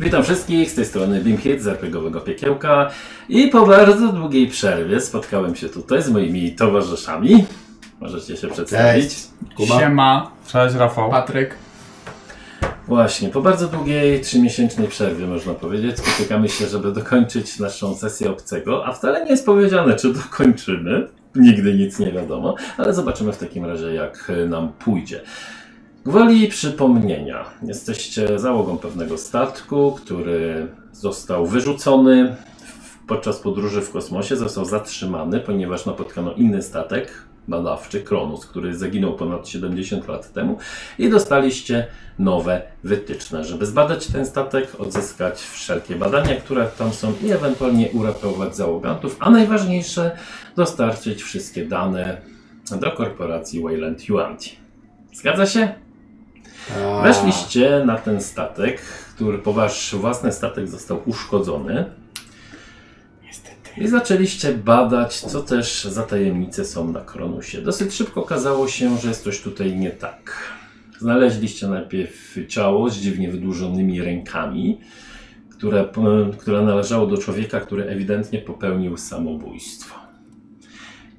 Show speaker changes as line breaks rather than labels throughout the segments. Witam wszystkich, z tej strony Bimhit z RPGowego Piekiełka i po bardzo długiej przerwie spotkałem się tutaj z moimi towarzyszami. Możecie się przedstawić.
Cześć. Kuba?
Siema,
Cześć Rafał.
Patryk.
Właśnie, po bardzo długiej, trzymiesięcznej przerwie można powiedzieć, spotykamy się, żeby dokończyć naszą sesję obcego, a wcale nie jest powiedziane, czy dokończymy. Nigdy nic nie wiadomo, ale zobaczymy w takim razie, jak e, nam pójdzie. Gwoli przypomnienia. Jesteście załogą pewnego statku, który został wyrzucony w- podczas podróży w kosmosie, został zatrzymany, ponieważ napotkano inny statek badawczy, Kronus, który zaginął ponad 70 lat temu i dostaliście nowe wytyczne, żeby zbadać ten statek, odzyskać wszelkie badania, które tam są i ewentualnie uratować załogantów, a najważniejsze dostarczyć wszystkie dane do korporacji Wayland Yuanti. Zgadza się?
A,
Weszliście na ten statek, który po wasz własny statek został uszkodzony. I zaczęliście badać, co też za tajemnice są na Kronusie. Dosyć szybko okazało się, że jest coś tutaj nie tak. Znaleźliście najpierw ciało z dziwnie wydłużonymi rękami, które, które należało do człowieka, który ewidentnie popełnił samobójstwo.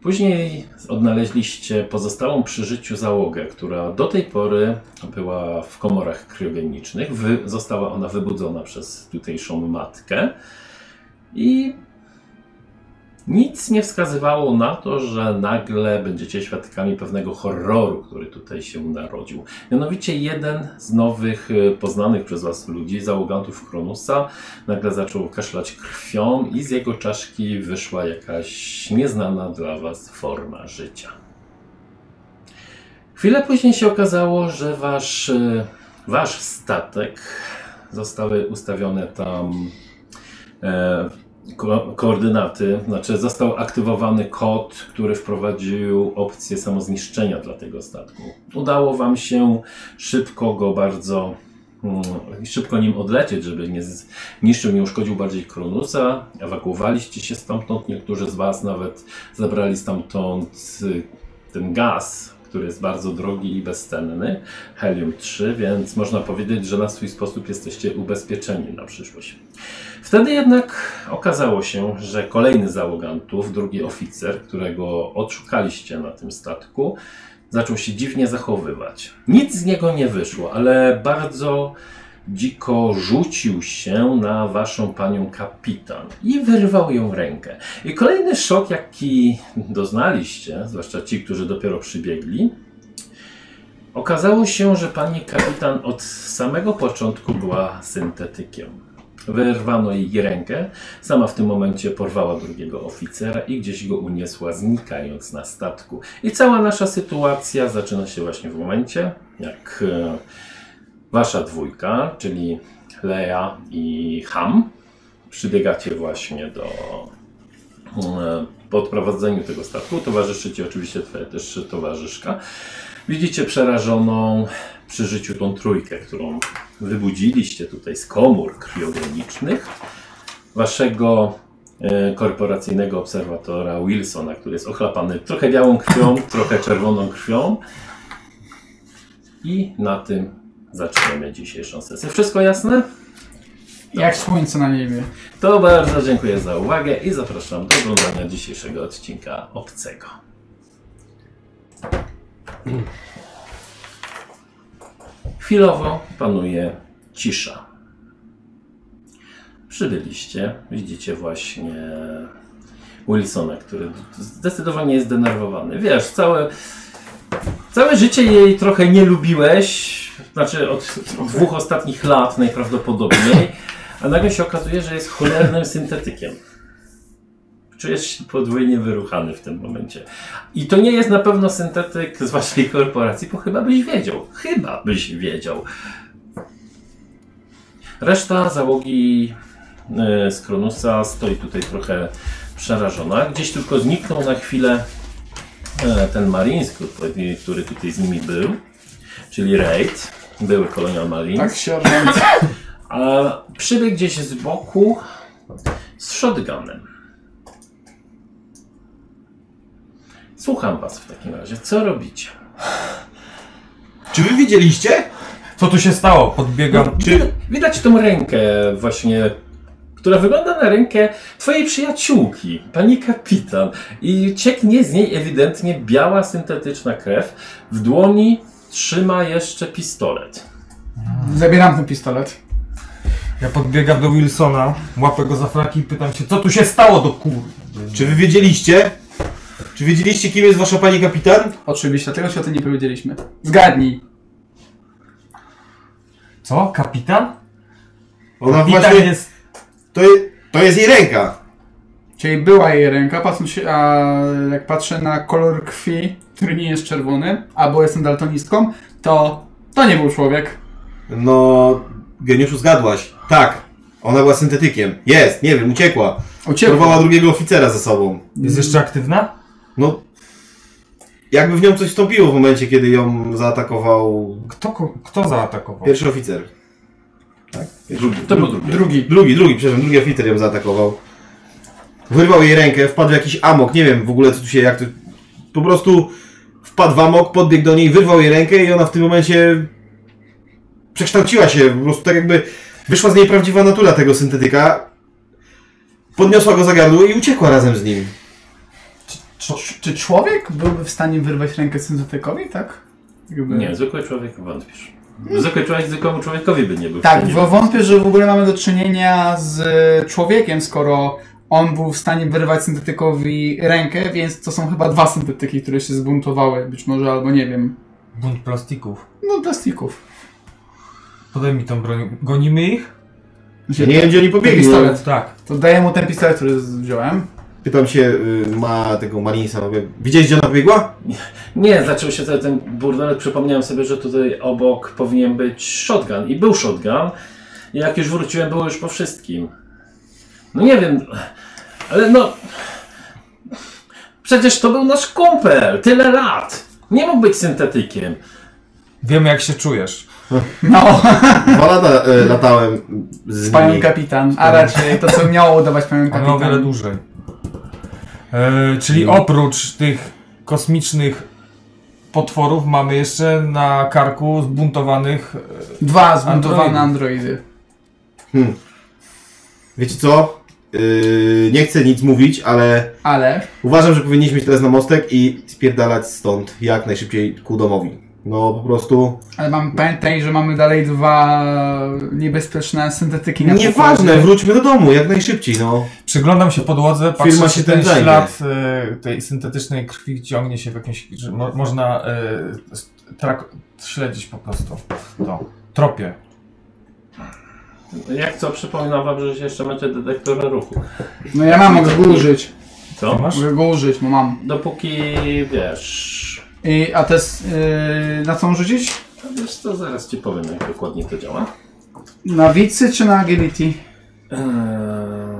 Później odnaleźliście pozostałą przy życiu załogę, która do tej pory była w komorach kryogenicznych. Wy, została ona wybudzona przez tutejszą matkę i nic nie wskazywało na to, że nagle będziecie świadkami pewnego horroru, który tutaj się narodził. Mianowicie jeden z nowych y, poznanych przez was ludzi, załogantów Kronusa, nagle zaczął kaszlać krwią i z jego czaszki wyszła jakaś nieznana dla was forma życia. Chwilę później się okazało, że wasz, y, wasz statek zostały ustawione tam e, ko- koordynaty, znaczy został aktywowany kod, który wprowadził opcję samozniszczenia dla tego statku. Udało wam się szybko go bardzo mm, szybko nim odlecieć, żeby nie z- niszczył, nie uszkodził bardziej Kronusa. Ewakuowaliście się stamtąd, niektórzy z was nawet zabrali stamtąd y, ten gaz, który jest bardzo drogi i bezcenny, helium-3, więc można powiedzieć, że na swój sposób jesteście ubezpieczeni na przyszłość. Wtedy jednak okazało się, że kolejny załogantów, drugi oficer, którego odszukaliście na tym statku, zaczął się dziwnie zachowywać. Nic z niego nie wyszło, ale bardzo dziko rzucił się na waszą panią kapitan i wyrwał ją rękę. I kolejny szok, jaki doznaliście, zwłaszcza ci, którzy dopiero przybiegli, okazało się, że pani kapitan od samego początku była syntetykiem. Wyrwano jej rękę, sama w tym momencie porwała drugiego oficera i gdzieś go uniesła, znikając na statku. I cała nasza sytuacja zaczyna się właśnie w momencie, jak e, wasza dwójka, czyli Lea i Ham, przybiegacie właśnie do e, po odprowadzeniu tego statku. Towarzyszy ci oczywiście twoja też towarzyszka. Widzicie przerażoną przy życiu tą trójkę, którą wybudziliście tutaj z komór kriogenicznych waszego e, korporacyjnego obserwatora Wilsona, który jest ochlapany trochę białą krwią, trochę czerwoną krwią. I na tym zaczynamy dzisiejszą sesję. Wszystko jasne?
Jak słońce na niebie.
To bardzo dziękuję za uwagę i zapraszam do oglądania dzisiejszego odcinka Obcego. Chwilowo panuje cisza. Przybyliście, widzicie właśnie Wilsona, który zdecydowanie jest zdenerwowany. Wiesz, całe, całe życie jej trochę nie lubiłeś, znaczy od dwóch ostatnich lat najprawdopodobniej, a nagle się okazuje, że jest cholernym syntetykiem. Czujesz się podwójnie wyruchany w tym momencie. I to nie jest na pewno syntetyk z waszej korporacji, bo chyba byś wiedział. Chyba byś wiedział. Reszta załogi e, z Kronusa stoi tutaj trochę przerażona. Gdzieś tylko zniknął na chwilę e, ten Marines, który- który tutaj z nimi był, czyli Raid, były kolonial Marines.
Tak, sierżant.
A przybiegł gdzieś z boku z shotgunem. Słucham was w takim razie. Co robicie?
Czy wy widzieliście?
Co tu się stało? Podbiegam.
Czy widać tą rękę właśnie, która wygląda na rękę twojej przyjaciółki, pani kapitan. I cieknie z niej ewidentnie biała, syntetyczna krew. W dłoni trzyma jeszcze pistolet.
Zabieram ten pistolet.
Ja podbiegam do Wilsona, łapę go za fraki i pytam się, co tu się stało do kur...
Czy wy wiedzieliście? Czy wiedzieliście, kim jest wasza pani kapitan?
Oczywiście, tego się o tym nie powiedzieliśmy. Zgadnij.
Co? Kapitan?
Ona
Kapitan
No właśnie...
jest...
To, je, to jest jej ręka.
Czyli była jej ręka, patrząc się, a jak patrzę na kolor krwi, który nie jest czerwony, a bo jestem daltonistką, to to nie był człowiek.
No... Geniuszu, zgadłaś. Tak. Ona była syntetykiem. Jest, nie wiem, uciekła.
Uciekł.
Porwała drugiego oficera ze sobą.
Jest jeszcze aktywna?
No... Jakby w nią coś wstąpiło w momencie, kiedy ją zaatakował
Kto, ko- kto zaatakował?
pierwszy oficer. Tak?
Drugi, to był drugi.
Drugi.
Drugi, drugi, przepraszam, drugi oficer ją zaatakował. Wyrwał jej rękę, wpadł w jakiś amok, nie wiem w ogóle co tu się, jak to... Po prostu wpadł w amok, podbiegł do niej, wyrwał jej rękę i ona w tym momencie przekształciła się, po prostu tak jakby wyszła z niej prawdziwa natura tego syntetyka, podniosła go za gardło i uciekła razem z nim.
Czy, czy człowiek byłby w stanie wyrwać rękę syntetykowi, tak? Jakby-
Nie, zwykły człowiek wątpisz. Zwykły człowiek zwykłemu człowiekowi by nie był w
Tak,
stanie.
bo wątpię, że w ogóle mamy do czynienia z e, człowiekiem, skoro on był w stanie wyrwać syntetykowi rękę, więc to są chyba dwa syntetyki, które się zbuntowały, być może, albo nie wiem.
Bunt plastików.
No, plastików.
Podaj mi tą broń. Gonimy ich?
Ja nie wiem gdzie oni pobiegli. No.
Pistolet.
Tak.
Znaczy, To daję mu ten pistolet, który z- wziąłem.
Pytam się, y, ma tego Malinsa, mówię, widziałeś gdzie ona pobiegła?
Nie, zaczął się cały ten burdelet. Przypomniałem sobie, że tutaj obok powinien być shotgun. I był shotgun. I jak już wróciłem, było już po wszystkim. No nie wiem, ale no... Przecież to był nasz kumpel, tyle lat. Nie mógł być syntetykiem.
Wiem jak się czujesz.
No,
Dwa lata y, latałem z
panią
nimi.
kapitan. A raczej to, co miało udawać panią
Ale o wiele
kapitan.
dłużej. E, czyli oprócz tych kosmicznych potworów mamy jeszcze na karku zbuntowanych... e,
Dwa zbuntowane
Androidy.
androidy.
Wiecie co? Y, nie chcę nic mówić, ale...
Ale
Uważam, że powinniśmy iść teraz na mostek i spierdalać stąd jak najszybciej ku domowi. No po prostu.
Ale mamy, pamiętaj, że mamy dalej dwa niebezpieczne syntetyki na
Nieważne,
pokładzie.
wróćmy do domu jak najszybciej, no.
Przyglądam się podłodze, patrzę
Firma
czy
się
ten
tym zajmie.
ślad e, tej syntetycznej krwi ciągnie się w jakimś... Że
Tak.
mo, można e, s- trak, śledzić po prostu to. Tropie.
Jak co, przypominam wam, że jeszcze macie detektor ruchu.
No ja mam, mogę go użyć.
Co?
Ty masz?
Mogę go użyć, bo mam.
Dopóki, wiesz...
I, a to jest,
y,
yy, na co mam rzucić?
to Wiesz co, zaraz ci powiem, jak dokładnie to działa.
Na wicy czy na agility?
Eee...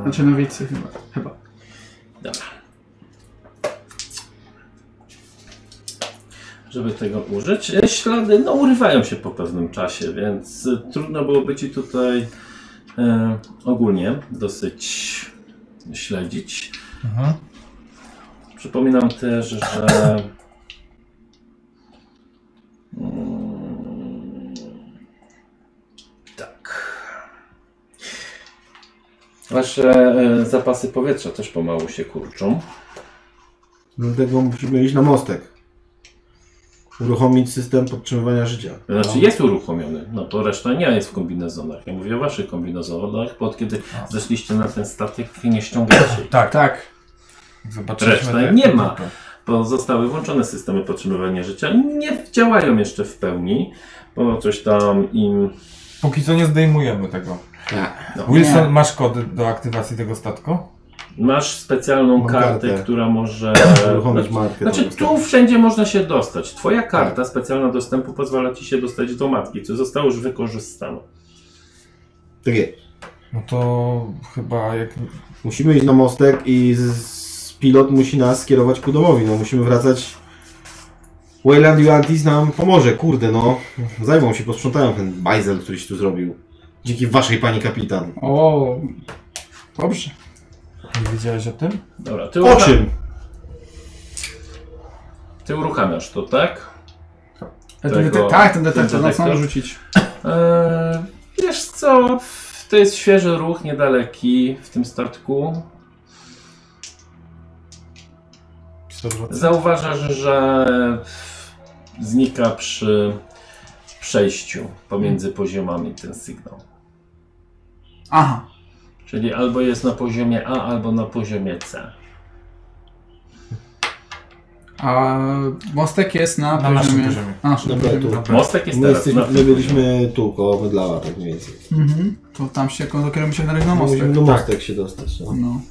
Znaczy na wicy chyba. chyba.
Dobra. Żeby tego użyć. E, Ślady no, urywają się po pewnym czasie, więc e, trudno byłoby ci tutaj e, ogólnie dosyć śledzić.
Mhm.
Przypominam też, że. Mm, Tak. Wasze e, zapasy powietrza też pomału się kurczą.
Dlatego musimy iść na mostek. Uruchomić system podtrzymywania życia.
Znaczy jest uruchomiony, no to reszta nie jest w kombinezonach. Ja mówię o waszych kombinezonach, bo od kiedy zeszliście na ten statek nie ściągacie. ich.
Tak.
Tak.
Zobaczyliśmy
Reszta
te-
nie ma. bo zostały włączone systemy podtrzymywania życia. Nie działają jeszcze w pełni, bo coś tam im
Póki co nie zdejmujemy tego.
Tak.
No.
Wilson,
Nie.
masz kody do aktywacji tego statku?
Masz specjalną
Mam
kartę,
kartę.
która może.
Uruchomić
Znaczy-
markę.
Znaczy, tu wszędzie można się dostać. Twoja
Tak.
karta specjalna dostępu pozwala ci się dostać do matki, co zostało już wykorzystane.
Tak jest.
No to chyba jak...
Musimy iść na mostek i z, z pilot musi nas skierować ku domowi. No musimy wracać. Wayland Atlantis nam pomoże, kurde no. Zajmą się, posprzątają ten bajzel, który się tu zrobił. Dzięki waszej pani kapitan.
O, dobrze.
Nie wiedziałeś o tym?
Dobra, ty,
O
urucha-
czym?
ty uruchamiasz to, tak?
A ten
Tego-
dete- tak, ten
tak,
ten
detektor, na co mam
detektor?
rzucić?
E, wiesz co, to jest świeży ruch, niedaleki w tym statku. Zauważasz, że znika przy przejściu pomiędzy poziomami ten sygnał.
Aha.
Czyli albo jest na poziomie A, albo na poziomie C.
A mostek jest na,
Na naszym poziomie.
Na naszym
Dobra,
poziomie.
tu.
dobra.
Mostek jest
Tak. My,
teraz
jesteśmy,
na
my byliśmy tu, koło Wedlawa, tak mniej więcej.
Mhm. To tam się kierujemy się na No mostek.
Musimy do mostek się dostać. No.
No.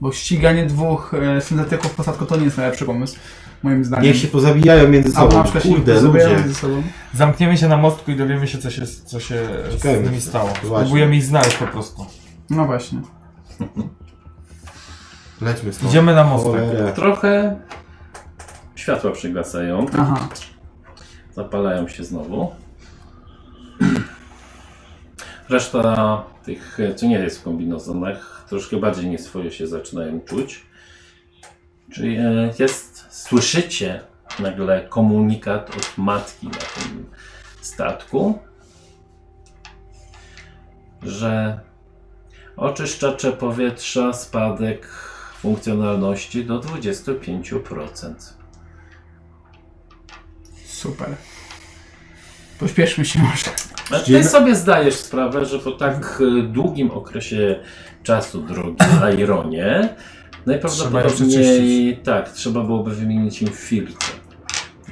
Bo ściganie dwóch e, syntetyków posadko to nie jest najlepszy pomysł, moim zdaniem.
Niech się pozabijają między
Albo
sobą.
przykład się
Kurde,
zabijają
ludzie.
ze sobą.
Zamkniemy się na mostku i dowiemy się, co się, co się z
Ciekawe.
nimi stało.
Właśnie.
Próbujemy ich znaleźć po prostu.
No właśnie.
Lećmy stąd.
Idziemy na mostek.
Cholera.
Trochę światła przygasają,
Aha.
zapalają się znowu. Reszta tych, co nie jest w kombinozonach, troszkę bardziej nieswojo się zaczynają czuć. Czyli e, jest, słyszycie nagle komunikat od matki na tym statku, że oczyszczacze powietrza, spadek funkcjonalności do 25%.
Super. Pośpieszmy się może.
A
Dzień-
Znaczy, Ty sobie zdajesz sprawę, że po tak y, długim okresie czasu drogi na ironie,
Trzeba je
najprawdopodobniej
przeczyścić.
tak, trzeba byłoby wymienić im filtr.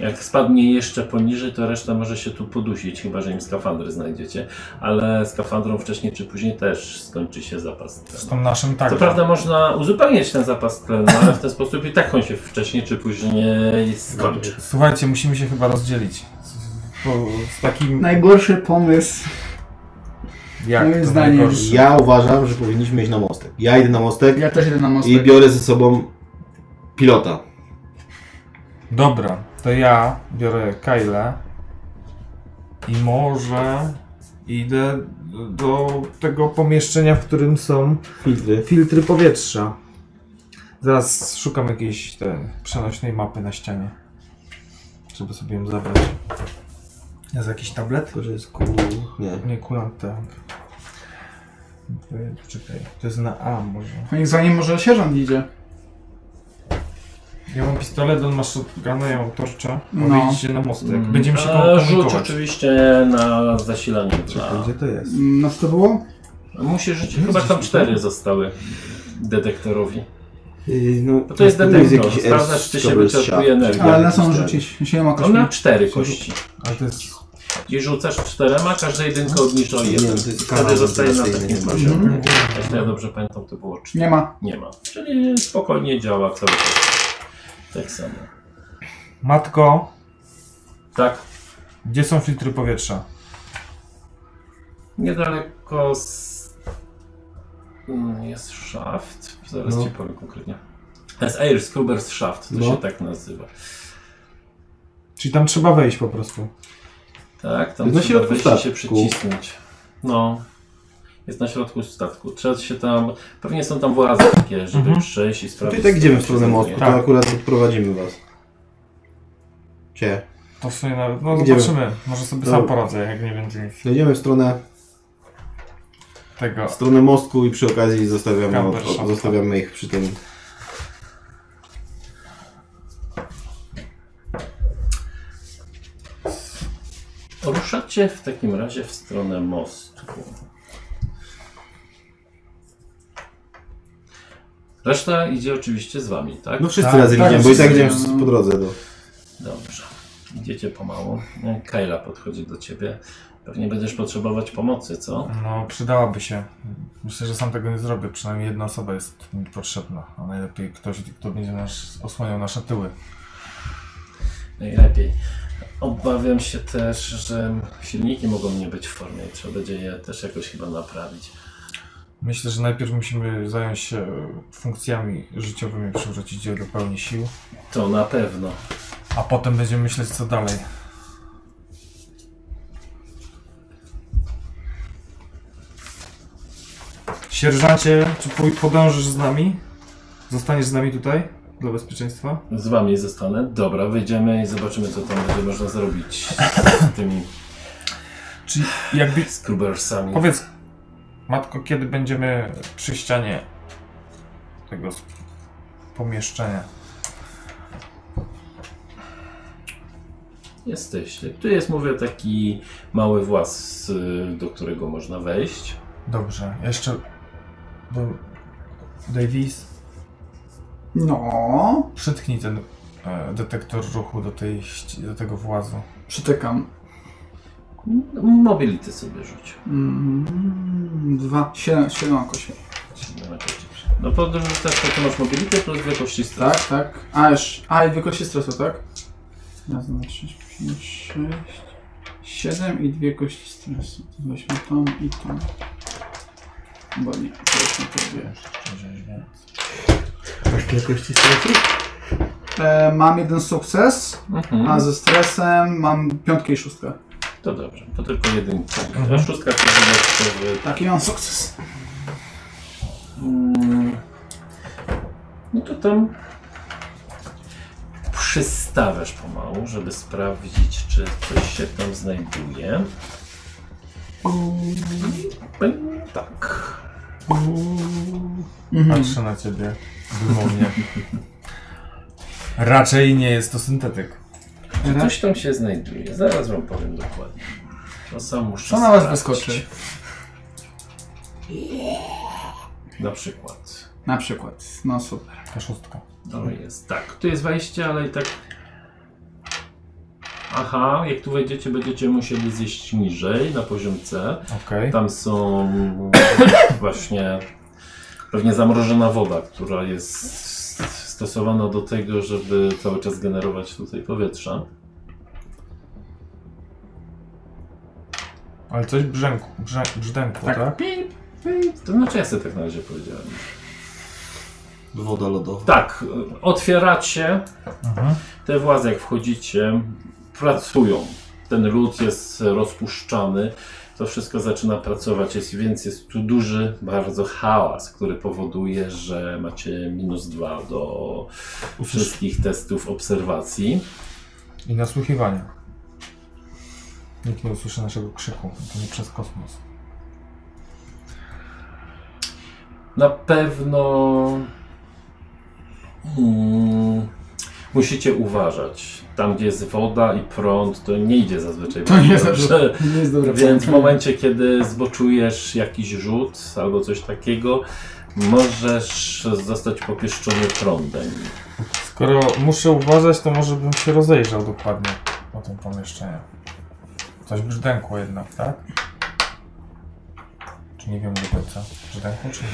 Jak spadnie jeszcze poniżej, to reszta może się tu podusić, chyba że im skafandry znajdziecie. Ale skafandrom wcześniej czy później też skończy się zapas
Z
tlenu.
tą naszym tak.
Co prawda można uzupełniać ten zapas tlenu, ale w ten sposób i tak on się wcześniej czy później skończy.
Słuchajcie, musimy się chyba rozdzielić. Bo z takim.
Najgorszy pomysł.
jak
moim
to
zdaniem-
najgorszy?
Ja uważam, że powinniśmy iść na mostek. Ja idę na mostek
Ja też idę na mostek.
i biorę ze sobą pilota.
Dobra, to ja biorę Kyle i może idę do tego pomieszczenia, w którym są
Filtry.
filtry powietrza. Zaraz szukam jakiejś te, przenośnej mapy na ścianie, żeby sobie ją zabrać. Jest jakiś tablet?
To, że jest cool. Nie.
Nie, kulant tak. Wy- Czekaj, to jest na A może.
Niech za nim może sierżant idzie.
Ja mam pistolet, on ma shotguna, ja mam torcza.
No.
No. się na mostek. Będziemy się
A, Mm. E, Rzuć
komunikować.
oczywiście na zasilanie
Czekaj,
dla
gdzie to jest?
Mm, No co to było?
Musisz żyć. Chyba tam cztery zostały detektorowi.
Yy, No,
Bo to jest
na pewno
detektor.
jakiś
Sprawdzasz, czy się
Airscope
wyczerpuje
Shark.
energia.
Ale na co
Jakiś
on
ten.
rzucić? Jeśli ma
On ma
kości.
cztery kości.
Ale to jest...
I rzucasz czterema, każda jedynka obniża o
Nie,
jeden.
no to jest
Wtedy
kanał
zostaje na
wentylacyjny,
takim
nie
poziomie.
Mhm.
Jeśli ja dobrze pamiętam, to było cztery.
Nie ma.
Nie ma. Czyli spokojnie działa cały czas. Tak samo.
Matko,
Tak.
gdzie są filtry powietrza?
Niedaleko z... mm, jest szaft. Zaraz
No.
ci powiem konkretnie. To jest Air Scrubbers Shaft, to
No.
się tak nazywa.
Czyli tam trzeba wejść po prostu.
Tak, tam
Jest
trzeba
na środku
wejść i się
statku.
przycisnąć. No. Jest na środku statku. Trzeba się tam. Pewnie są tam władze takie, żeby
Mhm.
przejść i sprawdzić.
Tutaj tak
co
idziemy
się
w stronę
znajduje.
mostu,
Tak.
to akurat odprowadzimy was. Cie.
To w sumie nawet... No
Idziemy.
zobaczymy. Może sobie sam poradzę, jak nie będzie
Przejdziemy w stronę,
tego.
w stronę mostku i przy okazji zostawiamy,
Camper
o-
shot.
zostawiamy ich przy tym.
Ruszacie w takim razie w stronę mostku. Reszta idzie oczywiście z wami, tak?
No wszyscy
Tak,
razem
tak,
idziemy, bo i tak
wszyscy
idziemy
idziemy,
wszyscy
no.
po drodze. Do...
Dobrze. Idziecie pomału. Kajla podchodzi do ciebie. Pewnie będziesz potrzebować pomocy, co?
No przydałaby się. Myślę, że sam tego nie zrobię. Przynajmniej jedna osoba jest mi potrzebna. A najlepiej ktoś, kto będzie nas osłaniał nasze tyły.
Najlepiej. Obawiam się też, że silniki mogą nie być w formie. i Trzeba będzie je też jakoś chyba naprawić.
Myślę, że najpierw musimy zająć się e, funkcjami życiowymi, przywrócić je do pełni sił,
To na pewno.
a potem będziemy myśleć co dalej. Sierżancie, czy pój- podążysz z nami? Zostaniesz z nami tutaj? Dla bezpieczeństwa?
Z wami zostanę. Dobra, wyjdziemy i zobaczymy, co tam będzie można zrobić z tymi
Czy jakby...
Z Krubersami.
Powiedz, matko, kiedy będziemy przy ścianie tego s- pomieszczenia?
Jesteście. Tu jest, mówię, taki mały włas, y, do którego można wejść.
Dobrze, jeszcze... Bo... Davis,
No,
przytknij ten e, detektor ruchu do, tej, ści- do tego włazu.
przytykam.
Mobility sobie rzuć.
Mm, dwa, siedem, siedemko się.
Na kości. No podróż też to ty masz mobility plus dwie kości straty.
Tak, tak. A, już, a i dwie kości stresu, tak? Raz, dwa, trzy, pięć, sześć, siedem i dwie kości stresu. To Weźmy tą i tą. Bo nie, to weźmy te dwie.
Masz wielkości stresu?
E, mam jeden sukces,
Mhm.
a ze stresem mam piątkę i szóstkę.
To dobrze, to tylko jeden. tak. A szóstka to dodatkowy.
Taki mam sukces.
Mm. No to tam przystawiasz pomału, żeby sprawdzić, czy coś się tam znajduje. Mm, Tak.
Mhm.
Patrzę na ciebie wymownie. Raczej nie jest to syntetyk.
Czy coś tam się znajduje? Zaraz wam powiem dokładnie. To sam muszę
Co na was
sprawdzić.
wyskoczy?
Na przykład.
Na przykład. No super.
Ta szóstka.
To jest tak. Tu jest wejście, ale i tak. Aha, jak tu wejdziecie, będziecie musieli zjeść niżej na poziom C.
Okej.
Tam są właśnie pewnie zamrożona woda, która jest stosowana do tego, żeby cały czas generować tutaj powietrze.
Ale coś brzęku, brzę, brzdęku, tak?
Tak. Pip.
To znaczy ja sobie tak na razie powiedziałem.
Woda lodowa.
Tak, otwieracie
Mhm.
Te władze, jak wchodzicie, pracują. Ten lód jest rozpuszczany. To wszystko zaczyna pracować, jest, więc jest tu duży bardzo hałas, który powoduje, że macie minus dwa do wszystkich testów obserwacji.
I nasłuchiwanie. Nikt nie usłyszy naszego krzyku. To nie przez kosmos.
Na pewno mm, musicie uważać. Tam, gdzie jest woda i prąd, to nie idzie zazwyczaj.
To nie
bardzo
jest
dobrze.
dobrze. Nie jest dobre.
Więc w momencie, kiedy zboczujesz jakiś rzut albo coś takiego, możesz zostać popieszczony prądem.
Skoro muszę uważać, to może bym się rozejrzał dokładnie po tym pomieszczeniu. Coś brzdękło jednak, tak? Czy nie wiem do końca? Brzdękło czy nie?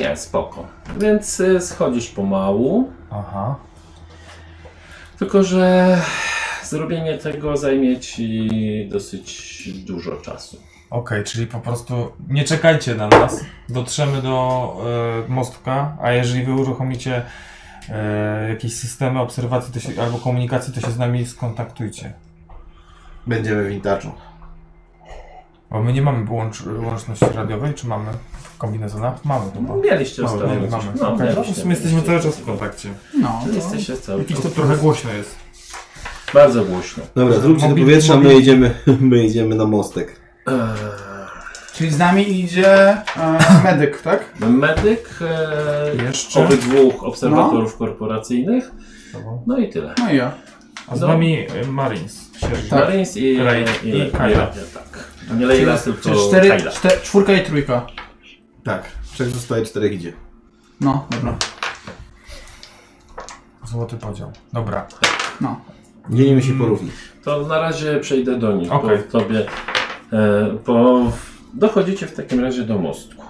Nie, spoko. Więc y, schodzisz pomału,
Aha.
tylko że zrobienie tego zajmie ci dosyć dużo czasu.
Okej, czyli po prostu nie czekajcie na nas. Dotrzemy do e, mostka, a jeżeli wy uruchomicie e, jakieś systemy obserwacji to się, albo komunikacji, to się z nami skontaktujcie.
Będziemy wintaczu.
Bo my nie mamy łącz, łączności radiowej, czy mamy w kombinezonach? Mamy chyba.
No, Mieliście
Mamy,
ostatnio.
mamy. mamy.
No,
Okej,
mieliście,
no, w sumie jesteśmy
mieliście.
cały czas w kontakcie. No.
No, to-
Jesteście cały
Jakiś
czas.
to trochę głośno jest.
Bardzo głośno.
Dobra, zróbcie do
Mobil-
powietrza, my
mobil-
idziemy, my idziemy na mostek.
Eee,
Czyli z nami idzie e, medyk, tak?
medyk, eee,
Jeszcze?
obydwu obserwatorów korporacyjnych, no i tyle.
No i ja.
A z
No.
nami e, Marines. Sierżant.
Tak.
Marines i,
Ray-
i,
i
i,
Kyla.
i- tak. Nie Leila, tylko
Czyli cztery,
Kyla.
czte, czwórka i trójka.
Tak. Trzech zostaje, czterech idzie.
No, dobra.
Złoty podział. Dobra.
No.
Dzielimy się porówni.
To na razie przejdę do nich,
Okej.
bo tobie... E, bo dochodzicie w takim razie do mostku.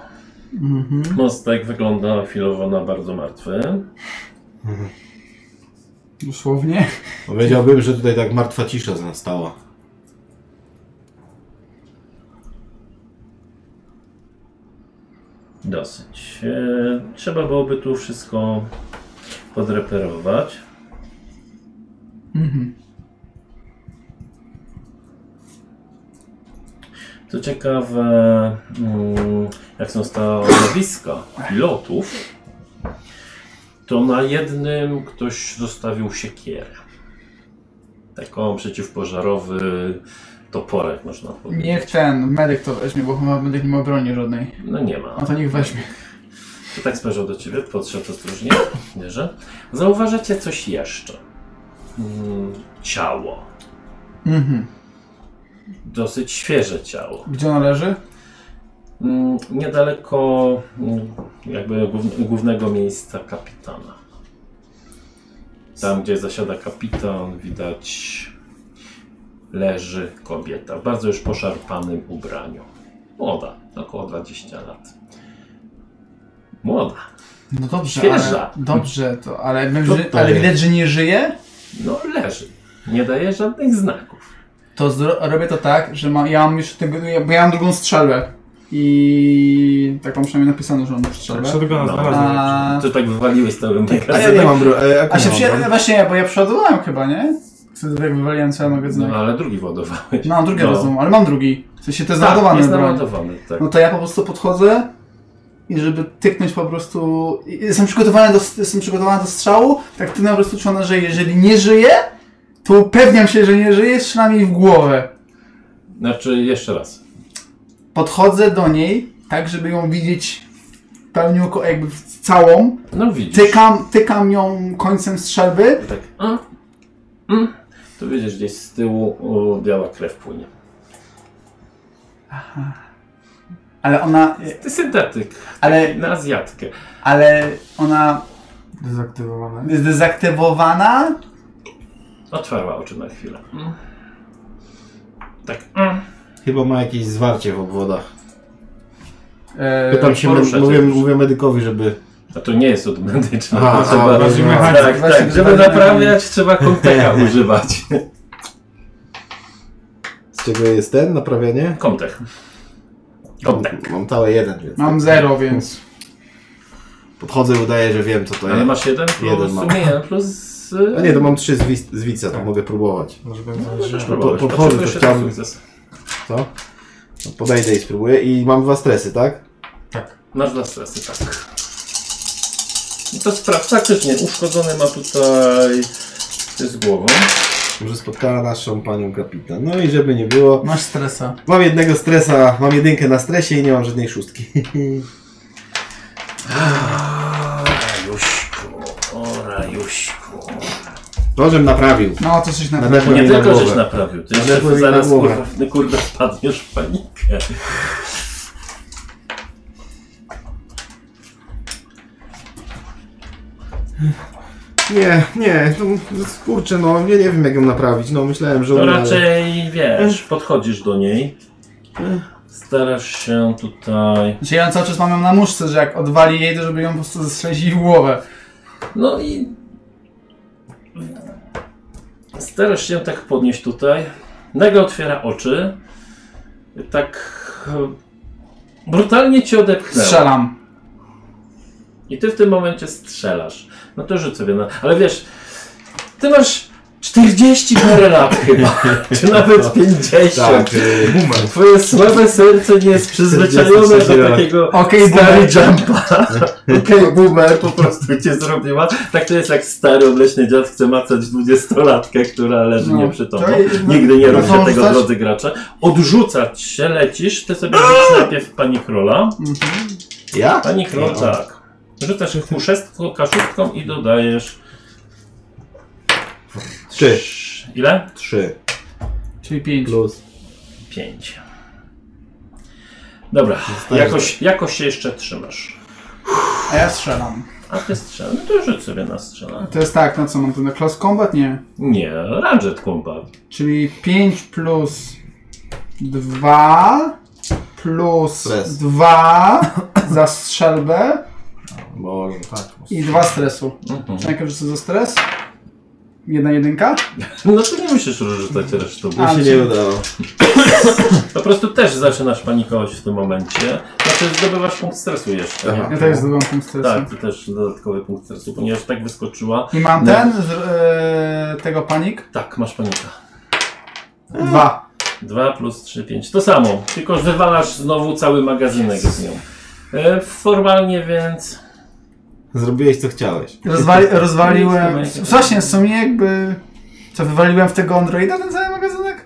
Mhm.
Mostek wygląda chwilowo na bardzo martwy.
Dosłownie.
Powiedziałbym, że tutaj tak martwa cisza nastała.
Dosyć. E, trzeba byłoby tu wszystko podreperować.
Mhm.
Co ciekawe, mm, jak są stanowiska pilotów, to na jednym ktoś zostawił siekierę. taką przeciwpożarowy toporek, można powiedzieć.
Niech ten medyk to weźmie, bo chyba medyk nie ma broni żadnej.
No nie ma.
A to niech weźmie.
To tak spojrzał do ciebie, podszedł ostrożnie, mierze. Zauważacie coś jeszcze. Mm, Ciało.
Mhm.
Dosyć świeże ciało.
Gdzie ona leży?
Mm, Niedaleko mm, jakby głów- głównego miejsca kapitana. Tam, gdzie zasiada kapitan, widać leży kobieta w bardzo już poszarpanym ubraniu. Młoda, około 20 lat. Młoda.
No dobrze,
Świeża.
ale... Dobrze, to... Ale, my,
To
ży-
to
ale
jest.
widać, że nie żyje?
No leży. Nie daje żadnych znaków.
To zro- robię to tak, że ma, ja mam już tego... ja- Bo ja mam drugą strzelbę. I... Taką przynajmniej napisano, że mam strzelbę.
Shotguna
No.
znalazłem.
A...
Ty tak wywaliłeś z tego
A ja
magazynu.
nie mam bro... e, jak
A się
nie mam
przy...
broni?
Właśnie, bo ja przeładowałem chyba, nie? Wtedy jak wywaliłem cały magazyn.
No
No,
ale drugi ładowałeś.
mam drugi
No.
rozum, ale mam drugi. W sensie to jest
Tak,
naładowany.
jest
broń.
naładowany, tak.
No to ja po prostu podchodzę i żeby tyknąć po prostu... i- Jestem przygotowany do, jestem przygotowany do strzału, tak tyknę po prostu czy ona żyje. Jeżeli nie żyje, to upewniam się, że nie żyje, strzelam jej w głowę.
Znaczy, jeszcze raz.
Podchodzę do niej, tak żeby ją widzieć w pełni, oko- jakby w całą.
No widzisz.
Tykam, tykam ją końcem strzelby.
Tak. A? Mm. Tu widzisz, gdzieś z tyłu o, biała krew płynie.
Ale ona,
Ty syntetyk.
ale,
Na Azjatkę.
ale ona
Dezaktywowane.
jest dezaktywowana.
Otwarła oczy na chwilę. Mm. Tak. Mm.
Chyba ma jakieś zwarcie w obwodach.
Eee,
Pytam się,
poruszać
mówię,
już.
mówię medykowi, żeby...
A to nie jest od medyczna.
A,
to trzeba...
a,
bardziej
no.
mechanizm.
tak,
Właśnie
tak. Żeby
bardziej
naprawiać, trzeba konteka używać.
Z czego jest ten? Naprawianie?
Kontek. Kontek.
Mam cały jeden, więc... tak
Mam zero, więc
Podchodzę, udaję, że wiem co to
Ale
jest.
masz jeden plus
Jeden mam.
sumienia plus... y,
A nie, to mam trzy z, wis- z wica, to
Tak.
mogę próbować.
Może
no
będzie
Możesz
żył.
próbować.
po- podchodzę,
Potrzebujesz
to
jeden
chciałbym-
sukces.
Co? No, Podejdę i spróbuję i mam dwa stresy, tak?
Masz dwa stresy, tak. I to sprawdź, faktycznie uszkodzony ma tutaj z głową.
Może spotkała naszą panią kapitan. No i żeby nie było.
masz stresa.
Mam jednego stresa, mam jedynkę na stresie i nie mam żadnej szóstki.
Rajuśku, o Rajuśku.
To, żem naprawił.
No, to coś na
Nadepnę
Nie
jej na
tylko żeś
głowę.
naprawił, ty
Ale
jeszcze
powinien
zaraz
na głowę.
kurwa, kurde wpadniesz w panikę.
Nie, nie, to, kurczę, no nie, nie wiem jak ją naprawić. No myślałem, że
To
ona-
raczej wiesz, podchodzisz do niej. Starasz się tutaj.
Znaczy ja cały czas mam ją na muszce, że jak odwali jej, to żeby ją po prostu zestrzelić jej w głowę.
No i. Starasz się tak podnieść tutaj. Nagle otwiera oczy. Tak. e, Brutalnie cię odepchnęło.
Strzelam.
I ty w tym momencie strzelasz. No to rzuć sobie na. Ale wiesz, ty masz 40 parę lat chyba. Czy nawet 50.
No. Tak, y,
Boomer.
Twoje słabe serce nie jest przyzwyczajone do
44 lat.
takiego
Okej,
stary
boomer.
jumpa. Okej, boomer po prostu cię zrobiła. Tak to jest jak stary obleśny dziad chce macać dwudziestolatkę, która leży
No,
nieprzytomna.
to i-
Nigdy nie
no,
rób
to
się tego,
rzucać?
drodzy gracze. Odrzucać się, lecisz, ty sobie rzucisz najpierw pani króla.
Mhm.
Ja?
Pani król, tak. Rzucasz ich kuszestką, kaszutką i dodajesz...
Trzy.
Ile?
Trzy.
Czyli pięć.
Plus.
Pięć. Dobra, jakoś, jakoś się jeszcze trzymasz.
A ja strzelam.
A ty strzela. No to rzuć sobie na strzela.
To jest tak, na co mam to na Close Combat? Nie.
Nie, Ranget Combat.
Czyli 5 plus 2 plus
Stres.
2 za strzelbę
Boże, tak.
i 2 stresu.
Mhm.
Czy najpierw rzucę za stres? Jedna jedynka?
No to nie musisz rzucać resztą.
Mi się nie udało.
Po prostu też zaczynasz panikować w tym momencie. Znaczy zdobywasz punkt stresu jeszcze.
Aha.
Nie?
Ja też zdobyłam punkt stresu.
Tak, ty też dodatkowy punkt stresu, ponieważ tak wyskoczyła.
I mam
No.
ten, z, e, tego panik?
Tak, masz panika.
2.
2 plus 3, 5. To samo, tylko że wywalasz znowu cały magazynek z nią. E, Formalnie więc
Zrobiłeś co chciałeś.
Rozwali, rozwaliłem.
Nic nie ma.
Właśnie, w sumie jakby. Co, wywaliłem w tego Androida ten cały magazynek?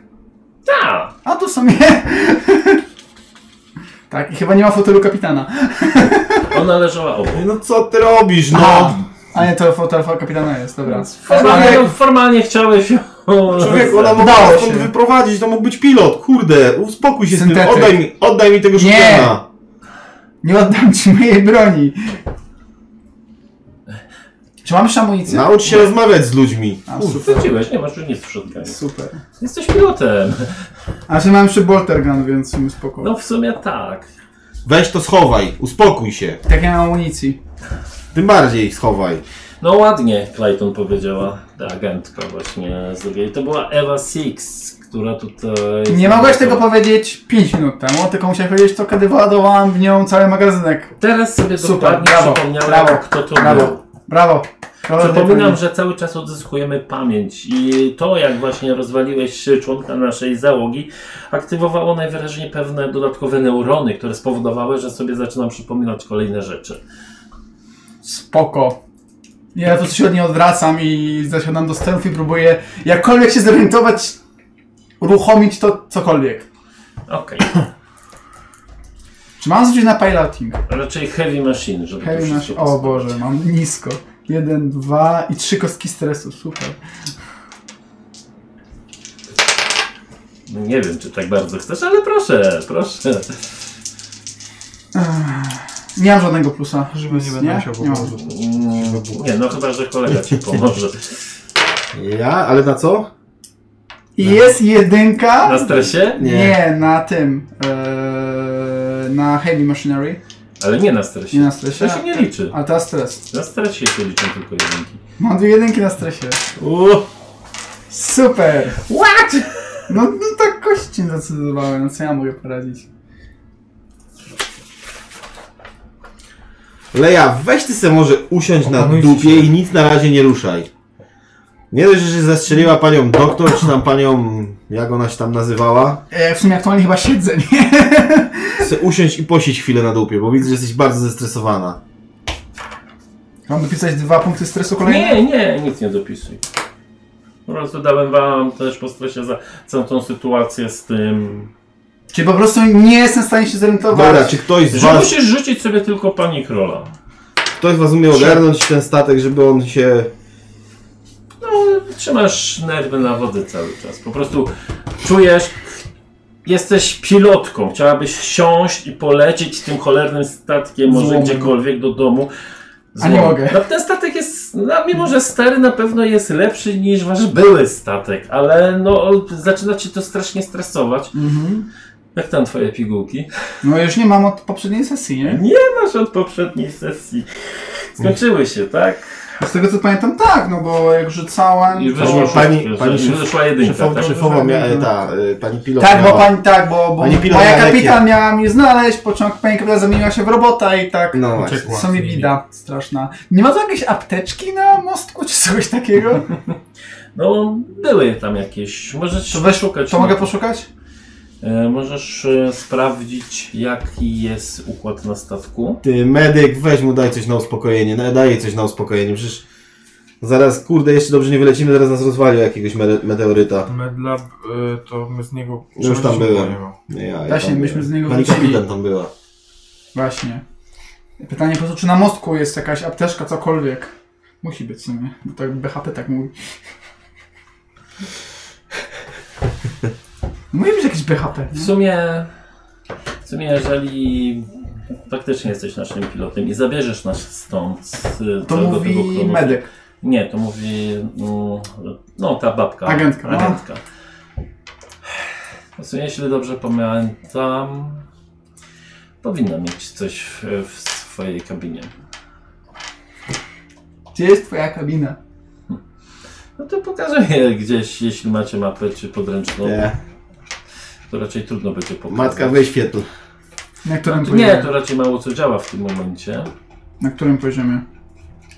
Tak!
A to w sumie... tak, i chyba nie ma fotelu kapitana.
Ona leżała obok.
No co ty robisz, no?
A, a nie, to fotel kapitana jest,
No,
dobra.
Formalnie, formalnie chciałeś ją...
Człowiek, ona
Udało
mogła stąd
się.
wyprowadzić, to mógł być pilot, kurde, uspokój się z
Syntetyk.
tym, oddaj mi, oddaj mi tego
Nie.
szukana.
Nie oddam ci mojej broni. Czy mam jeszcze amunicję?
Naucz się rozmawiać z ludźmi.
A,
Kurde.
super.
Wróciłeś, Tak, nie masz już nic w shotgunie.
Super.
Jesteś pilotem.
A czy mam jeszcze bolter gun, więc mi spoko.
No w sumie tak.
Weź to schowaj, uspokój się.
Tak ja mam amunicji.
Tym bardziej schowaj.
No ładnie, Clayton powiedziała ta agentka właśnie z drugiej. To była Eva Six, która tutaj...
Nie mogłeś tego powiedzieć 5 minut temu, tylko musiałeś powiedzieć to, kiedy wyładowałam w nią cały magazynek.
Teraz sobie
Super,
dokładnie
brawo,
przypomniałem,
brawo,
kto to był.
Brawo. Brawo. tak Brawo,
Przypominam, że cały czas odzyskujemy pamięć i to, jak właśnie rozwaliłeś członka naszej załogi, aktywowało najwyraźniej pewne dodatkowe neurony, które spowodowały, że sobie zaczynam przypominać kolejne rzeczy.
Spoko. Ja po prostu się od niej odwracam i zasiadam do sterów i próbuję jakkolwiek się zorientować, uruchomić to cokolwiek.
Okej,
Czy mam zwrócić na piloting?
raczej heavy machine, żeby to
Hej, nasz...
wszystko
O Boże, mam nisko. Jeden, dwa i trzy kostki stresu, super.
Nie wiem, czy tak bardzo chcesz, ale proszę, proszę.
Nie mam żadnego plusa.
Żeby nie będę musiał po
Nie mam.
prostu.
Mm, Nie, no chyba, że kolega ci pomoże.
Ja? Ale na co?
I jest jedynka.
Na stresie?
Nie,
Nie.
na tym. Eee, na Heavy Machinery.
Ale nie na
Nie
stresie.
na stresie.
To się nie liczy.
A teraz stres.
Na stresie się liczą tylko jedynki.
Mam dwie jedynki na stresie.
Uuu,
Super! What? No, no tak kości zdecydowałem, no co ja mogę poradzić?
Leja, weź ty se może usiąść na
Opanujcie
dupie
się.
i nic na razie nie ruszaj. Nie dość, że się zastrzeliła panią doktor, czy tam panią, jak ona się tam nazywała.
E, w sumie aktualnie chyba siedzę, nie?
Se usiąść i posiedź chwilę na dupie, bo widzę, że jesteś bardzo zestresowana.
Mam dopisać dwa punkty stresu kolejne?
Nie, nie, nic nie dopisuj. Po prostu dałem wam też po stresie za całą tą sytuację z tym.
Czyli po prostu nie jestem w stanie się zorientować.
Dobra, czy ktoś z
Że
was,
musisz rzucić sobie tylko panik rola.
ktoś z was umie ogarnąć ten statek, żeby on się...
No, trzymasz nerwy na wody cały czas. Po prostu czujesz, jesteś pilotką. Chciałabyś siąść i polecieć tym cholernym statkiem, może
Złomem.
gdziekolwiek do domu.
A nie
Złom.
mogę.
No, ten statek jest, no, mimo że stary, na pewno jest lepszy niż wasz były statek, ale no, zaczyna cię to strasznie stresować.
Mhm.
Jak tam twoje pigułki?
No już nie mam od poprzedniej sesji, nie?
Masz od poprzedniej sesji. Skończyły się, tak?
Z tego co pamiętam, tak, no bo jak rzucałem.
I
to-
wyszło
pani-
szóstkę,
pani
że-
szef-
wyszła jedynka,
Szefowa,
tak?
szefowa mia, e, ta, e, pani pilot
Tak, bo
miała.
pani, tak, bo, bo
Pani pilot
moja
miała
kapitan miała mnie znaleźć, po czym pani kapitan zamieniła się w robota i tak.
No właśnie.
Uciekła.
Co mi bida straszna. Nie ma tu jakiejś apteczki na mostku czy coś takiego?
No, były tam jakieś. Możesz
To weź-
szukać.
To mogę poszukać?
E, Możesz e, sprawdzić, jaki jest układ na statku.
Ty medyk, weź mu daj coś na uspokojenie, na- daj jej coś na uspokojenie, przecież zaraz, kurde, jeszcze dobrze nie wylecimy, zaraz nas rozwali o jakiegoś mede- meteoryta.
Medlab, y, to my z niego...
Już tam byłem. Nie, No ja, ja
Właśnie,
tam
myśmy
byłem.
z niego
Pani
wrócili.
kapitan tam była.
Właśnie. Pytanie po prostu, czy na mostku jest jakaś apteczka, cokolwiek. Musi być w sumie, bo tak BHP tak mówi. Mówi być jakieś BHP.
W
nie?
sumie, w sumie jeżeli faktycznie jesteś naszym pilotem i zabierzesz nas stąd. e,
To
całego tego
mówi
Kronosa-
medyk.
Nie, to mówi. mm, No, ta babka.
Agentka, no.
Agentka. W sumie, jeśli dobrze pamiętam, powinna mieć coś w, w swojej kabinie.
Gdzie jest twoja kabina?
No to pokazuję gdzieś, jeśli macie mapę czy podręczną.
Nie.
To raczej trudno będzie pokazać.
Matka, wyświetl.
Na którym
To Nie,
poziomie?
to raczej mało co działa w tym momencie.
Na którym poziomie?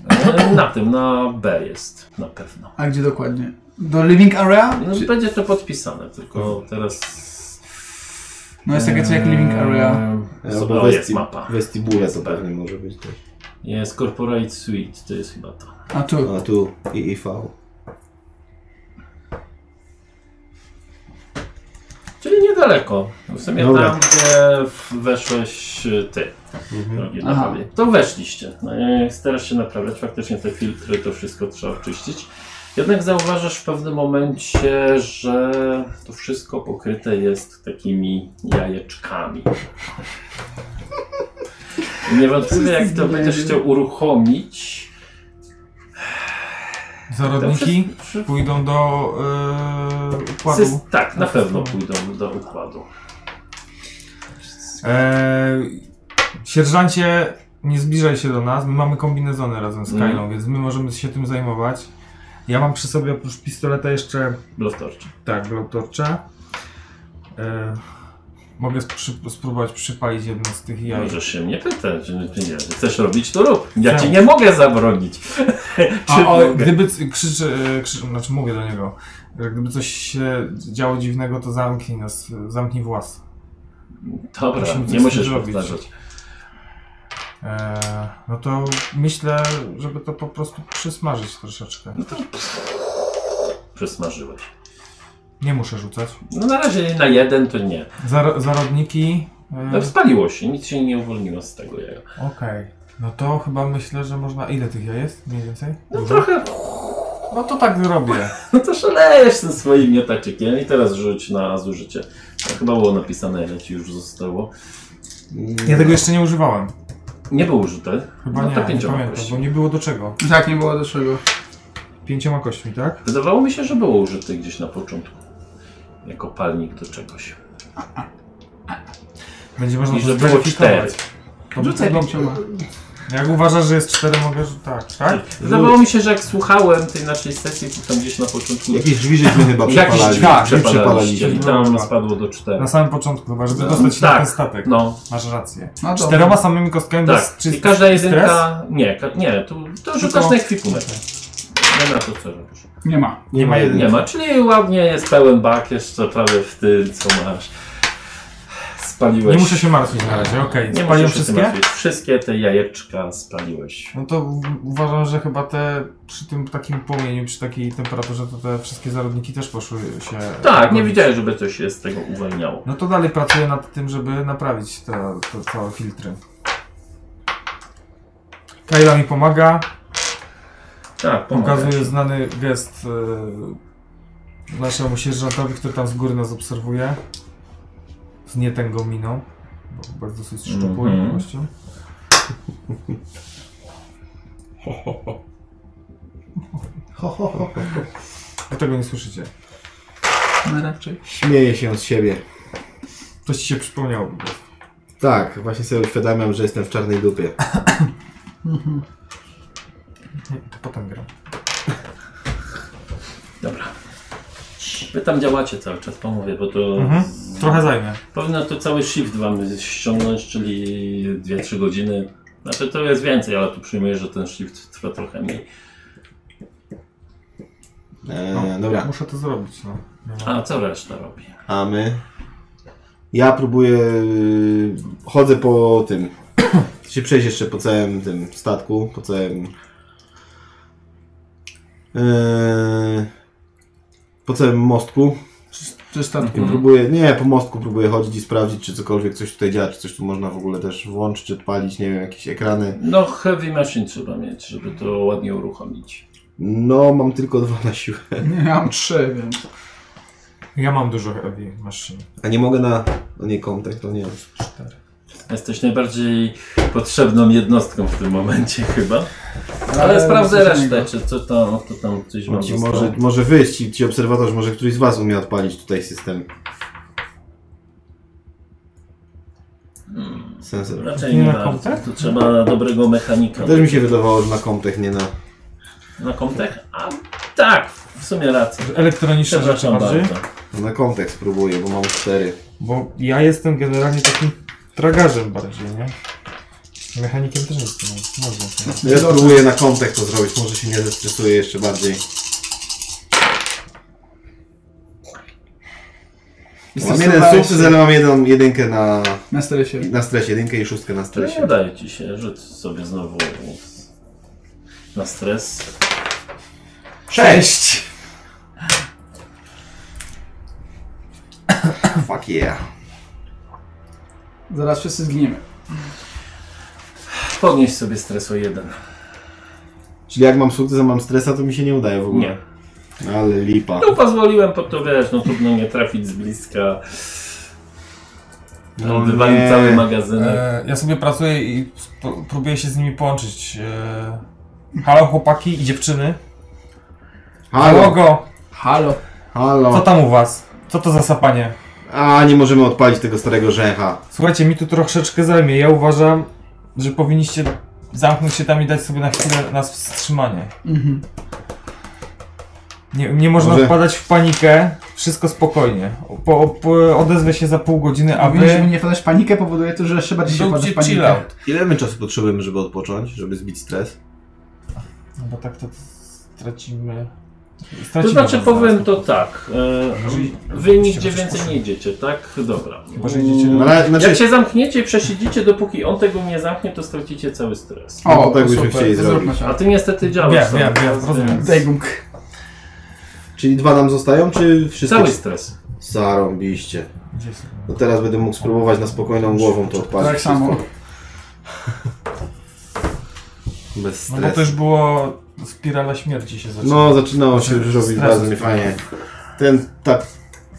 E, Na tym, na B jest na pewno.
A gdzie dokładnie? Do living area?
No,
Czy-
będzie to podpisane, tylko teraz.
No jest takie coś jak living area.
Eee,
Albo
Sobie o, jest
westi-
mapa.
Vestibule to pewnie może być też.
Jest Corporate Suite, to jest chyba to.
A tu.
A tu IIV.
Czyli niedaleko. W sumie
Dobra.
tam, gdzie w- weszłeś y, ty, drogi
Aha.
Dachowie. To weszliście. No i Starasz się naprawiać. Faktycznie te filtry, to wszystko trzeba oczyścić. Jednak zauważasz w pewnym momencie, że to wszystko pokryte jest takimi jajeczkami. I Niewątpliwie jak to będziesz chciał uruchomić,
Zarodniki
to przy-
pójdą do yy, układu.
Syst- tak, na
Na
pewno
system.
pójdą do układu.
Eee, sierżancie, nie zbliżaj się do nas. My mamy kombinezony razem z
Mm.
Mhm.
Kailą, więc my możemy się tym zajmować. Ja mam przy sobie oprócz pistoleta jeszcze
Blowtorch.
tak, blowtorcze. Eee, mogę sprzy- spróbować przypalić jedno z tych jaj.
Możesz się mnie pytać, czy czy nie. Chcesz robić, to rób. Ja
Tak.
ci nie mogę zabronić. Czy
A, o,
mogę?
gdyby c- krzyczy, e, krzyczy, znaczy mówię do niego, że gdyby coś się działo dziwnego, to zamknij nas, e, zamknij włas.
Dobra,
Musimy coś
nie
z
musisz
tym zrobić.
powtarzać.
Eee, no to myślę, żeby to po prostu przysmażyć troszeczkę.
No Przesmażyłeś.
Nie muszę rzucać.
No na razie na jeden to nie.
Zar- zarodniki. e,
No, spaliło się, nic się nie uwolniło z tego jaja.
Okej. No to chyba myślę, że można. Ile tych ja jest? Mniej więcej?
No
Dużo?
trochę,
No to tak zrobię.
no to szalejesz tym swoim miotaczykiem i teraz rzuć na zużycie. To chyba było napisane, ile ci już zostało.
Ja tego jeszcze nie używałem.
Nie było użyte.
Chyba
no
nie,
to
nie
pięcioma
pamiętam, bo
kości.
nie było do czego.
Tak, nie było do czego.
Pięcioma kośćmi, tak?
Wydawało mi się, że było użyte gdzieś na początku. Jako palnik do czegoś.
Będzie można
I
to
że było
zweryfikować. To
Rzucaj
wygląda-
pięcioma.
Jak uważasz, że jest cztery, mogę rzucić. Tak, tak?
Wydawało mi się, że jak słuchałem tej naszej sesji, to tam gdzieś na początku
Jakieś drzwi żeśmy chyba
jakieś
przepalali.
drzwi
Tak,
przepalaliście i
przepalaliście.
tam spadło do czterech.
No, Na samym początku chyba, żeby
No,
dostać się
tak.
na ten statek.
No,
Masz rację.
No dobra.
Czteroma samymi kostkami
tak.
bez czy,
I każda
czy stres?
jedynka... Nie, ka- nie, to, to rzucasz na ekwipunek. Nie ma to co robisz.
Nie ma.
Nie ma
Nie
jednego.
ma, czyli ładnie jest pełen bak jeszcze prawie w tym, co masz. Spaliłeś.
Nie muszę się martwić na razie, okej.
Nie
Spaliłem
musisz się
wszystkie?
martwić. Wszystkie te jajeczka spaliłeś.
No to u- uważam, że chyba te przy tym takim płomieniu, przy takiej temperaturze, to te wszystkie zarodniki też poszły się.
Tak, nie
robić.
widziałem, żeby coś się z tego uwalniało.
No to dalej pracuję nad tym, żeby naprawić te, te całe filtry. Kayla mi pomaga,
Tak, pomogę.
pokazuje znany gest e, naszemu sierżantowi, który tam z góry nas obserwuje. Z nietęgą miną, bo bardzo dosyć szczupłym
Mhm.
gościem. Wy tego nie słyszycie.
No raczej.
Śmieję się z siebie.
Coś ci się przypomniało. po prostu.
Tak, właśnie sobie uświadamiam, że jestem w czarnej dupie.
To potem gram.
Dobra. Wy tam działacie cały czas, pomówię, bo to
Mhm. Trochę zajmie.
powinno to cały shift wam ściągnąć, czyli 2-3 godziny. Znaczy to jest więcej, ale tu przyjmuję, że ten shift trwa trochę mniej.
Eee, dobra.
Muszę to zrobić, no. Nie ma-
A co reszta robi?
A my? Ja próbuję. y, Chodzę po tym. Chcę się przejść jeszcze po całym tym statku, po całym. Yy, po całym mostku.
Czy statku?
I próbuję. Nie, po mostku próbuję chodzić i sprawdzić, czy cokolwiek coś tutaj działa, czy coś tu można w ogóle też włączyć, czy odpalić, nie wiem, jakieś ekrany.
No heavy machine trzeba mieć, żeby to ładnie uruchomić.
No, mam tylko dwa na siłę.
Nie, ja mam trzy, więc.
Ja mam dużo heavy maszyn.
A nie mogę na. No nie, kontakt, to nie.
Cztery.
Jesteś najbardziej potrzebną jednostką w tym momencie chyba. Ale,
Ale
sprawdzę
myślę, że nie
resztę, czy co tam, to tam coś mam
Ci
zostało.
może, może wyjść, ci, ci obserwatorzy, może któryś z Was umie odpalić tutaj system.
Hmm.
Sensor.
Raczej
Nie
nie
na
ma.
Comtech?
Tu trzeba dobrego mechanika.
Też mi się wydawało, że na komtech, nie na...
Na komtech? A tak, w sumie rację.
Elektroniczne rzeczy
Przepraszam
bardziej.
bardzo.
no Na komtech spróbuję, bo mam cztery.
Bo ja jestem generalnie takim tragarzem bardziej, nie? Mechanikiem też jestem, no, można. tak.
Ja spróbuję na komtech to zrobić, może się nie zestresuję jeszcze bardziej. Mam jeden
stosowałeś
sukces, ale mam jedną, jedynkę na,
Na stresie.
na stresie, jedynkę i szóstkę na
To nie
stresie.
udaje ci się, rzuć sobie znowu na stres.
Sześć! Fuck. Fuck yeah.
Zaraz wszyscy zginiemy.
Podnieś sobie stres o jeden.
Czyli jak mam sukces, a mam stresa, to mi się nie udaje w ogóle.
Nie.
Ale lipa.
No pozwoliłem, po to wiesz, no trudno nie trafić z bliska. No, Wywalił
nie.
cały magazynek.
E, ja sobie pracuję i sp- próbuję się z nimi połączyć. E, halo chłopaki i dziewczyny.
Halo,
Halo,
Halo.
co
halo.
tam u was? Co to za sapanie?
A, nie możemy odpalić tego starego rzęcha.
Słuchajcie, mi tu troszeczkę zajmie. Ja uważam, że powinniście zamknąć się tam i dać sobie na chwilę nas wstrzymanie.
Mhm.
Nie, nie można
Może-
wpadać w panikę. Wszystko spokojnie. Po, po, odezwę się za pół godziny, a
Powinniśmy
wy...
nie wpadać w panikę, powoduje to, że jeszcze bardziej się wpada
Róbcie
w panikę.
chill out.
Ile my czasu potrzebujemy, żeby odpocząć, żeby zbić stres?
No bo tak to stracimy...
To
stracimy
znaczy
was zaraz.
powiem to tak. E, wy nigdzie więcej nie idziecie, tak? Dobra.
Chyba, że idziecie do...
No, ale, znaczy,
Jak się zamknięcie i przesiedzicie, dopóki on tego nie zamknie, to stracicie cały stres.
no, tak
to
byśmy
super,
chcieli
to zróbmy tak.
zrobić.
to.
A ty niestety działasz
Wiem,
sam,
wiem, wiem,
więc
rozumiem.
wiesz,
Dejgung.
Czyli dwa nam zostają, czy wszystko?
e, Cały stres.
Zarąbiście.
Gdzie są?
No teraz będę mógł spróbować na spokojną głową to odpalić.
Tak samo.
Bez
No bo
stresu.
to już było... Spirala śmierci się zaczęła.
No, zaczynało się już robić
Stres
bardzo
jest.
niefajnie. Ten, tak,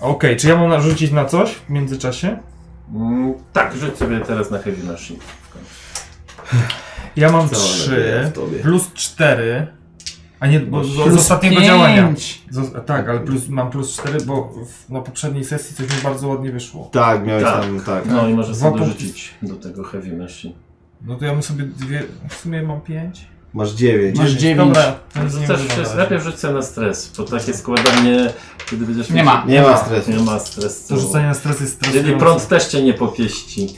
Okej, czy ja mam narzucić na coś w międzyczasie?
Mm, tak, rzuć sobie teraz na heavy machine. w końcu.
Ja mam
Całe lepiej
trzy
w tobie.
plus cztery, A nie, bo z, z
Plus
ostatniego
pięć.
działania. Z, tak, ale plus, mam plus cztery, bo w, na poprzedniej sesji coś mi bardzo ładnie wyszło.
tak, miałeś
Tak.
tam, tak.
No i możesz
Dwa
sobie
punkty.
dorzucić do tego heavy machine.
No to ja bym sobie dwie. W sumie mam pięć.
Masz dziewięć.
Masz
Dziewięć.
dziewięć.
Dobra, No to nic nie
Rzucasz
będę
stres,
dawać.
najpierw rzuć sobie na stres, bo takie składanie, kiedy będziesz...
Nie ma.
Nie ma stresu.
Nie ma stresu.
To rzucanie na stres jest stresujące.
Czyli prąd też cię nie popieści.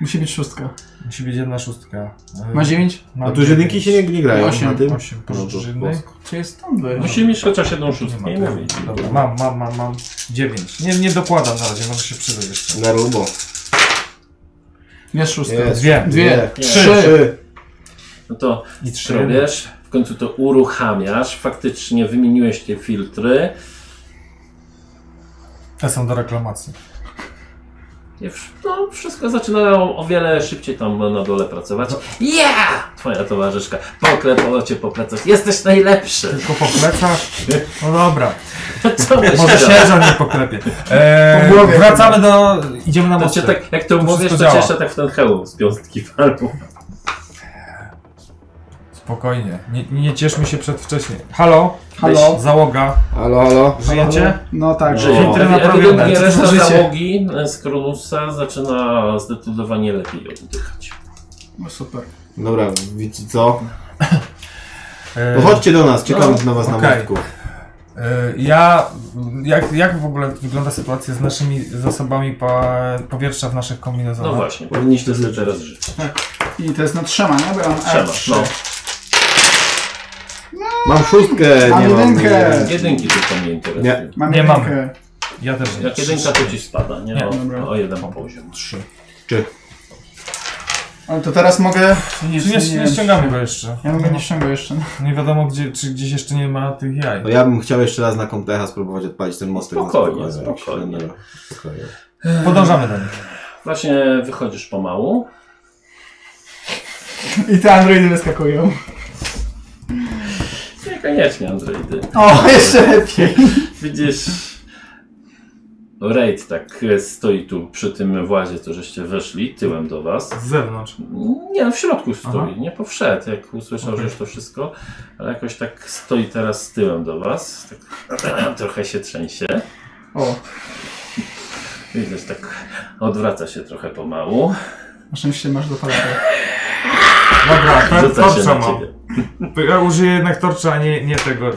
Musi być szóstka.
Musi być jedna szóstka. Yy,
Ma dziewięć?
mam
A tu już jedynki
dziewięć.
się nie, nie grają
Osiem,
na tym?
osiem, pożycz
No to
jednej.
bosko.
Czy jest stąd? weź?
Musi mieć chociaż jedną
Nie
szóstkę
ma
i
tego.
mówić.
Dobra, mam, mam, mam, mam. Dziewięć. Nie, nie dokładam na razie, może się przydać jeszcze.
Na rubo.
Jest szóstka.
Jest.
Dwie.
Dwie.
Trzy. Trzy.
No to
I trzy.
robisz, w końcu to uruchamiasz, faktycznie wymieniłeś te filtry.
Te są do reklamacji.
I wsz- No, wszystko zaczynało o wiele szybciej tam na dole pracować. Yeah! Twoja towarzyszka poklepała cię po plecach. Jesteś najlepszy!
Tylko po plecach. No dobra.
Co
Może
myślisz?
sierżant mnie poklepie. Eee,
Po głowie.
wracamy do... Idziemy
To
na
cię
mostek.
tak, jak to
To
mówisz,
wszystko
to cię
działa.
jeszcze tak w ten hełm z piątki walą.
Spokojnie. Nie, nie cieszmy się przedwcześnie. Halo?
Halo?
Załoga.
Halo, halo.
Żyjecie?
No tak.
Że
Filtry
ewi-
naprawione.
Ewidentnie
Co to
reszta
za życie?
załogi e, z Kronusa zaczyna zdecydowanie lepiej oddychać.
No super.
Dobra, wiecie co?
Eee,
E.
No chodźcie do nas, czekamy
No,
na was na
okej.
mostku.
eee, ja... Jak, jak w ogóle wygląda sytuacja z naszymi zasobami pa, powietrza w naszych kombinezonach?
No właśnie, powinniście sobie teraz żyć.
I to jest na trzema, nie? Bo ja mam
Trzeba,
R3.
no.
Mam szóstkę,
Mam
nie mam...
jedynkę.
nie.
Tak, Jedynki tylko mnie interesują.
Mam
Nie
jedynkę.
mamy. Ja też nie.
Jak jedynka to ci spada, nie?
Nie,
dobra.
o, o jeden poziom.
Trzy.
Czy?
Ale to teraz mogę... Nie,
Czy nie, nie
wiem,
ściągamy
czy-
go jeszcze?
Ja mogę nie ściągam jeszcze. no.
Nie wiadomo, gdzie, czy gdzieś jeszcze nie ma tych jaj.
No ja bym chciał jeszcze raz na Comtecha spróbować odpalić ten mostek. na
Spokojnie,
spokojnie.
spokojnie.
Dobra, spokojnie.
Podążamy do nich.
Właśnie wychodzisz pomału.
I te androidy wyskakują.
Niekoniecznie, Andrzej, ty.
O, jeszcze lepiej.
Widzisz... Raid tak e, stoi tu przy tym włazie, co żeście weszli, tyłem do was.
Z zewnątrz.
Nie, no w środku stoi,
Aha.
nie powszedł, jak usłyszał,
Okej.
że to wszystko, ale jakoś tak stoi teraz tyłem do was. Tak, trochę się trzęsie.
O,
Widzisz, tak odwraca się trochę pomału.
na szczęście masz do palaka.
Dobra, to,
Rzuca się
torcza
na
Tak, mam.
ciebie.
To ja użyję jednak torcza, a nie, nie tego, e,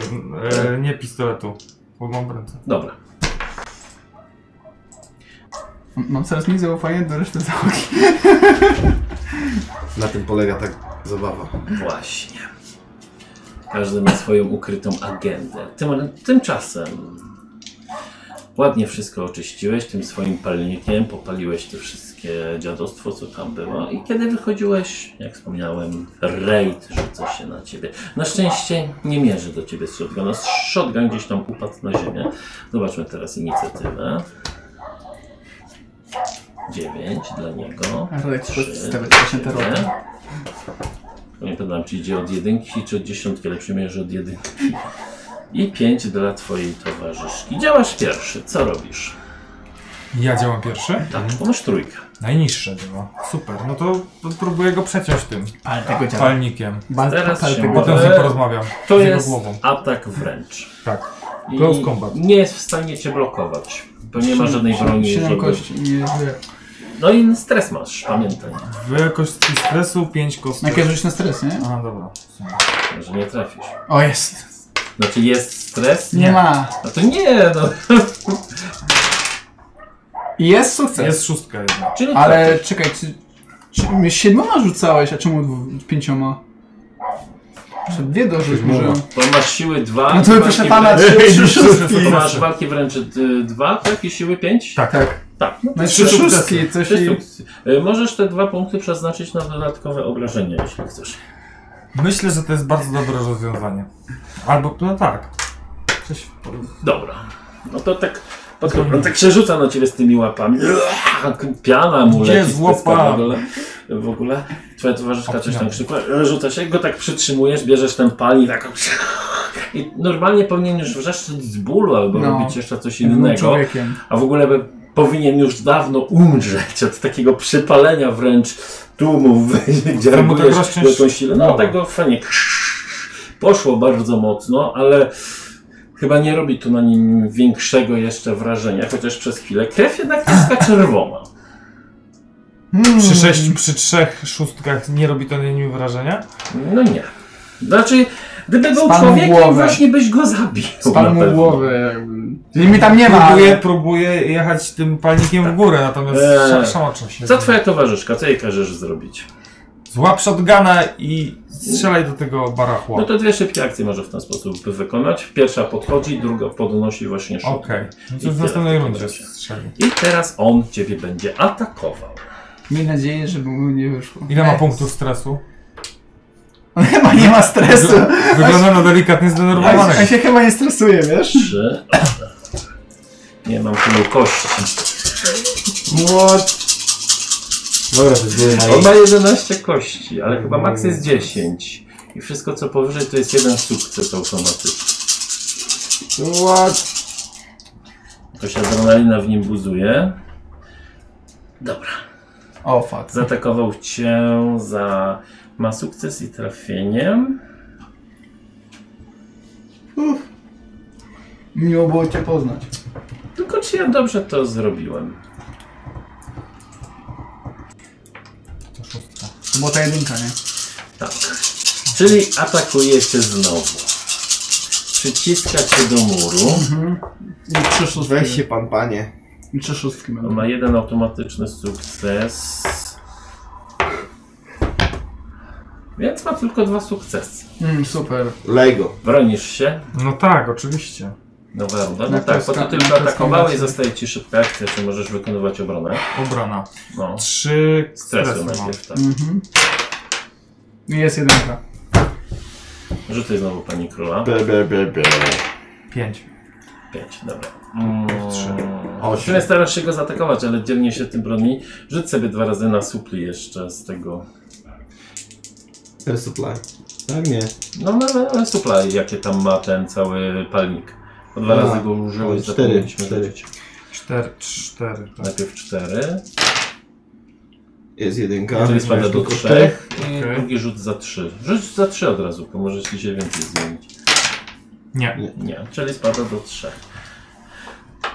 nie pistoletu. Bo mam brętę.
Dobra.
Mam coraz mniej zaufania do reszty załogi.
Na tym polega tak zabawa.
Właśnie. Każdy ma swoją ukrytą agendę. Tym, tymczasem ładnie wszystko oczyściłeś tym swoim palnikiem, popaliłeś te wszystkie dziadostwo, co tam było i kiedy wychodziłeś, jak wspomniałem, raid rzuca się na ciebie. Na szczęście nie mierzy do ciebie No, z shotguna. Z Shotgun gdzieś tam upadł na ziemię. Zobaczmy teraz inicjatywę. 9 dla niego.
Rolek ci
Trzy
podstawię,
dla
się te
ciebie.
rolę.
Pamiętam, czy idzie od jedynki, czy od dziesiątki, ale przyjmuję, że od jedynki. I 5 dla twojej towarzyszki. Działasz pierwszy, co robisz?
Ja działam pierwszy?
Tak, bo masz trójkę.
Najniższe było. Super, no to p- próbuję go przeciąć tym
Ale
Tak.
tego działa.
palnikiem.
Bal,
Teraz
ale
się
tego
mogę-
Potem z nim porozmawiam.
To
z jego
jest
głową.
atak wręcz.
Tak.
I
Close combat.
Nie jest w stanie cię blokować, bo nie ma żadnej broni.
Siedem
żeby-
kości. Nie, nie.
No i stres masz, pamiętaj,
Wielkości stresu 5 kostek.
Najpierw rzuć na stres, nie?
Aha, dobra.
że nie trafisz.
O, jest.
Znaczy jest stres?
Nie ma.
No to nie, no.
I Jest sukces.
Jest szóstka jedna.
Czyli
Ale
trafisz.
czekaj, czy, czy my siedmioma rzucałeś, a czemu dwu- pięcioma? Czy dwie dorzuć może?
tak, Bo masz siły 2.
No to my proszę pana, trzy, trzy szóstki.
To masz walki wręcz 2, tak? I siły 5?
Tak.
Tak. No
No
to
i trzy szóstki, coś
trzy
i...
sukcesy. Y, Możesz te dwa punkty przeznaczyć na dodatkowe obrażenia, jeśli chcesz.
Myślę, że to jest bardzo dobre rozwiązanie. Albo, no tak. Coś...
Dobra. No to tak. podchodzi- On tak się rzuca na ciebie z tymi łapami. tak Piana mu
Gdzie
leci z
złapa?
pyska w ogóle. W ogóle. Twoja towarzyszka coś tam krzykła. Rzuca się, go tak przytrzymujesz, bierzesz ten pal i tak... I normalnie powinien już wrzeszczeć z bólu albo
No.
robić jeszcze coś
Jednym
innego.
człowiekiem.
a w ogóle by powinien już dawno umrzeć od takiego przypalenia wręcz tłumów, gdzie
Chcemy
reagujesz
tak rozciąć
jakąś silę. No
głowę.
tego fajnie poszło bardzo mocno, ale chyba nie robi tu na nim większego jeszcze wrażenia, chociaż przez chwilę krew jednak tyska czerwona.
Przy,
Mm.
sześć, przy trzech szóstkach nie robi to na nim wrażenia?
No nie. Znaczy, gdyby był
Spadł mu
człowiekiem,
głowę.
właśnie byś go zabił. na
Spadł mu
pewno.
głowę jakby.
Czyli mi tam nie ma.
Próbuję, próbuję jechać tym palnikiem w górę, natomiast
Eee.
eee. szamoczę się.
Co twoja towarzyszka, co jej każesz zrobić?
Złap shotguna i strzelaj do tego barachła.
No to dwie szybkie akcje może w ten sposób wykonać. Pierwsza podchodzi, druga podnosi właśnie szybko.
Okej. No
I
to
tyle
w następnej
w takim
rundzie
razie.
strzeli.
I teraz on ciebie będzie atakował.
Miej nadzieję, żeby mu nie wyszło.
Ile
Eee.
ma punktów stresu?
On chyba nie ma stresu.
Wygląda na delikatnie
On
zdenerwowanego.
się- on się chyba nie stresuje, wiesz?
Trzy. Nie mam tylu kości.
What? Dobra, to jest nie
On ma 11 kości, ale chyba maks jest 10. I wszystko co powyżej to jest jeden sukces automatyczny.
What?
Jakoś adrenalina w nim buzuje. Dobra.
O, fuck.
Zaatakował cię za... Ma sukces i trafieniem.
Miło było cię poznać.
Tylko czy ja dobrze to zrobiłem?
To szóstka.
To była ta jedynka, nie?
Tak. Czyli atakuje cię znowu. Przyciska cię do muru.
I trzy szóstki.
Weź się pan, panie.
I trzy szóstki
On
będą.
ma jeden automatyczny sukces. Więc ma tylko dwa sukcesy.
Mm, super.
Lego.
Bronisz się.
No tak, oczywiście.
Nowa runda. No
Na
tak,
kreska-
bo ty
na
tylko
kreskę
atakowałeś,
macie.
zostaje ci szybka akcja, czy możesz wykonywać obronę.
Obrona.
No.
Trzy
Stresu
stresy mam.
najpierw, tak.
Mhm. I Jest jedynka.
Rzucaj znowu pani króla.
Be, be, be, be.
Pięć.
Pięć, dobra. Mm,
Trzy.
Osiem.
W sumie starasz się go zaatakować, ale dzielnie się tym broni. Rzuć sobie dwa razy na supli jeszcze z tego.
Teraz supply. Tak, nie.
No, no, no, no supply, jakie tam ma ten cały palnik. Po dwa
A,
razy go użyłeś,
cztery,
zapomnieliśmy
cztery.
rzucić.
Cztery, cztery, tak.
Najpierw 4,
Tak, Jest jedynka.
czyli spada do
Tylko
3 i
Okej.
drugi rzut za 3. Rzut za 3 od razu, bo możesz ci się więcej zmienić.
Nie.
Nie, czyli spada do 3.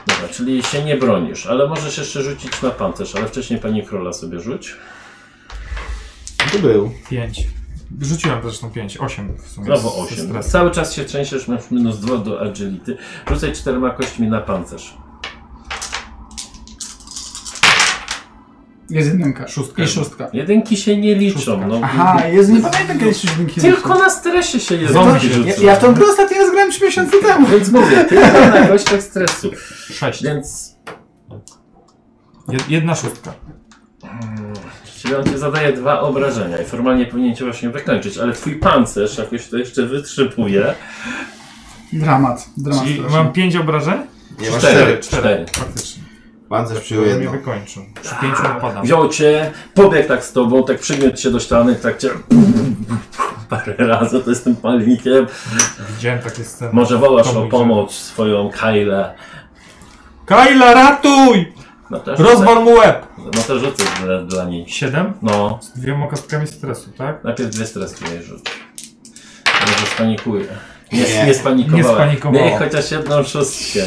Dobra, czyli się nie bronisz, ale możesz jeszcze rzucić na pancerz, ale wcześniej pani króla sobie rzuć.
To był.
Pięć. Rzuciłem zresztą pięć. Osiem w sumie.
Znowu
ze
8.
stresu.
No Cały czas się trzęsiesz, masz minus 2 do agility. Rzucaj czterema kośćmi na pancerz.
Jest jedynka.
Szóstka.
I szóstka.
Jedynki się nie liczą. No,
Aha, jest, nie pamiętam kiedyś jedynki.
tylko na stresie się jedynki
Zombie.
rzuca.
Ja, ja w tą grę ostatnio raz grałem 3 miesiące temu.
Więc mówię, tylko na kościach stresu.
Sześć.
Więc
Jed- Jedna szóstka.
Czyli on ci zadaje dwa obrażenia i formalnie powinien cię właśnie wykończyć, ale twój pancerz jakoś to jeszcze wytrzypuje.
Dramat. Dramat
Czyli
straszny.
mam pięć obrażeń?
Nie ma cztery.
Cztery.
Faktycznie.
Pancerz przyjął
mnie
jedno.
wykończył. Przy pięciu napadam.
Wziął cię, pobiegł tak z tobą, tak przygniótł się do ściany, tak cię parę razy to jest tym palnikiem.
Widziałem takie sceny.
Może wołasz
To
o
mój
pomoc swoją Kyle.
Kajla, ratuj!
No też rzucę,
Rozwal mu łeb!
no też rzucę dla, dla niej.
Siedem?
No,
Z dwiema kostkami stresu, tak?
najpierw dwie streski jej rzuć. Może spanikuje. Nie,
Nie.
nie, spanikowałem.
Nie spanikowała.
Miej chociaż jedną szóstkę.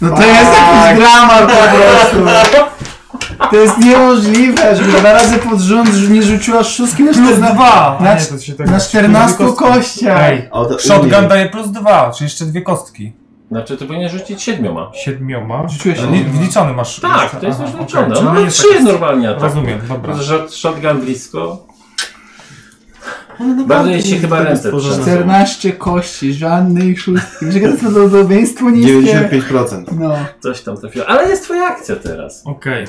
No to jest
Tak.
jakiś gramat po prostu. To jest niemożliwe, żeby dwa razy pod rząd nie rzuciła szóstki na
Plus
14,
dwa!
na,
A nie, to się tak-
na
plus
14
dwie kostki.
kościach.
Ej,
O, to
shotgun
umie.
tak-
daje plus dwa, czyli jeszcze dwie kostki.
Znaczy, ty powinien rzucić siedmioma.
Siedmioma.
Rzuciłeś
Li- Wliczony masz.
Tak,
jeszcze-
to jest
aha,
już
okej,
liczone.
czyli
No,
nie
no
jest
trzy
taka-
normalnie. Tak.
Rozumiem, dobra.
Shot- Shotgun blisko. Bardzo jej się chyba ręce
stworzone.
trzęsą.
14 kości, żadnej szóstki. Wiesz, jakie to prawdopodobieństwo niskie?
95%.
No.
Coś tam trafiło. Ale jest twoja akcja teraz.
Okej,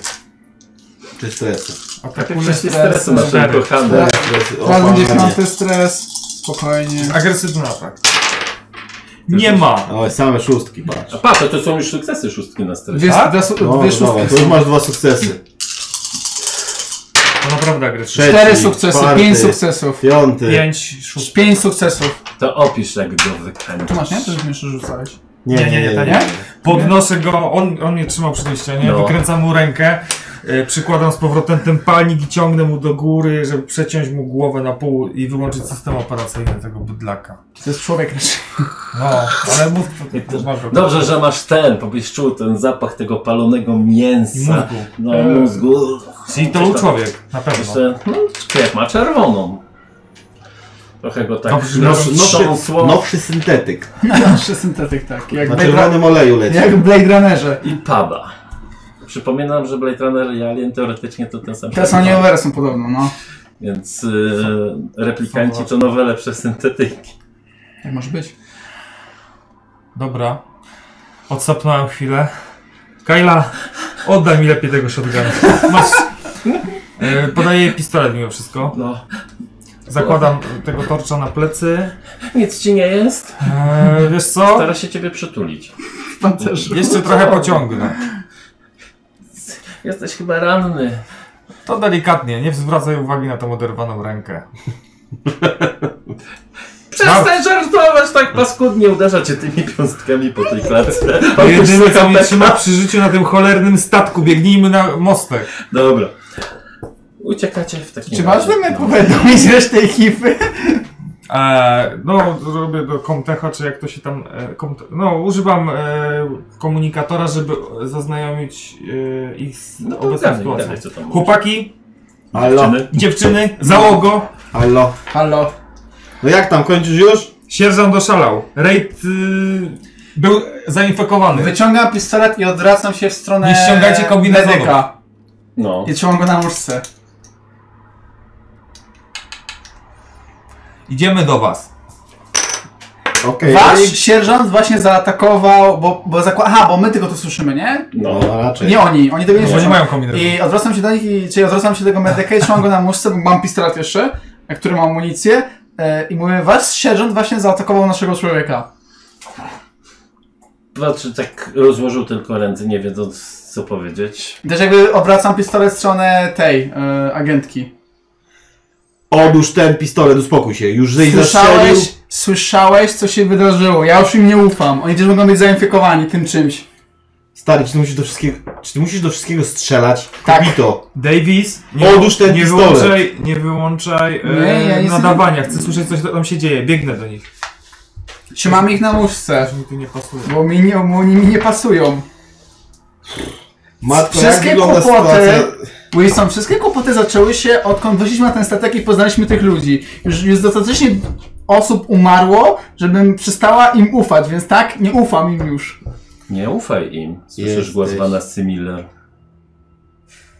Czy stres?
Takie
atakuje.
wszystkie stresy masz
Cztery.
kochane.
Stres. O,
Razem
panie.
10 stres, spokojnie.
Agresywny atak. Nie ma!
Oj, same szóstki, patrz.
A patrz, to są już sukcesy szóstki na stresie.
Dwie,
Tak?
dwie, su-
No,
dwie
dawaj,
szóstki.
to już masz dwa sukcesy.
To naprawdę agresywny.
Trzeci,
Cztery sukcesy,
czwarty,
pięć sukcesów.
Piąty.
Pięć, szósty.
Pięć sukcesów.
To opisz, jak go
Tu masz, nie?
wykręcisz.
To już mi jeszcze rzucałeś.
Nie, nie, nie, to nie. Podnoszę go, on, on mnie trzymał przy tej ścianie,
No.
wykręcam mu rękę, e, przykładam z powrotem ten palnik i ciągnę mu do góry, żeby przeciąć mu głowę na pół i wyłączyć system operacyjny tego bydlaka.
To jest człowiek raczej.
No, ale mózg to, to,
Dobrze, że masz ten, bo byś czuł ten zapach tego palonego mięsa.
Mózgu.
E.
No, mózgu.
Czyli to
Coś
Hmm, był
tam.
człowiek, na pewno.
Jeszcze, no, krew ma czerwoną. Trochę go tak
Dobrze,
Nowszy, nowszy,
trząsło
no-
nowszy syntetyk.
No,
Nasze syntetyk
tak.
taki. Jak,
Na
Blade, Run-
czerwonym oleju leci.
jak w Blade Runnerze.
i pada. Przypominam, że Blade Runner i Alien teoretycznie to ten sam
Teraz oni over są podobno, no.
Więc yy, replikanci to nowe lepsze syntetyki.
Jak Tak może być?
Dobra. Odsapnąłem chwilę. Kajla, oddaj mi lepiej tego shotguna. Masz... E, Podaję jej pistolet mimo wszystko.
No,
Zakładam tego torcza na plecy.
nic ci nie jest.
E, wiesz co?
Stara się ciebie przytulić.
W pancerzu.
Jeszcze trochę pociągnę.
Jesteś chyba ranny.
To delikatnie, nie zwracaj uwagi na tą oderwaną rękę.
Przestań żartować tak paskudnie, uderza cię tymi piąstkami po tej klatce.
Jedyne co mnie trzyma przy życiu na tym cholernym statku, biegnijmy na mostek.
Dobra. Uciekacie w takim
Czy
razie.
ważne mnie
No.
powiadomić resztę ekipy?
E, no, robię do Comtecha, czy jak to się tam... E, Comte- no, używam e, komunikatora, żeby zaznajomić e, ich z
No to
obecną
gadaj, gadaj,
sytuacją.
co tam mówisz.
Chłopaki,
Allo,
Dziewczyny?
dziewczyny, załogo,
allo.
Halo.
No jak tam, kończysz już?
sierżant oszalał. Raid y, był zainfekowany.
Wyciągam pistolet i odwracam się w stronę
Nie ściągajcie kombinezonów.
medyka.
No.
I trzymam go na nóżce.
Idziemy do was.
Okej.
Wasz sierżant właśnie zaatakował, bo, bo zakła... Aha, bo my tylko to słyszymy, nie?
No,
No.
no raczej.
Nie oni, oni tego nie
Bo nie
słyszą.
mają kombinezonu.
I odwracam się do nich, i, czyli odwracam się do tego medyka i trzymam go na muszce, bo mam pistolet jeszcze, e, który ma amunicję. E, I mówię, wasz sierżant właśnie zaatakował naszego człowieka.
Znaczy tak rozłożył tylko ręce, nie wiedząc co powiedzieć.
I też jakby obracam pistolet w stronę tej, e, agentki.
Odłóż ten pistolet, uspokój się. Już żeś zastrzelił.
Słyszałeś, słyszałeś, co się wydarzyło. Ja już im nie ufam. Oni też mogą być zainfekowani tym czymś.
Stary, czy ty musisz do wszystkiego, czy ty musisz do wszystkiego strzelać?
Tak.
Kobito.
Davis,
Odłóż ten
nie
pistolet.
wyłączaj, nie wyłączaj e,
Nie, ja nie
nadawania. Chcę słyszeć, co tam się dzieje. Biegnę do nich.
Trzymam ich na
Aż
muszce,
mi tu nie pasuje.
bo mi nie, bo oni mi nie pasują.
Matko, jak
Wszystkie
wygląda
kłopoty,
sytuacja?
Wilson, wszystkie kłopoty zaczęły się odkąd wyszliśmy na ten statek i poznaliśmy tych ludzi. Już, już dostatecznie osób umarło, żebym przestała im ufać, więc tak, nie ufam im już.
Nie ufaj im. Słyszysz
Jesteś.
głos Vanessa Miller.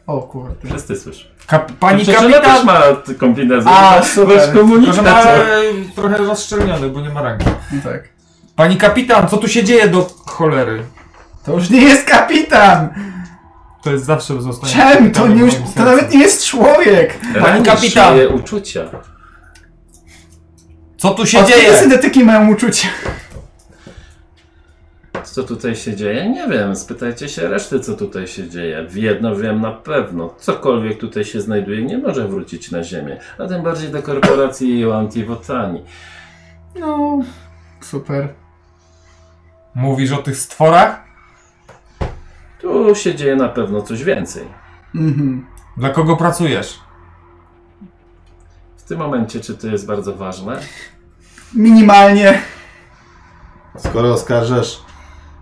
O kurde.
Wszyscy słyszysz.
Kap, pani
Przecież ona też
kapitan!
ma t- kombinezon.
A,
Masz
super.
Tylko, że ma
komunikator.
e, trochę rozszczelniony, bo nie ma rangi.
No tak.
Pani kapitan, co tu się dzieje do cholery?
To już nie jest kapitan!
To jest zawsze zostanie.
Czem? To,
kapitanem
nie,
w
już,
moim
to
sercu.
nawet nie jest człowiek!
Ranisz
kapitan.
jej uczucia.
Co tu się
Od kiedy
dzieje?
syntetyki mają uczucie?
Co tutaj się dzieje? Nie wiem. Spytajcie się reszty, co tutaj się dzieje. Jedno wiem na pewno. Cokolwiek tutaj się znajduje, nie może wrócić na Ziemię. A tym bardziej do korporacji i antivotani.
No, super.
Mówisz o tych stworach?
Tu się dzieje na pewno coś więcej.
Mhm.
Dla kogo pracujesz?
W tym momencie, czy to jest bardzo ważne?
Minimalnie.
Skoro oskarżasz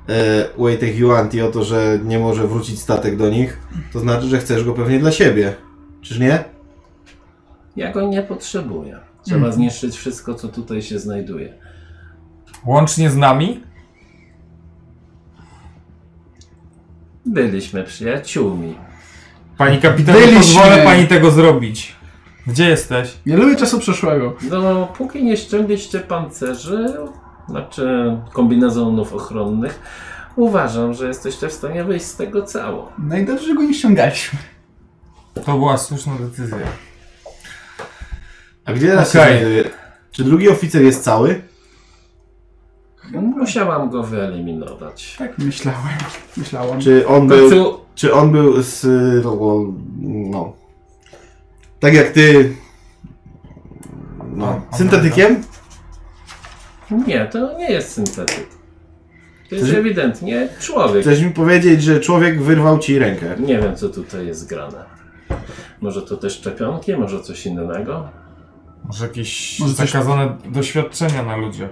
e, Wojtek Juanti o to, że nie może wrócić statek do nich, to znaczy, że chcesz go pewnie dla siebie. Czyż nie?
Ja go nie potrzebuję. Trzeba
Mm.
zniszczyć wszystko, co tutaj się znajduje.
Łącznie z nami?
Byliśmy przyjaciółmi.
Pani kapitan,
Byliśmy.
nie pozwolę pani tego zrobić. Gdzie jesteś?
Nie lubię czasu przeszłego.
No, póki nie ściągliście pancerzy, znaczy kombinezonów ochronnych, uważam, że jesteście w stanie wyjść z tego cało.
No i dobrze, że go nie ściągaliśmy.
To była słuszna decyzja.
A gdzie teraz
Okej.
się znajduje? Czy drugi oficer jest cały?
Musiałam go wyeliminować.
Tak myślałem. Myślałam.
Czy on
W
był,
końcu
czy on był z... y, no, No... Tak jak ty... No, syntetykiem?
nie, to nie jest syntetyk. To jest
Chcesz-
ewidentnie człowiek.
Chcesz mi powiedzieć, że człowiek wyrwał ci rękę.
Nie wiem, co tutaj jest grane. Może to te szczepionki, może coś innego?
Może jakieś
Może coś-
zakazane doświadczenia na ludziach.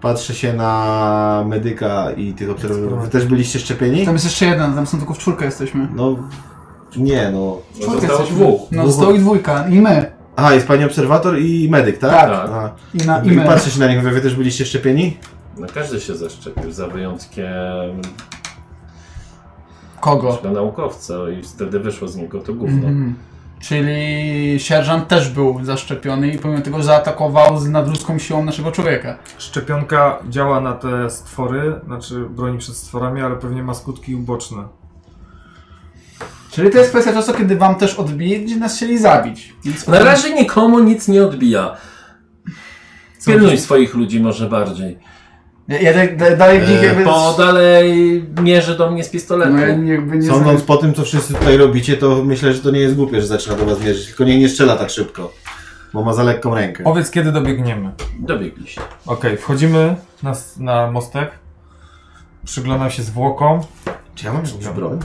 Patrzę się na medyka i tych obserwatorów. Wy też byliście szczepieni?
Tam jest jeszcze jeden, tam są tylko w czwórkę jesteśmy.
No... Nie, no...
Bo Zostało dwóch.
No, został i dwójka, i my.
Aha, jest pani obserwator i medyk, tak?
Tak.
Aha.
I, na, i
I
my.
patrzę się na nich, mówię, wy też byliście szczepieni?
No każdy się zaszczepił, za wyjątkiem
Kogo?
tego naukowca i wtedy wyszło z niego to gówno.
Mhm. Czyli sierżant też był zaszczepiony i pomimo tego zaatakował z nadludzką siłą naszego człowieka.
Szczepionka działa na te stwory, znaczy broni przed stworami, ale pewnie ma skutki uboczne.
Czyli to jest kwestia czasu, kiedy wam też odbije, gdzie nas chcieli zabić. Więc
Na razie nikomu nic nie odbija. Pilnuj swoich ludzi może bardziej.
Ja, ja da- da- dalej w nich jakby...
E, Bo dalej mierzy do mnie z pistoletu.
No ja jakby nie
Sądząc po tym, co wszyscy tutaj robicie, to myślę, że to nie jest głupie, że zaczyna do was mierzyć, tylko nie, nie strzela tak szybko, bo ma za lekką rękę.
Powiedz, kiedy dobiegniemy.
Dobiegliście.
Okej, wchodzimy na, s- na mostek. Przyglądam się zwłokom.
Czy ja mam jakąś broń?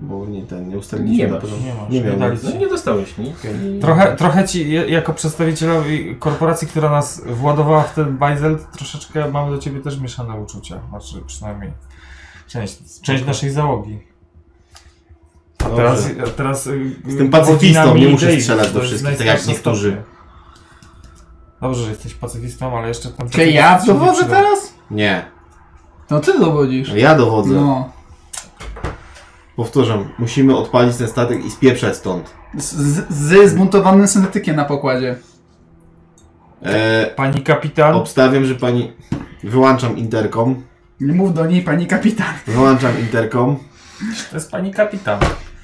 Bo nie, ten, nie
Nie
ustaliliśmy na
masz,
pewno.
nie Tak. masz,
nie
nie
miałem.
dali.
No nie dostałeś nic. I-
Trochę, trochę ci, je- jako przedstawicielowi korporacji, która nas władowała w ten bajzel, troszeczkę mamy do ciebie też mieszane uczucia. Znaczy, przynajmniej część, część naszej załogi. A
Dobrze.
teraz, a teraz y,
Jestem pacyfistą, nie muszę strzelać do wszystkich, tak jak niektórzy.
Dobrze, że jesteś pacyfistą, ale jeszcze ten
Czy ja tak? dowodzę teraz?
Nie,
No ty dowodzisz.
no ja dowodzę.
No.
Powtarzam, musimy odpalić ten statek i spieprzać stąd.
Z, z- z zbuntowanym syntetykiem na pokładzie.
E,
Pani kapitan,
obstawiam, że pani... Wyłączam interkom.
Nie mów do niej, pani kapitan.
Wyłączam interkom.
to jest pani kapitan.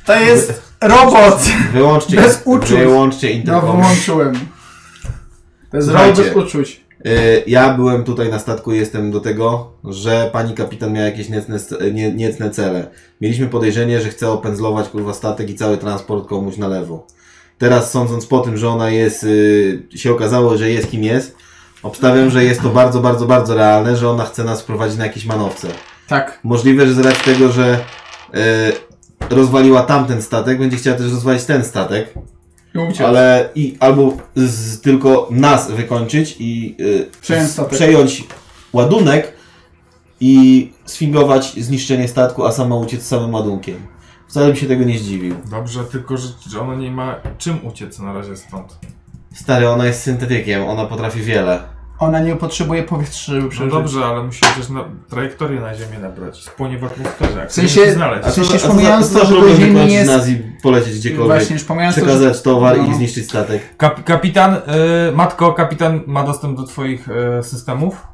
To jest robot!
Wyłączcie,
Bez uczuć.
wyłączcie
No
interkom.
wyłączyłem. To jest robot
Słuchajcie.
bez uczuć.
E, Ja byłem tutaj na statku i jestem do tego, że pani kapitan miała jakieś niecne, nie, niecne cele. Mieliśmy podejrzenie, że chce opędzlować kurwa statek i cały transport komuś na lewo. Teraz sądząc po tym, że ona jest, y, się okazało, że jest kim jest, obstawiam, że jest to bardzo, bardzo, bardzo realne, że ona chce nas wprowadzić na jakieś manowce.
Tak.
Możliwe, że z racji tego, że y, rozwaliła tamten statek, będzie chciała też rozwalić ten statek.
I uciec.
Ale i albo z, tylko nas wykończyć i y,
Przejąć
z-
statek.
przejąć ładunek i sfingować zniszczenie statku, a sama uciec z samym ładunkiem. Wcale bym się tego nie zdziwił.
Dobrze, tylko że, że ona nie ma czym uciec na razie stąd. No
Stary, ona jest syntetykiem, ona potrafi wiele.
Ona nie potrzebuje powietrza, żeby
No
przeżyć.
dobrze, ale musi też na, trajektorię na ziemię nabrać. Spłonie w atmosferze. Jak
W sensie-
chcesz się znaleźć.
A
Przecież
co- a co-
pomijając
co
to, że
problem
do Ziemi
wykończyć
jest-
nas i polecieć gdziekolwiek.
Właśnie, już pomijając to, że...
Przekazać towar
no.
i zniszczyć statek.
Kap, kapitan, y, matko, kapitan ma dostęp do twoich y, systemów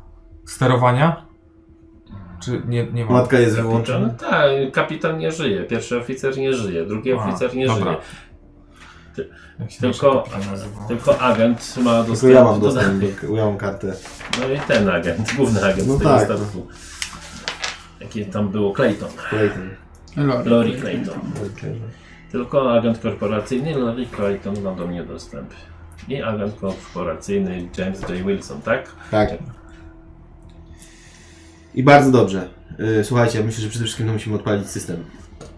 sterowania? Czy nie, nie ma?
Matka jest
No
wyłączona.
tak, kapitan nie żyje, pierwszy oficer nie żyje, drugi
A,
oficer nie
dobra.
żyje.
Jak się
Tylko-
nasz kapitan nazywał?
Tylko agent ma
Tylko
dostęp
ja
do
mam dostęp,
danych.
do- ja mam kartę.
No i ten agent, główny agent
No
tego
tak.
statku. Jakie tam było Clayton.
Clayton.
Lori.
Lori Clayton.
Okej.
Tylko agent korporacyjny Larry Clayton ma do mnie dostęp. I agent korporacyjny James J. Wilson, tak?
Tak. I bardzo dobrze. Y, Słuchajcie, myślę, że przede wszystkim to musimy odpalić system.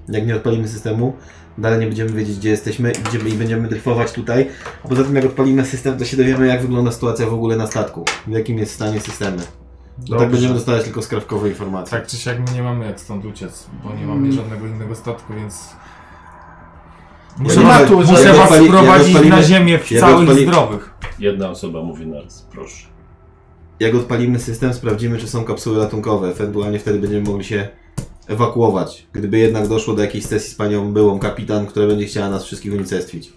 Jak nie odpalimy systemu, dalej nie będziemy wiedzieć, gdzie jesteśmy idziemy i będziemy dryfować tutaj. Poza tym, jak odpalimy system, to się dowiemy, jak wygląda sytuacja w ogóle na statku. W jakim jest stanie systemy. Bo tak
Dobrze.
będziemy dostawać tylko skrawkowe informacje.
Tak czy siak my nie mamy jak stąd uciec, bo nie mamy żadnego innego statku, więc... Muszę,
nie
was-
mam-
muszę
jak
was
odpali- jak
sprowadzić
odpalimy-
na ziemię w
jak
całych
odpali-
zdrowych.
Jedna osoba mówi na raz, proszę.
Jak odpalimy system, sprawdzimy, czy są kapsuły ratunkowe. Ewentualnie wtedy będziemy mogli się ewakuować. Gdyby jednak doszło do jakiejś sesji z panią byłą kapitan, która będzie chciała nas wszystkich unicestwić.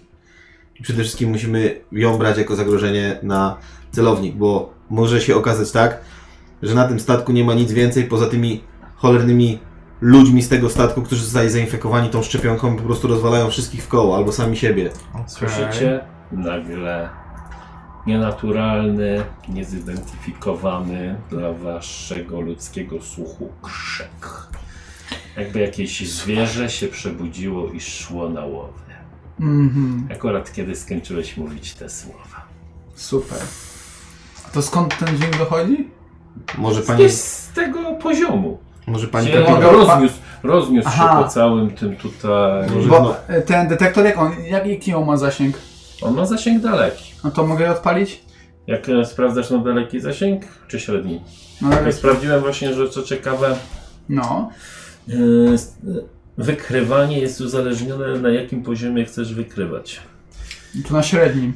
Przede wszystkim musimy ją brać jako zagrożenie na celownik, bo może się okazać tak, że na tym statku nie ma nic więcej poza tymi cholernymi ludźmi z tego statku, którzy zostali zainfekowani tą szczepionką i po prostu rozwalają wszystkich w koło albo sami siebie.
Słyszycie? Nagle nienaturalny, niezidentyfikowany dla waszego ludzkiego słuchu krzyk. Jakby jakieś zwierzę się przebudziło i szło na łowy.
Mhm,
Akurat kiedy skończyłeś mówić te słowa.
super. A to skąd ten dźwięk dochodzi?
Może
To
pani,
jest z tego poziomu.
może pani
Gdzie
kapitan...
on rozniósł, rozniósł
Aha.
się po całym tym tutaj.
Może
Bo
znowu.
e, ten detektor, jak on, jak, jaki on ma zasięg?
On ma zasięg daleki.
No to mogę je odpalić?
Jak e, sprawdzasz na daleki zasięg, czy średni?
No,
Tak,
tak.
jak sprawdziłem właśnie, że co ciekawe,
no.
Yy, s- yy, Wykrywanie jest uzależnione na jakim poziomie chcesz wykrywać.
to na średnim.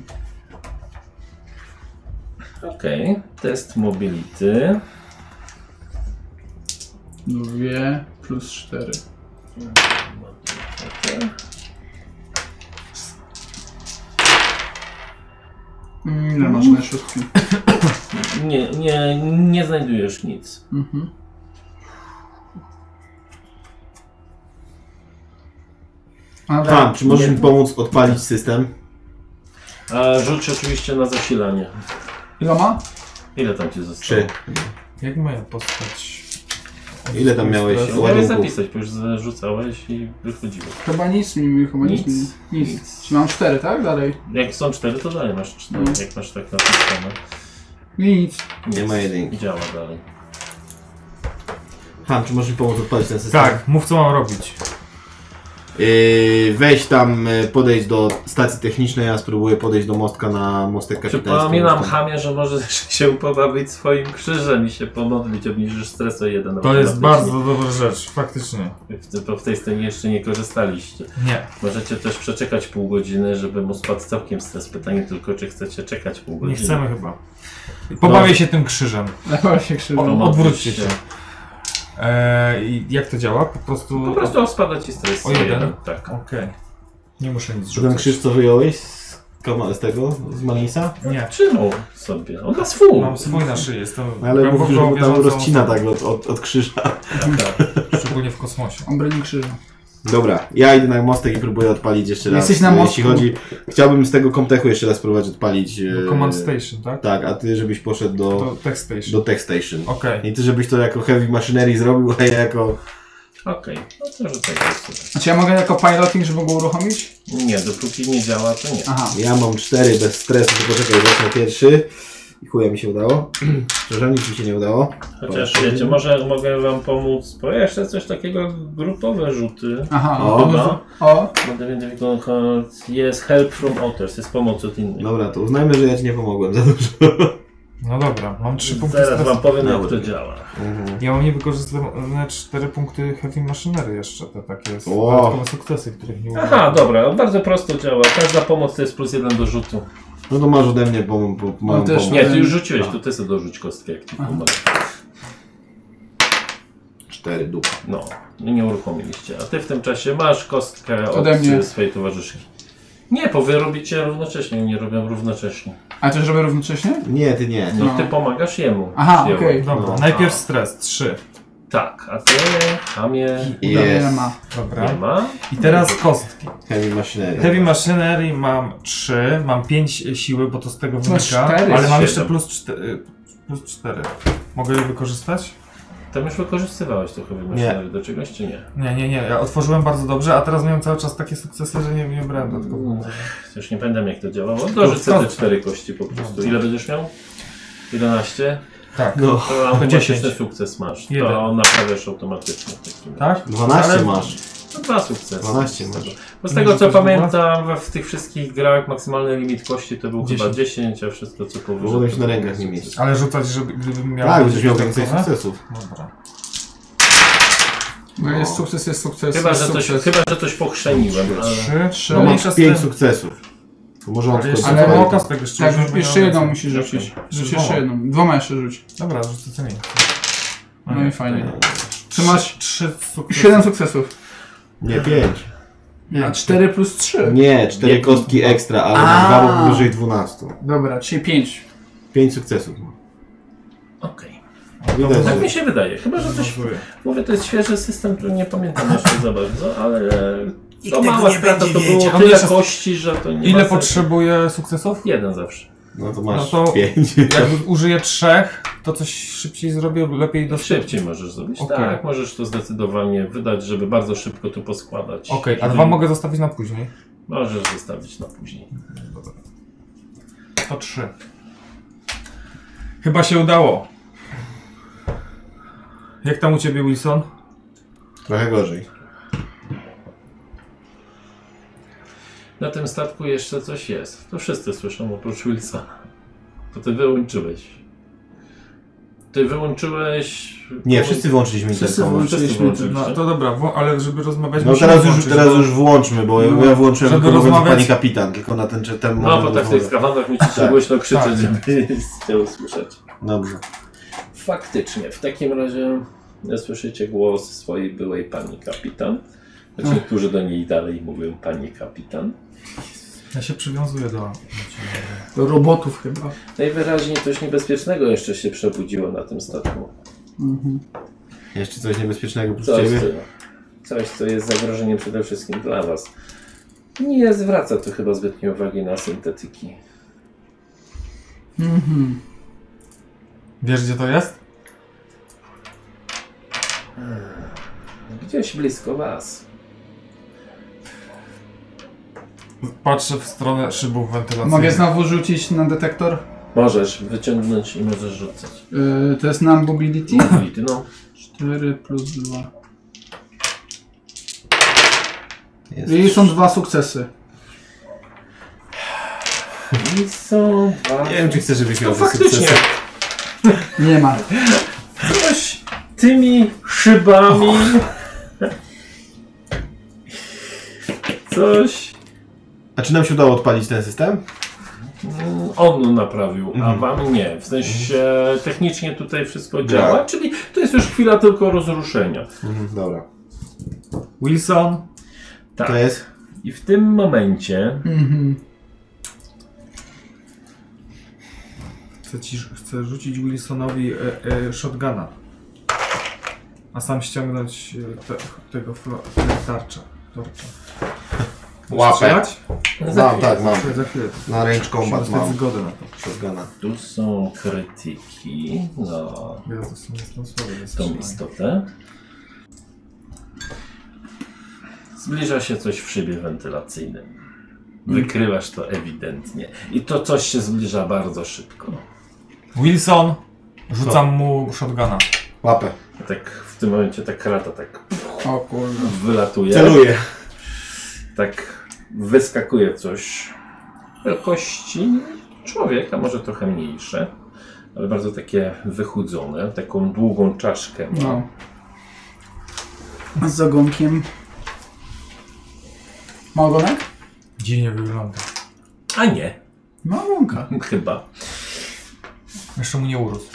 Okej, test mobility.
Dwie plus cztery. Mm, Ile masz na szóstki?
Nie, nie, nie znajdujesz nic.
Mhm. Ale
Tam, Tak, czy możesz
Nie.
mi pomóc odpalić system?
A rzuć oczywiście na zasilanie.
ile ma?
Ile tam ci zostało?
Czy
Jak moja postać...
Ile tam miałeś?
Ja
Stresu?
Miałeś
ładunków?
zapisać, bo już zarzucałeś i wychodziło.
Chyba nic mi mi- chyba nic.
Nic.
mi- Nic. nic. Czy mam cztery, tak? Dalej.
Jak są cztery, to dalej masz cztery,
Mm.
jak masz tak napisane.
Nic.
Nie ma
Nic.
jedynki.
Działa dalej.
Tam, czy możesz mi pomóc odpalić ten system?
Tak, mów co mam robić.
Yy, weź tam, yy, podejdź do stacji technicznej, ja spróbuję podejść do mostka na mostek kapitański.
Przypominam
Mostem.
Hamie, że możesz się pobawić swoim krzyżem i się pomodlić, obniżysz stres o jeden.
To jest
automatycznie.
bardzo dobra rzecz, faktycznie.
W- Bo w tej scenie jeszcze nie korzystaliście.
Nie.
Możecie też przeczekać pół godziny, żeby mu spadł całkiem stres. Pytanie tylko, czy chcecie czekać pół
Nie
godziny.
chcemy chyba. Pobawię się tym krzyżem.
Lewa się krzywda.
Pomodlić
Odwróćcie
się.
się. E, I jak to działa? Po prostu.
Po prostu spada ci stres.
O jeden?
Tak.
Okej. Nie muszę nic
Czy ten
rzucać.
krzyż, co wyjąłeś z, kama- z tego, z Malisa?
Nie.
Trzymał sobie. On ma swój.
Mam swój na szyi, jestem.
No, Ale
głęboko
mówisz, że mu tam
wierzącą
rozcina tak od, od, od krzyża.
osobą, Szczególnie w kosmosie.
Obrębnik krzyża.
Dobra, ja idę na mostek i próbuję odpalić jeszcze raz. y,
Jesteś na mostku.
Jeśli chodzi, chciałbym z tego Comtechu jeszcze raz spróbować odpalić. yy,
Command Station, tak?
Tak, a ty żebyś poszedł do,
To Tech Station.
do Tech Station.
Okej.
I ty żebyś to jako heavy machinery zrobił, a ja jako...
Okej, no to rzucaj go sobie.
Znaczy ja mogę jako piloting, żeby go uruchomić?
Nie, dopóki nie działa, to nie.
Aha.
Ja mam cztery bez stresu, to poczekaj, zacznę pierwszy. I chuja mi się udało. Przepraszam, nic mi się nie udało.
Chociaż wiecie, może mogę wam pomóc, bo jeszcze coś takiego grupowe rzuty.
Aha.
O,
to-
no.
o.
Będę wiedział, tylko- Jest help from others, jest pomoc od innych.
Dobra, to uznajmy, że ja ci nie pomogłem za dużo.
No dobra, mam 3 punkty
Zaraz wam
stresu.
powiem, jak
Dobra.
to działa.
Ja mam niewykorzystane 4 punkty Heavy Machinery jeszcze, te takie s-
O.
dodatkowe sukcesy, których nie
Aha,
użyłem.
dobra, no bardzo prosto działa. Każda pomoc to jest plus jeden do rzutu.
No to masz ode mnie pom- po, po, małą
też
pomoc.
Nie, ty już rzuciłeś, to ty sobie dorzuć kostkę, jak ci pomaga.
Cztery, dupa.
No, nie uruchomiliście. A ty w tym czasie masz kostkę od
Ode mnie.
swojej towarzyszki. Nie, bo wy robicie równocześnie, nie robią równocześnie.
A też robię równocześnie?
Nie, ty nie.
No,
No.
ty pomagasz jemu.
Aha,
Jemu.
okej.
Dobra,
No.
najpierw stres, 3.
Tak, a ty Hamie
Uda mnie
Jest.
ma.
nie
Dobra.
ma.
I teraz kostki.
Heavy machinery.
Heavy Machinery mam 3, mam 5 siły, bo to z tego wynika,
cztery,
ale mam
No, siedem.
jeszcze plus 4, plus 4. Mogę je wykorzystać?
Tam już wykorzystywałeś trochę wymaszery do czegoś, czy nie?
Nie, nie, nie, ja otworzyłem bardzo dobrze, a teraz miałem cały czas takie sukcesy, że nie, nie brałem dodatkowo.
Mm.
Już nie pamiętam jak to działało. Dorzucę te cztery kości po prostu. Ile będziesz miał? 11?
Tak.
No.
To automatyczny
10.
sukces masz.
Jeden.
To naprawiasz automatycznie. w takim razie.
Tak?
12
Ale-
masz.
No dwa sukcesy.
12
Z
masz.
tego- Bo z
Nie,
tego co
że to jest
pamiętam, we- w tych wszystkich grach maksymalny limit kości to był chyba
10.
10, a wszystko co powyżej.
Wolno się
to
na
były
rękach nie
sukcesy.
mieć.
Ale rzucać, żeby, gdybym miał...
Tak, będziesz miał więcej
dodatkowe?
sukcesów.
Dobra.
No jest sukces, jest sukces.
Chyba,
jest
że coś,
sukces.
chyba, że coś pochrzeniłem, ale...
Trzy, trzy.
No
mniejsza
masz
z
5
tym.
sukcesów. To może on
Ale
tylko
jeszcze
Ale-
mało kostek jeszcze. już
Tak,
będę
jeszcze
miał
jedną
więcej.
musisz rzucić. Rzuć
Dwoma.
jeszcze jedną. Dwoma jeszcze rzuć.
Dobra, rzucę co nie.
No i fajnie. Czy masz
Trzy sukcesy.
7 sukcesów?
Nie 5.
A 4 plus 3.
Nie, 4 kostki ekstra, ale na
A.
dwa mógł wyżej 12.
Dobra, czyli 5.
5 sukcesów ma.
Okej.
Widać,
Tak
że-
mi się wydaje. Chyba, że coś... Mówię, to jest świeży system, który nie pamiętam jeszcze za bardzo, ale... To mała strata, to było tyle
Mniejsza-
kości, że to nie ma
Ile
sensu.
potrzebuję sukcesów?
Jeden zawsze.
No to masz
No to-
5.
Jak użyję trzech, to coś szybciej zrobię, lepiej do
Szybciej możesz zrobić.
Okej.
Tak, możesz to zdecydowanie wydać, żeby bardzo szybko tu poskładać.
Okej, a
Żeby-
dwa mogę zostawić na później.
Możesz zostawić na później.
To trzy. Chyba się udało. Jak tam u ciebie, Wilson?
Trochę gorzej.
Na tym statku jeszcze coś jest. To wszyscy słyszą oprócz Wilsona. To ty wyłączyłeś. Ty wyłączyłeś.
Nie, wszyscy wyłączyliśmy
Wszyscy
interkom.
Wszyscy wyłączyliście.
No to dobra, wło- ale żeby rozmawiać
No
musimy
teraz już,
włączyć,
teraz
bo-
już włączmy, bo
No.
ja włączyłem
Żeby
tylko mówiąc
rozmawiać-
pani kapitan, tylko na ten czy ten
No, bo
moment
tak w tych
rozmowy.
skawandach musicie
Tak.
głośno krzyczeć,
Tak.
żeby nie usłyszeć.
Dobrze.
Faktycznie, w takim razie e, słyszycie głos swojej byłej pani kapitan. Znaczy, niektórzy do niej dalej mówią pani kapitan.
Ja się przywiązuję do...
Do robotów chyba.
Najwyraźniej coś niebezpiecznego jeszcze się przebudziło na tym statku.
Jeszcze coś niebezpiecznego przez
Coś,
ciebie?
co- coś, co jest zagrożeniem przede wszystkim dla Was. Nie zwraca to chyba zbytnio uwagi na syntetyki.
Wiesz gdzie to jest?
Gdzieś blisko Was.
Patrzę w stronę szybów wentylacyjnych.
Mogę znowu rzucić na detektor?
Możesz wyciągnąć i możesz rzucać.
Yy, to jest nam mobility?
Mobility, no.
4 plus 2.
Jest.
I są dwa sukcesy.
I są dwa.
Nie wiem, czy chcesz, żebyś miał
No
te
faktycznie,
sukcesy.
Nie ma.
coś tymi szybami. Coś
A czy nam się udało odpalić ten system?
Mm, On naprawił, a wam nie. W sensie technicznie tutaj wszystko działa, czyli to jest już chwila tylko rozruszenia.
Mhm, dobra.
Wilson?
Tak.
To jest?
I w tym momencie
Chcę, ci, chcę rzucić Wilsonowi e, e, shotguna. A sam ściągnąć e, te, tego flo, tarcza. tarcza.
Łapę.
Strzelać?
Mam, tak, mam.
Za chwilę.
Na range
Musimy
combat
dostać
mam.
zgodę na to.
Shotguna.
tu są krytyki No. na
Ja to w sumie jestem słaby. więc
tą
strzelam.
istotę. Zbliża się coś w szybie wentylacyjnym. Wykrywasz to ewidentnie. I to coś się zbliża bardzo szybko.
Wilson! Rzucam mu shotguna.
Łapę.
Tak w tym momencie ta krata tak
O kurde.
wylatuje.
Celuję.
tak wyskakuje coś wielkości człowieka, może trochę mniejsze, ale bardzo takie wychudzone, taką długą czaszkę ma.
No. Z ogonkiem. Ma ogonek?
Dziwnie wygląda.
A nie,
Ma ogonka.
chyba.
Jeszcze mu nie urósł.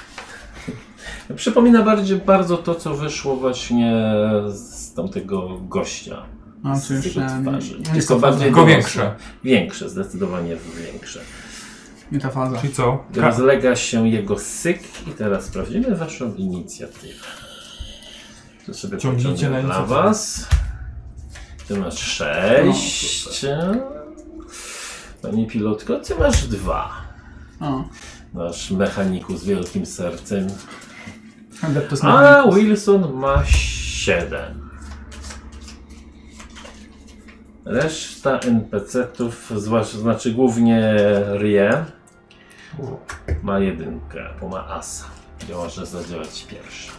Przypomina bardziej bardzo to, co wyszło właśnie z tamtego gościa.
A,
z
co już e,
jego
No, nie,
twarzy.
nie,
Tylko bardziej
Tylko
dorosłe.
większe.
Większe, zdecydowanie większe.
nie ta faza.
Czyli co? Ka-
Rozlega się jego syk i teraz sprawdzimy waszą inicjatywę. To sobie
Ciągnijcie
pociągnę
na
dla
inicjatywę.
was. Ty masz
No,
sześć. Pani pilotko, ty masz dwa.
O.
Nasz mechaniku z wielkim sercem.
Handler to
A
znany.
Wilson ma 7. Reszta NPC-ów, zwłasz- znaczy głównie Rie, ma jedynkę, bo ma asa. Gdzie może zadziałać pierwsza.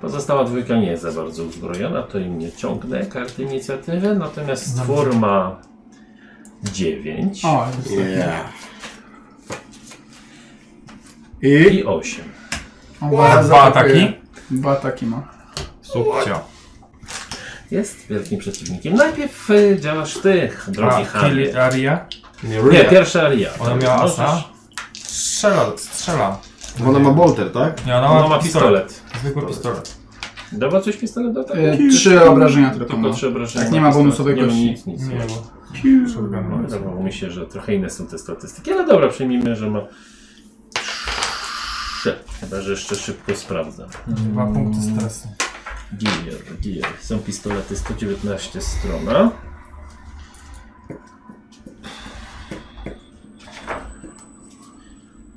Pozostała dwójka nie jest za bardzo uzbrojona, to im nie ciągnę karty inicjatywy, natomiast stwór ma 9
O, jest taki.
Yeah.
I...
i 8.
On zaraz
Dwa
zaatakuje.
ataki?
Dwa ataki ma.
Subcio.
Jest wielkim przeciwnikiem. Najpierw y, działasz ty, drogi
A,
Harry.
kill Aria?
Nie, pierwsza Ria.
Ona miała
Możesz-
asa? Strzela, strzela.
Bo ona ma bolter, tak?
Nie, ona,
Ona ma pistolet.
Zwykły pistolet.
Dawa coś pistolet do tego?
E, trzy obrażenia tylko
Tylko
ma.
trzy obrażenia.
Tak, nie ma
pistolet.
bonusowego
Nie ma
kości.
nic, nic.
Nie,
nie.
bo...
no,
Shotgun ma.
Wydawało mi się, że trochę inne są te statystyki, ale dobra, przyjmijmy, że ma trzy. Chyba, że jeszcze szybko sprawdzam.
Dwa punkty stresu.
Gear, gear. Są pistolety 119 strona.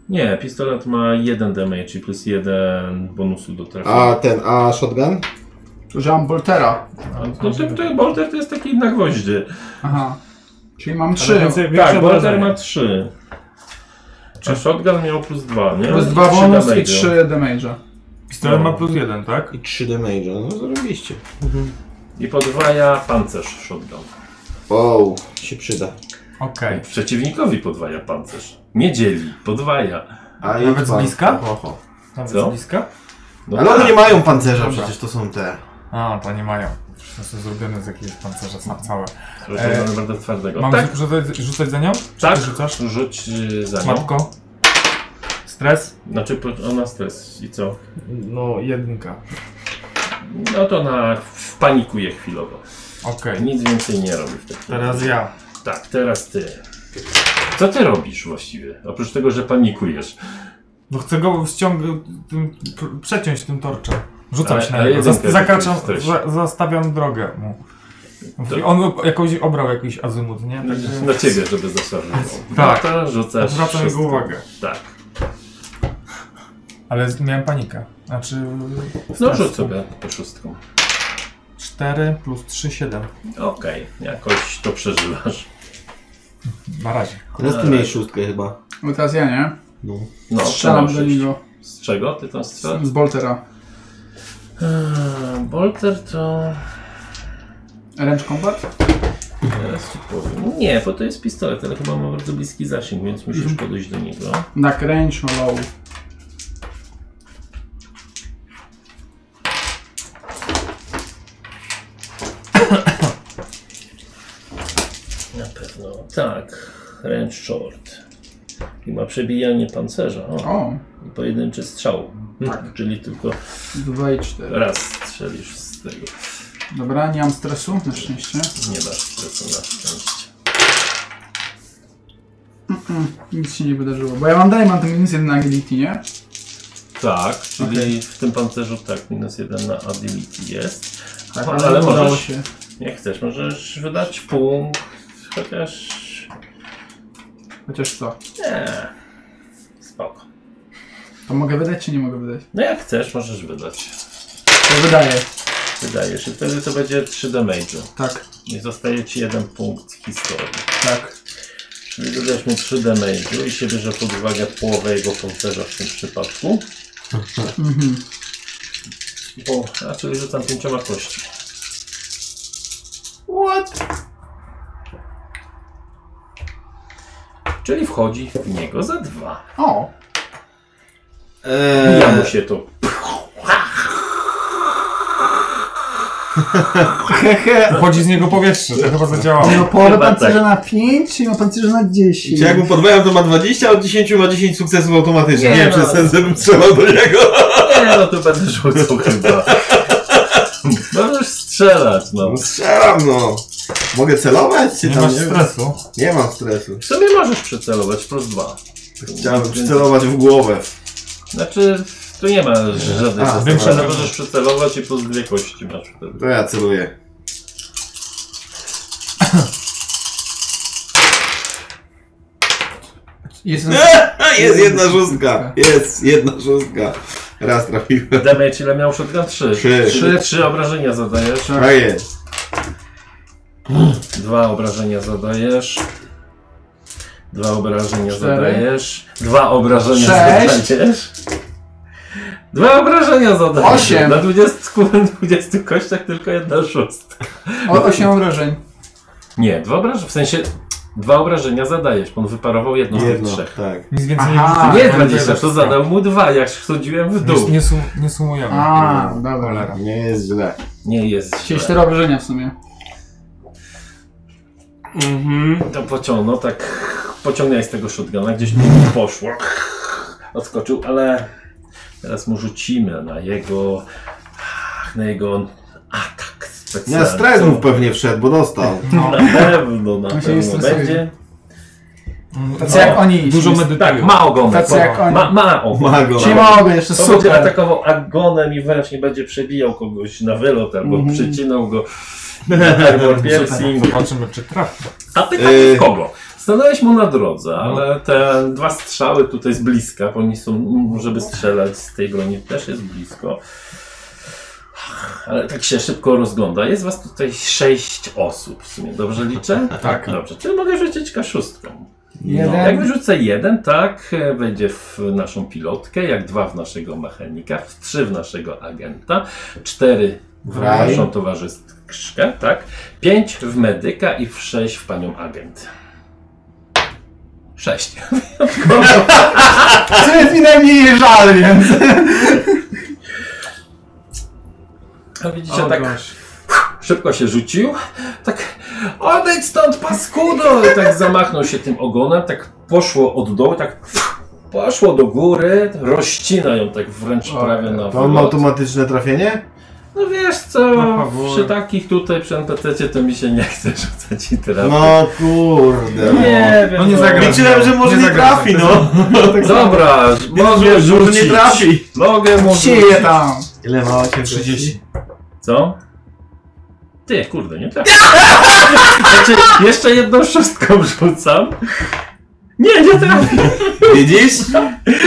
Nie, pistolet ma 1 damage, czyli plus 1 bonusu do trafienia.
A ten, a shotgun?
Że mam Boltera.
No to, to bolter to jest taki na gwoździe.
Aha. Czyli mam trzy.
Tak, bolter ma 3. A shotgun miał plus 2, nie?
Plus dwa
Trzy
bonus
damage'a.
i trzy damage'a.
Pistolet ma plus jeden, tak?
I 3 damage'a, no zarobiliście.
I podwaja pancerz shotgun.
Wow, się przyda.
Okej.
Przeciwnikowi podwaja pancerz. Nie dzieli, podwaja.
A
Nawet z
pan-
bliska?
Oho.
Nawet
Co?
z bliska?
No
Ale one
tak.
nie mają pancerza,
Dobra.
przecież to są te.
A, to nie mają. To są zrobione z jakiegoś pancerza sam całe.
Proszę, mamy bardzo twardego.
Mam
tak,
rzucać, rzucać za nią?
tak,
rzucasz?
rzuć y, za nią.
Matko. Stres?
Znaczy pro- ona stres i co?
No, jedynka.
No to ona panikuje chwilowo.
Okej.
Nic więcej nie robi w tej chwili.
Teraz ja.
Tak, teraz ty. Co ty robisz właściwie? Oprócz tego, że panikujesz.
No chcę go ściągnąć, tym, pr- przeciąć tym torczem. Rzucam
Ale-
się na
ale
niego,
jedynkę
zas- zakraczam,
jesteś.
za- zastawiam drogę mu.
To-
On jakąś obrał jakiś azymut, nie? Tak, Także
Na ciebie, żeby zaszarżował.
Tak.
No to rzucasz
Zwracam jego
szóstką.
uwagę.
Tak.
Ale z- miałem panikę. Znaczy...
No
stres.
rzuć sobie po szóstką.
4 plus 3, 7.
Okej, jakoś to przeżywasz.
Na razie.
Teraz ty miałeś szóstkę chyba.
No teraz ja, nie?
No,
Strzelam do
przenosisz.
niego.
Z czego ty tam strzelasz?
Z Boltera.
Eee, Bolter to...
Range combat?
Teraz ci powiem. Nie, bo to jest pistolet, ale chyba ma bardzo bliski zasięg, więc musisz podejść do niego.
Tak, range low.
Na pewno. Tak, range short. I ma przebijanie pancerza. O,
O,
i pojedynczy strzał. Tak. Czyli tylko
2 i 4.
raz strzelisz z tego.
Dobra, nie mam stresu, na szczęście.
Nie masz stresu na szczęście.
Nic się nie wydarzyło. Bo ja mam dalej mam ten minus 1 na agility, nie?
Tak, czyli w tym pancerzu tak, minus jeden na agility jest.
Tak,
No, ale
udało
możesz-
się.
Jak chcesz, możesz wydać punkt, chociaż...
Chociaż co?
Nie, spoko.
To mogę wydać czy nie mogę wydać?
No jak chcesz, możesz wydać.
To wydaję.
Wydajesz i wtedy to będzie 3 damage'u.
Tak,
I zostaje ci jeden punkt historii.
tak.
Czyli dodajesz mu 3 damage'u i się bierze pod uwagę połowę jego pancerza w tym przypadku.
Mhm.
Bo, a czyli rzucam pięcioma kości. What? Czyli wchodzi w niego za dwa.
O,
Ja
Eee,
mu się to
Uchodzi z niego powietrze, to chyba zadziałało.
No połowę
Chyba tak.
pancerza na 5 i ma pancerza na 10.
czy jak mu podwajam to ma 20, a od 10 ma 10 sukcesów automatycznie.
Nie
Nie, wiem,
no.
czy jest sens, żebym strzelał do niego.
Nie, no tu będę rzucał chyba. Możesz strzelać, no.
No strzelam no. Mogę celować czy
Nie
tam
masz
nie? wiem?
stresu.
Nie mam stresu.
W sumie możesz przycelować, plus dwa.
Chciałem celować w głowę.
Znaczy, tu nie ma żadnej
A,
zastosowania.
dobra.
Możesz przycelować i plus dwie kości masz wtedy.
To ja celuję.
jest
Jest jedna szóstka. Jest jedna szóstka. Raz trafiłem.
Damage ile miał shotgun? Trzy.
Trzy.
Trzy, trzy obrażenia zadajesz.
A jest.
Dwa obrażenia zadajesz. Dwa obrażenia
Cztery.
zadajesz. Dwa obrażenia
Sześć.
zadajesz. Dwa obrażenia zadajesz.
Osiem.
Na 20, ku- 20 kościach tylko jedna szóstka.
O, 8 obrażeń.
Nie, dwa obrażenia. W sensie dwa obrażenia zadajesz, bo on wyparował
No,
jedno z tych
Jedno,
trzech.
tak.
Nic więcej
Aha,
nie
Nie
rzucę.
20,
tak.
to zadał mu dwa, jak wchodziłem w dół.
Nie, nie, sum, nie sumujemy.
A, dobra.
Nie jest źle.
Nie jest
Czyli
źle.
4 obrażenia w sumie. Mhm.
To pociągnął, tak pociągnąłeś z tego shotguna, gdzieś mu poszło, odskoczył, ale teraz mu rzucimy na jego, na jego atak
Na
specjalny.
stres mu pewnie wszedł, bo dostał.
No.
Na pewno, na
On No. się nie
pewno
stresuje.
będzie.
Mm,
Tacy jak oni.
Dużo medytują.
Tak, ma ogonek.
Tacy
ma-
jak oni.
Ma, ma ogonek.
Ma go.
Czyli ma ogon jeszcze,
To będzie
super.
atakował agonem i wręcz nie będzie przebijał kogoś na wylot, albo przycinał go. Albo piercing,
no, Zobaczymy, czy trafi.
A pytanie
Yy.
w kogo? Stanąłeś mu na drodze, ale te dwa strzały tutaj z bliska, bo oni są, m, żeby strzelać z tej broni też jest blisko. Ale tak się szybko rozgląda. Jest was tutaj sześć osób w sumie, dobrze liczę?
Tak.
Dobrze, czyli mogę rzucić kaszustką. Jak
Jeden.
wyrzucę jeden, tak, e, wejdzie w naszą pilotkę, jak dwa w naszego mechanika, w trzy w naszego agenta, cztery w
Raj.
naszą towarzyszkę, tak, pięć w medyka i w sześć w panią agent. Sześć.
Co jest mi najmniej żal, więc...
A widzicie,
O,
tak
gość.
szybko się rzucił, tak odejdź stąd paskudo! I tak zamachnął się tym ogonem, tak poszło od dołu, tak poszło do góry, rozcina ją tak wręcz prawie na
To on ma
wylot.
automatyczne trafienie?
No wiesz co,
Na fabułę.
przy takich tutaj przy NPC-cie to mi się nie chce rzucać i teraz.
No kurde. no.
nie wiem.
No nie zagra.
Liczyłem, że może
Nie
nie,
zagra-
trafi,
tak,
no.
Dobra, mogę
Może nie
rzucić.
trafi.
Mogę mu rzucić.
Sieje tam.
Ile ma 8?
30.
Co? Ty, kurde, nie trafię. Znaczy, jeszcze jedną szóstką rzucam. Nie, nie trafię.
Widzisz?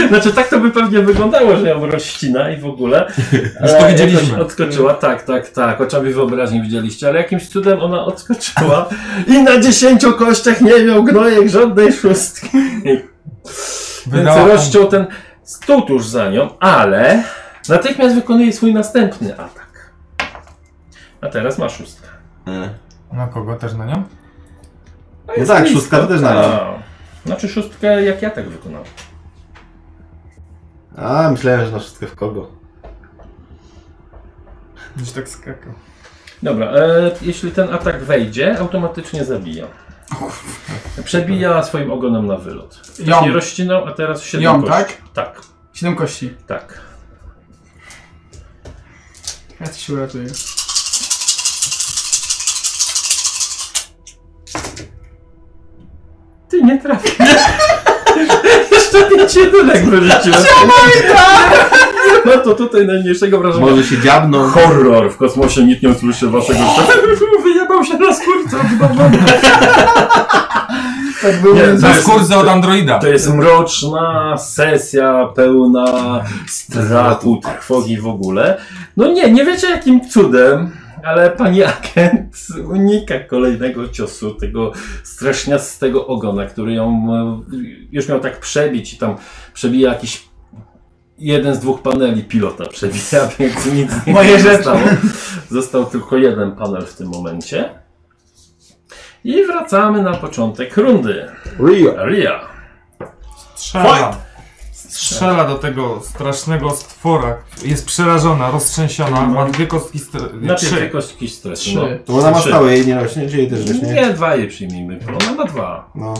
Znaczy, tak to by pewnie wyglądało, że ją rozcina i w ogóle.
Już
Ale
to
jakoś
widzieliśmy.
Odskoczyła, tak, tak, tak. Oczami wyobraźni widzieliście, ale jakimś cudem ona odskoczyła i na dziesięciu kościach nie miał gnojek żadnej szóstki. Więc
Wydała
rozciął ten stół tuż za nią, ale natychmiast wykonuje swój następny atak. A teraz ma szóstkę.
Na kogo? Też na nią?
No
jest tak, szóstka to też na nią.
Znaczy szóstkę jak ja tak wykonałem.
A, myślałem, że na wszystko w kogo.
Gdzieś tak skakał.
Dobra, e, jeśli ten atak wejdzie, automatycznie zabija. Przebija swoim ogonem na wylot.
Ją.
Nie rozcinał, a teraz się
Ją, tak?
Tak,
7 kości.
tak.
Ja ci się uratuję.
Ty nie trafisz. Jeszcze pięć jedynek wyrzuciłem. No to tutaj najmniejszego wrażenia.
Może się dziabną.
Horror! W kosmosie nikt nie usłyszy waszego Wyjebał się na skórce od głowy.
Tak było.
Nie,
więc-
To
Na
jest-
skórce od Androida.
To jest mroczna sesja pełna strachu, trwogi w ogóle. No nie, nie wiecie jakim cudem, ale pani agent unika kolejnego ciosu tego straszniastego ogona, który ją e, już miał tak przebić i tam przebija jakiś jeden z dwóch paneli pilota przebija, więc nic z niego
Moje
nie
rzeczy.
zostało. Został tylko jeden panel w tym momencie. I wracamy na początek rundy.
Rio.
Ria.
Strzela. Strzela do tego strasznego stwora. Jest przerażona, roztrzęsiona. Ma dwie kostki. St-
Na
trzy.
pierwszej kostki stresu.
Trzy.
To ona ma
Trzy.
stałe jej nie rośnie, czy jej też
No.
rośnie?
Nie, dwa jej przyjmijmy, bo ona ma dwa.
No.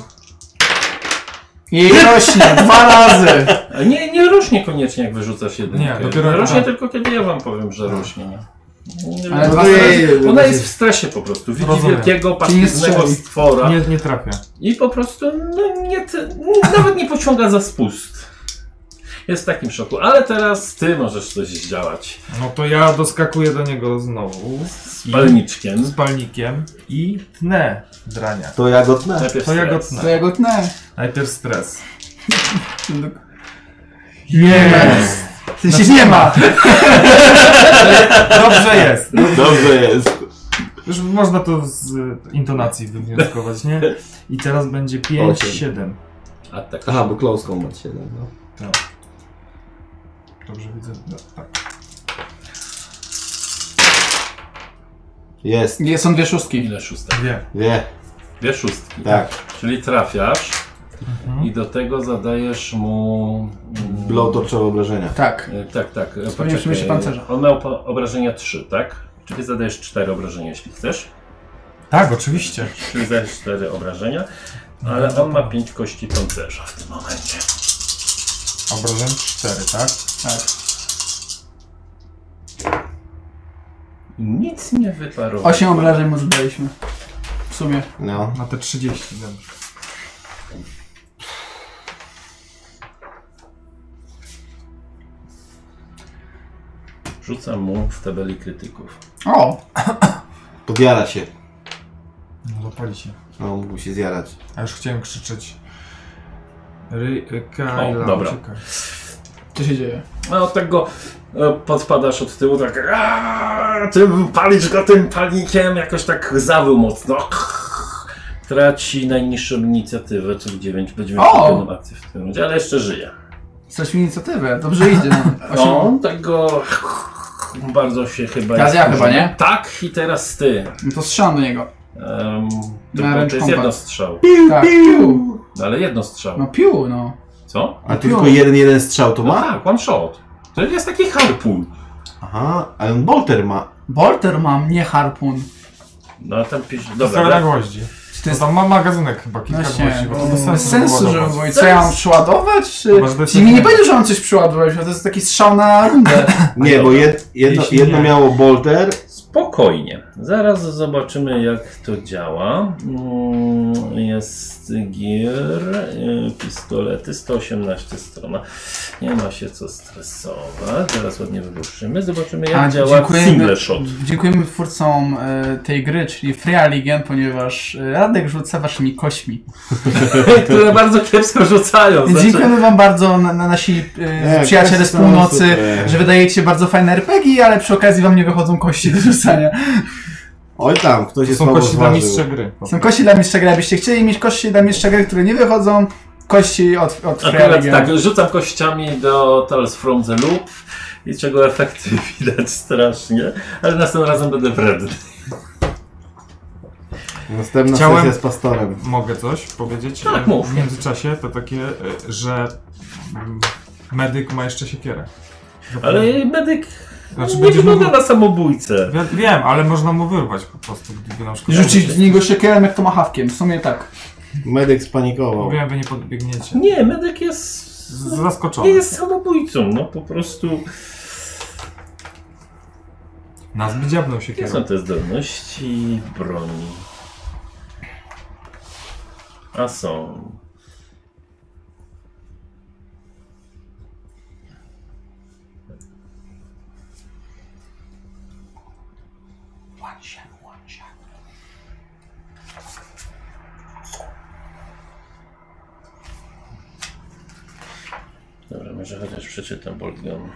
I rośnie dwa razy.
A nie, nie rośnie koniecznie, jak wyrzucasz jedynkę.
Nie, dopiero-
rośnie
tak.
tylko, kiedy ja wam powiem, że rośnie. Nie? Nie
Ale
wiem.
dwa
Ona jest w stresie po prostu. Widzi
Rozumiem.
wielkiego,
Czyli nie
paskudnego
strzeli.
stwora
Nie, nie trafia.
i po prostu no, nie, ty- nawet nie pociąga za spust. Jest w takim szoku. Ale teraz ty możesz coś zdziałać.
No to ja doskakuję do niego znowu.
Z palniczkiem.
Z palnikiem i tnę drania.
To ja go tnę.
Najpierw
To ja go
stres.
tnę.
To ja go tnę.
Najpierw stres.
Yes!
Jeśli nie ma!
Dobrze jest.
Dobrze jest.
Już można to z e, intonacji wywnioskować, nie? I teraz będzie 5,
Osiem.
7.
A tak.
Aha, bo close combat 7, no.
Dobrze widzę. No, tak.
Jest,
Nie, Są dwie szóstki.
Ile szóstek?
Dwie.
wie,
Dwie szóstki.
tak.
Czyli trafiasz
Mhm.
i do tego zadajesz mu... mm,
Blow torczowe obrażenia.
Tak.
e, Tak, tak. e,
Wspomniałem, że myśli pancerza.
On miał po- obrażenia 3, tak? Czyli zadajesz 4 obrażenia, jeśli chcesz.
Tak, oczywiście.
Czyli zadajesz 4 obrażenia.
No
Ale on ma 5 kości pancerza w tym momencie.
Obrażeń 4, tak?
Nic nie wyparowało.
Osiem obrażeń mu zdaliśmy. W sumie.
No.
Na te 30, dobrze.
Rzucam mu w tabeli krytyków.
O!
Podjara się.
No zapali się.
No, mógł się zjarać.
A już chciałem krzyczeć. Ry, Kyla,
O, dobra.
uciekaj.
Co się dzieje?
No tak go e, podpadasz od tyłu, tak aaa, tym palisz go tym palnikiem, jakoś tak zawył mocno. Traci najniższą inicjatywę, czyli 9 będzie miał
O!
pełną akcję w tym rundzie, ale jeszcze żyje.
Straciliśmy inicjatywę. Dobrze idzie nam. Osiem.
No, tak go bardzo się chyba...
Teraz ja
jest-
chyba, nie?
Tak i teraz ty.
No to strzelam do niego.
Um, to,
Na
to
ręcz
jest
kombat.
jedno strzał,
Tak. Piu!
ale jedno strzał.
No piu, no.
Co?
A tylko jeden, jeden strzał to
No
ma?
tak, one shot. To jest taki harpun.
Aha, ale on bolter ma.
Bolter mam, nie harpun.
No a tam pisz...
Dobra, na
Dobra,
gwoździ.
Czy to
To
jest
tam ma magazynek chyba kilka
Właśnie,
gwoździ.
bo
bo to
to bez sensu, żeby
wyładować.
mówić, co ja mam przyładować? Czy...
Chyba, że to jest
Ci mi nie
taki-
powiedział, że mam coś przyładować, to jest taki strzał na rundę.
Nie, bo jed, jedno,
Jeśli
jedno
nie.
miało bolter.
Spokojnie. Zaraz zobaczymy, jak to działa. Mm, Jest gier, y, pistolety, 118 strona. Nie ma się co stresować. Zaraz ładnie wyruszymy. Zobaczymy, jak
A,
działa
dziękujemy.
single shot.
Dziękujemy twórcom e, tej gry, czyli Free Alien, ponieważ e, Radek rzuca waszymi kośmi.
Które bardzo kiepsko rzucają.
Więc
Znaczy,
dziękujemy wam bardzo, na, na nasi e,
Nie,
przyjaciele
kości
z
są
północy,
super.
że wydajecie bardzo fajne RPG, ale przy okazji wam nie wychodzą kości do rzucania.
Oj tam, ktoś
To
jest
są
mało
kości dla
zważył.
mistrza gry.
Są kości dla mistrza gry, abyście chcieli mieć kości dla mistrza gry, które nie wychodzą, kości od, od Free
Akurat
Alien.
tak, rzucam kościami do Tales from the Loop i czego efekty widać strasznie, ale następnym razem będę wredny.
Następna
Chciałem-
sesja z pastorem.
Mogę coś powiedzieć?
Tak,
E,
mów.
W międzyczasie to takie, e, że mm, medyk ma jeszcze siekierę.
Ale medyk
Znaczy,
nie
będzie
wygląda
mógł-
na samobójcę.
Wi- Wiem, ale można mu wyrwać po prostu, gdyby na przykład...
Rzucić z niego siekierem jak to machawkiem, w sumie tak.
Medyk spanikował.
Mówiłem, wy nie podbiegniecie.
Nie, medyk jest...
Z- Zaskoczony.
Nie jest samobójcą, no po prostu.
Nas by dziabnął
Jakie są
siekierą.
te zdolności broni? A są. Dobra, może chociaż przeczytam Bolt Gun.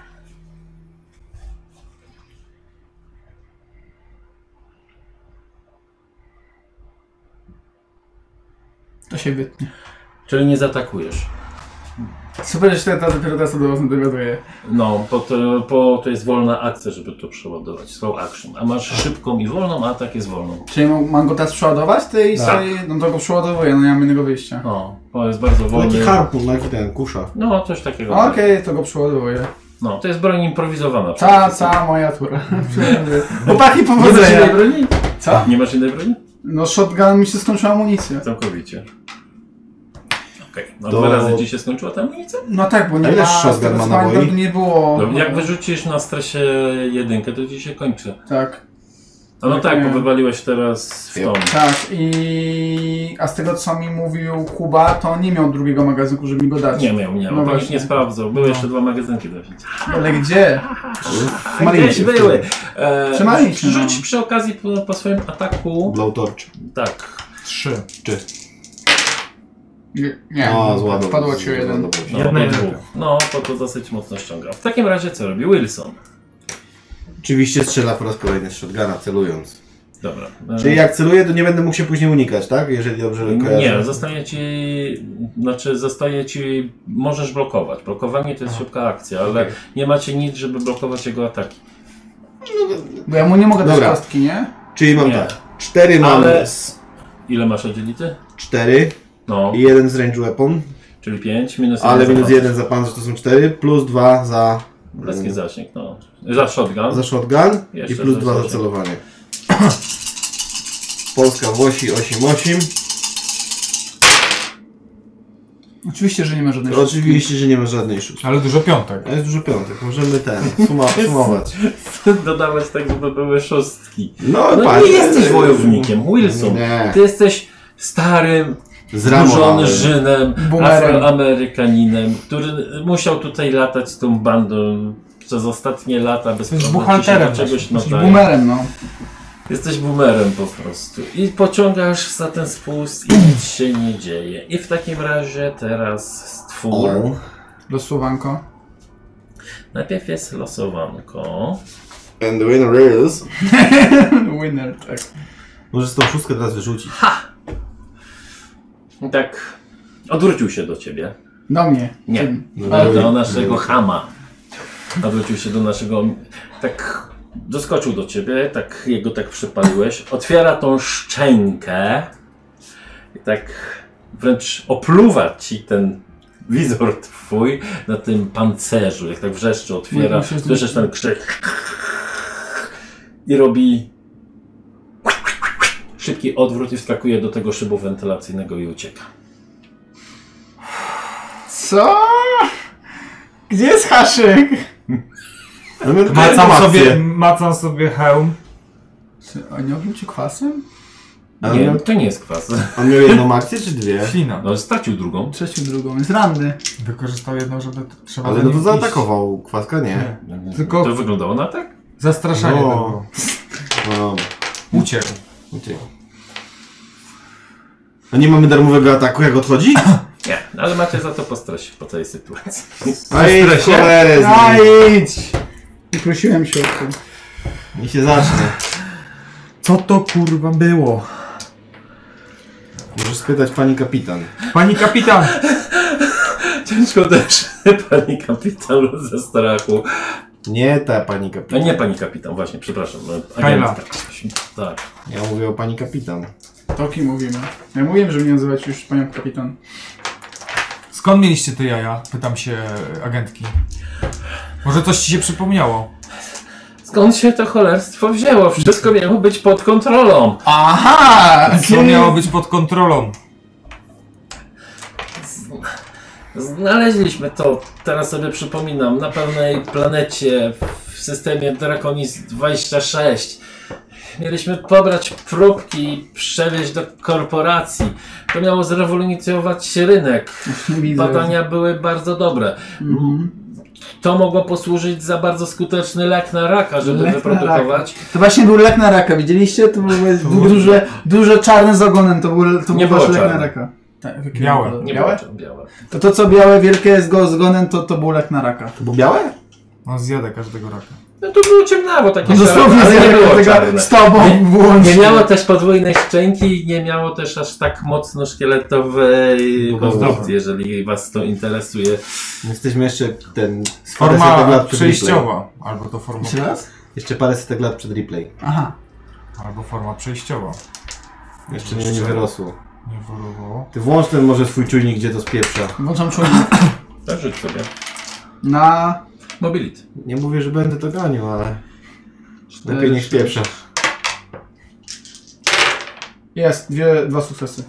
To się wytnie.
Czyli nie zaatakujesz.
Super, że teraz dopiero teraz to dowiaduję.
No, bo to, bo to jest wolna akcja, żeby to przeładować. Slow action. A masz szybką i wolną, a atak jest wolną.
Czyli mam, mam go teraz przeładować tej
Tak.
swojej? No to go przeładowuję, no nie mam innego wyjścia.
No, to jest bardzo
Taki
wolny.
harpun, taki ten, kusza.
No, coś takiego.
Okej, to go przeładowuję.
No, to jest broń improwizowana.
Cała, cała moja tura. Chłopaki,
Nie masz innej
powodzenia!
broni?
Co?
Nie masz innej broni?
No shotgun mi się skończyła amunicja.
Całkowicie. Okej, no
To-
dwa razy ci się skończyła ta amunicja?
No tak, bo nie
A ile
ma...
shotgun
z tego,
ma
co pamiętam,
naboi?
to nie było...
No, jak wyrzucisz na stresie jedynkę, to ci się kończy.
Tak,
A no
Tak,
tak,
nie.
bo wywaliłeś teraz w
Ja.
tą.
tak i... A z tego co mi mówił Kuba, to nie miał drugiego magazynku, żeby mi go dać.
Nie miał, nie
No
miał. No
właśnie.
nie sprawdzał. Były jeszcze dwa magazynki do wzięcia.
Ale gdzie?
A gdzieś
się
były. E,
Trzymali się,
Rzuć
no.
przy okazji po, po swoim ataku.
Blow torch.
Tak.
Trzy.
Czy.
Nie, nie
O, zładował.
wpadło ci o jeden.
Zładował się.
No,
Jedna
do
jedynka.
dwóch. No, bo to dosyć mocno ściąga. W takim razie co robi Wilson?
Oczywiście strzela po raz kolejny z shotguna, celując.
Dobra. E,
Czyli jak celuję, to nie będę mógł się później unikać, tak? Jeżeli dobrze kojarzę.
Nie, zostaje ci, znaczy zostaje ci, możesz blokować. Blokowanie to jest szybka akcja, ale nie macie nic, żeby blokować jego ataki.
Bo ja mu nie mogę dać
Dobra.
kostki, nie?
Czyli mam
Nie.
tak. Cztery mam.
Ale-
z-
Ile masz oddzielity?
Cztery
No,
i jeden z range weapon,
czyli 5 minus 1.
ale minus jeden za pan, że to są cztery, plus dwa za,
Blecki zasięg, no. Za shotgun.
za shotgun i
Jeszcze
plus
za
dwa za
zasięg.
celowanie. Polska Włosi 8-8.
Oczywiście, że nie ma żadnej
Oczywiście, że nie ma żadnej szóstki.
Ale dużo piątek.
A jest dużo piątek, możemy ten, suma, sumować.
Dodawać tak, żeby były szóstki.
No,
No
patrz.
nie jesteś wojownikiem, Wilson.
Nie.
Ty jesteś starym, zburzonym
Zramowany.
Żynem,
Boomerem.
afroamerykaninem, który musiał tutaj latać z tą bandą przez ostatnie lata bez
Jesteś
problemu ci się do
buchalterem
czegoś
Jesteś
nadaje.
boomerem, no.
Jesteś boomerem po prostu. I pociągasz za ten spust i nic się nie dzieje. I w takim razie teraz stwór.
O.
Losowanko.
Najpierw jest losowanko.
And the winner is...
Winner, tak.
Możesz tą szóstkę teraz wyrzucić.
I tak odwrócił się do ciebie.
Do mnie.
Nie. No,
Tym.
Ale do naszego chama. Odwrócił się do naszego. Tak. Doskoczył do ciebie, tak jego tak przypaliłeś. Otwiera tą szczękę i tak wręcz opluwa ci ten wizor twój na tym pancerzu. Jak tak wrzeszczy, otwiera.
Musisz-
Słyszysz ten krzyk. I robi szybki odwrót i wskakuje do tego szybu wentylacyjnego i ucieka.
Co? Gdzie jest haszyk?
Macam sobie, macam sobie hełm.
Czy on nie obrócił kwasem?
Ale no-
Nie,
miał-
to nie jest kwas.
On miał jedną akcję czy dwie?
Ślina.
No, stracił drugą.
Trzecią drugą, jest ranny.
Wykorzystał jedną, żeby t- trzeba
Ale
do
no
niej
to
wbić.
zaatakował. Kwaska nie.
Tylko-
To wyglądało na tak?
Zastraszanie
No.
było.
No dobra.
Uciekł.
uciekł. A No nie mamy darmowego ataku jak odchodzi?
Nie, no ale macie za to po stresie, po całej sytuacji.
Aj, cholerę No z
A
nim.
idź! I prosiłem się o to.
I się zacznie.
Co to kurwa było?
Możesz spytać pani kapitan.
Pani kapitan!
Ciężko też, pani kapitan ze strachu.
Nie ta pani
A
kapitan.
nie pani kapitan, właśnie, przepraszam. e,
Kajla.
Agentka. Tak.
Ja mówię o pani kapitan.
To kim mówimy? Ja mówiłem, że mnie nazywać już panią kapitan.
Skąd mieliście te jaja? Pytam się e, agentki. Może coś ci się przypomniało?
Skąd się to cholerstwo wzięło? Wszystko miało być pod kontrolą.
Aha!
Co miało być pod kontrolą?
Znaleźliśmy to, teraz sobie przypominam, na pewnej planecie w systemie Draconis 26. Mieliśmy pobrać próbki i przewieźć do korporacji. To miało zrewolucjonizować rynek.
Widzę.
Badania były bardzo dobre.
Mhm.
To mogło posłużyć za bardzo skuteczny lek na raka, żeby
Lek na
wyprodukować.
To właśnie był lek na raka, widzieliście? To były du- duże, duże czarne z ogonem, to był, to
Nie
był wasz
było
lek na
czarne.
raka. Tak, jakie
Białe.
było?
Nie
białe?
było to białe.
To to co białe, wielkie z go- z ogonem, to, to był lek na raka.
To było białe?
On zjada No, każdego raka.
No to było ciemnawo, takie
No, Dosłownie
ale nie było
z tego
czarne.
z tobą
Nie-
włącznie.
Nie miało też podwójnej szczęki i nie miało też aż tak mocno szkieletowej konstrukcji, jeżeli was to interesuje.
Jesteśmy jeszcze ten... parę setek
Forma
lat przed replay.
przejściowa. Albo to forma.
Jeszcze raz?
Jeszcze parę setek lat przed replay.
Aha.
Albo forma przejściowa.
Jeszcze nie, nie wyrosło.
Nie woluowało.
Ty włącz ten może swój czujnik, gdzie to spieprza.
Włączam czujnik
Tak, rzuć sobie.
na...
Mobility.
Nie mówię, że będę to ganił, ale... Lepiej
Cztery,
niech spieprza.
E,
Jest, dwie, dwa sukcesy.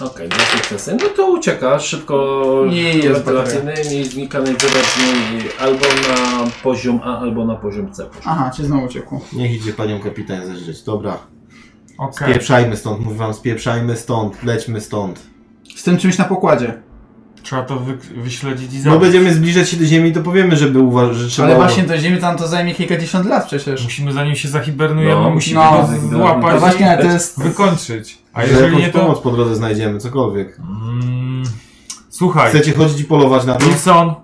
Okej, dwa sukcesy. No to ucieka szybko
Nie jest
wentylacyjnymi, znika najwyraźniej albo na poziom A, albo na poziom C.
Aha, cię znowu uciekło.
Niech idzie panią kapitan zeżyć. Dobra.
Okej.
Spieprzajmy stąd, mówię wam, spieprzajmy stąd, lećmy stąd.
Z tym czymś na pokładzie.
Trzeba to wy, wyśledzić i
No
zabić.
będziemy zbliżać się do ziemi, to powiemy, żeby uważać, że trzeba...
Ale właśnie do ziemi tam to zajmie kilkadziesiąt lat przecież.
Musimy zanim się zahibernujemy,
No,
musimy
no,
go
no,
złapać
To właśnie to jest...
i wykończyć. A
że
jeżeli
jakąś
nie to...
pomoc po drodze znajdziemy, cokolwiek.
Mm, słuchaj,
Chcecie chodzić i polować na to?
Wilson,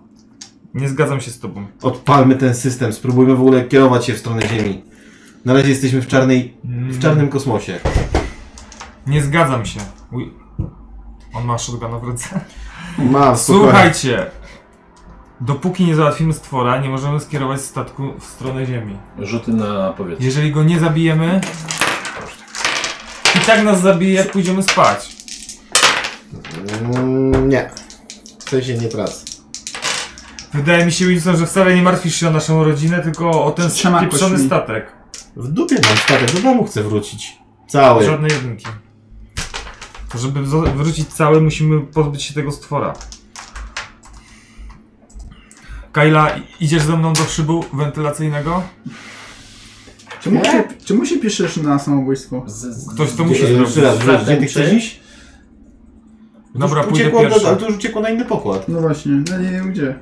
nie zgadzam się z tobą.
Odpalmy ten system, spróbujmy w ogóle kierować się w stronę ziemi. Na razie jesteśmy w czarnej...
Mm,
w czarnym kosmosie.
Nie zgadzam się. Uj. On ma shotguna w ręce.
Mam, spokojnie.
Słuchajcie, dopóki nie załatwimy stwora, nie możemy skierować statku w stronę Ziemi.
Rzuty na powietrze.
Jeżeli go nie zabijemy, i tak nas zabije, jak pójdziemy spać.
Mm, nie. W sensie nie prac.
Wydaje mi się, Wilson, że wcale nie martwisz się o naszą rodzinę, tylko o ten
Trzema
pieprzony
kośćmi.
statek.
W dupie mam statek, do domu chcę wrócić. Cały.
Żadnej jedynki. To żeby zo- wrócić cały, musimy pozbyć się tego stwora. Kajla, i- idziesz ze mną do szybu wentylacyjnego?
Czemu się, czemu się piszesz na samobójstwo?
Z- z-
Ktoś to
Gdzie-
musi zrobić.
Jeszcze raz, wróć, gdzie ty
Zatem
chcesz
ty?
iść?
Dobra,
Już
pójdę
uciekło,
pierwszy.
do- Ale to już uciekło na inny pokład.
No właśnie, no nie wiem gdzie.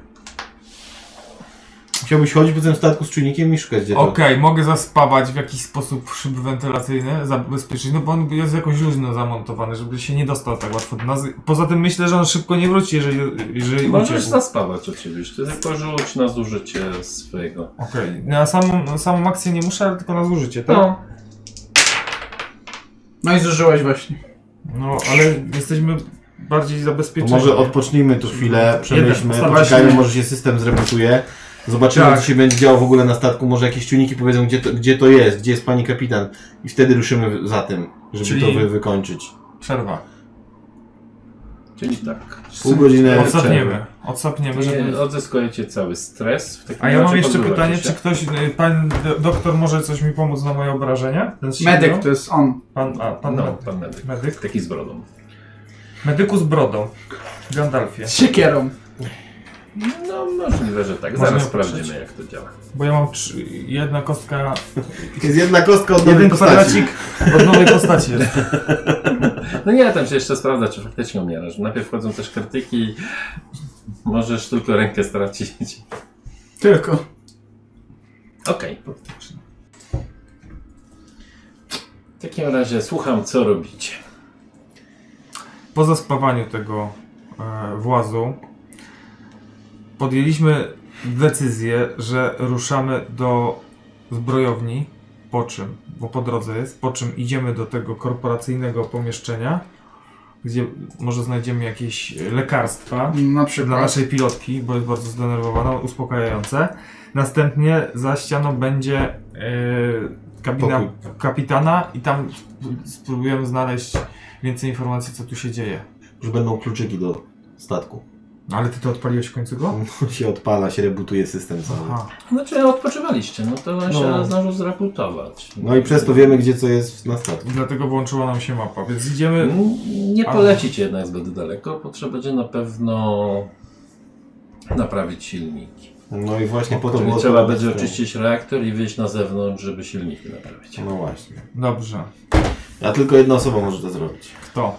Chciałbyś chodzić po tym statku z czujnikiem i szukać gdzie to.
Okej, mogę zaspawać w jakiś sposób szyb wentylacyjny, zabezpieczyć, no bo on jest jakoś luźno zamontowany, żeby się nie dostał tak łatwo do nas. Poza tym myślę, że on szybko nie wróci, jeżeli, jeżeli
Możesz
uciekł.
zaspawać oczywiście, tylko rzuć na zużycie swojego.
Okej, na No, samą, na samą akcję nie muszę, ale tylko na zużycie, tak?
No.
No i zużyłeś właśnie.
No, ale jesteśmy bardziej
To
zabezpieczeni.
może odpocznijmy tu chwilę, przemyślmy,
Jeden,
poczekajmy,
właśnie.
może się system zrebutuje. Zobaczymy,
Tak.
co się będzie działo w ogóle na statku. Może jakieś czujniki powiedzą, gdzie to, gdzie to jest, gdzie jest pani kapitan. I wtedy ruszymy za tym, żeby
Czyli-
to wy, wykończyć.
Przerwa.
Czyli tak.
Pół godziny przerwy.
Odsapniemy. Odsapniemy, żeby...
Nie Odzyskujecie cały stres. W takim
A ja mam
razie
jeszcze
pozbywacie
pytanie,
się.
czy ktoś, y, pan do- doktor może coś mi pomóc na moje obrażenia? Ten z siedmiu?
Medyk to jest on.
Pan, a, pan,
No,
medyk.
pan medyk.
medyk.
Taki z brodą.
Medyku z brodą. Gandalfie.
Z siekierą.
No możliwe, że tak.
Możemy
Zaraz
popatrzeć.
sprawdzimy jak to działa.
Bo ja mam trzy, jedna kostka,
Jest jedna kostka od nowej
jeden
postaci.
kwadracik od nowej postaci. jest.
No nie, tam się jeszcze sprawdza, czy faktycznie umierasz. Najpierw wchodzą też krytyki. Możesz tylko rękę stracić.
Tylko.
Okej. W takim razie słucham, co robicie.
Po zaspawaniu tego e, włazu podjęliśmy decyzję, że ruszamy do zbrojowni, po czym, bo po drodze jest, po czym idziemy do tego korporacyjnego pomieszczenia, gdzie może znajdziemy jakieś e, lekarstwa.
Na
dla
przykład.
naszej pilotki, bo jest bardzo zdenerwowana, uspokajające. Następnie za ścianą będzie yy, kabina kapitana i tam sp- spróbujemy znaleźć więcej informacji, co tu się dzieje.
Już będą kluczyki do statku.
No, Ale ty to odpaliłeś w końcu go?
się odpala, się rebutuje system cały.
Aha.
Znaczy odpoczywaliście, no to no. się
No.
zdążył zreputować.
No i przez to wiemy, gdzie co jest na statku.
I dlatego włączyła nam się mapa, więc idziemy...
Nie polecicie jednak zbyt daleko, bo trzeba będzie na pewno naprawić silniki.
No i właśnie po to
Czyli
było...
trzeba będzie oczyścić reaktor i wyjść na zewnątrz, żeby silniki naprawić.
No właśnie.
Dobrze.
A tylko jedna osoba może to zrobić.
Kto?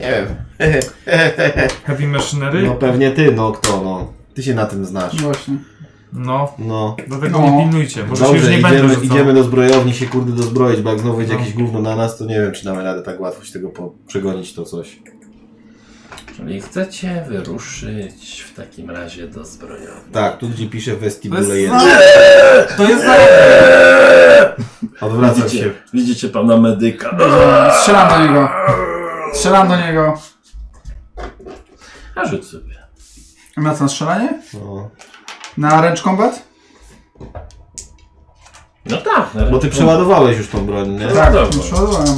Nie wiem.
Heavy Machinery?
No
No,
pewnie ty, no kto, no. Ty się na tym znasz.
Właśnie.
No.
dlatego
No.
nie pilnujcie, może się już
Dobrze,
nie
idziemy,
będę rzucał.
idziemy do zbrojowni się kurde dozbroić, bo jak znowu będzie
No.
jakieś gówno na nas, to nie wiem, czy damy radę tak łatwo się tego po- przegonić to coś.
Czyli chcecie wyruszyć w takim razie do zbrojowni.
Tak, tu gdzie pisze
To
vestibule
jest
1.
To jest za...
Odwracam się.
Widzicie, widzicie pana medyka.
Strzelam do niego. Strzelam do niego.
A rzuć sobie.
Na co, na strzelanie?
No.
Na ręcz combat?
No tak, na
Bo ty przeładowałeś już tą broń, nie?
No tak, dobra.
Przeładowałem.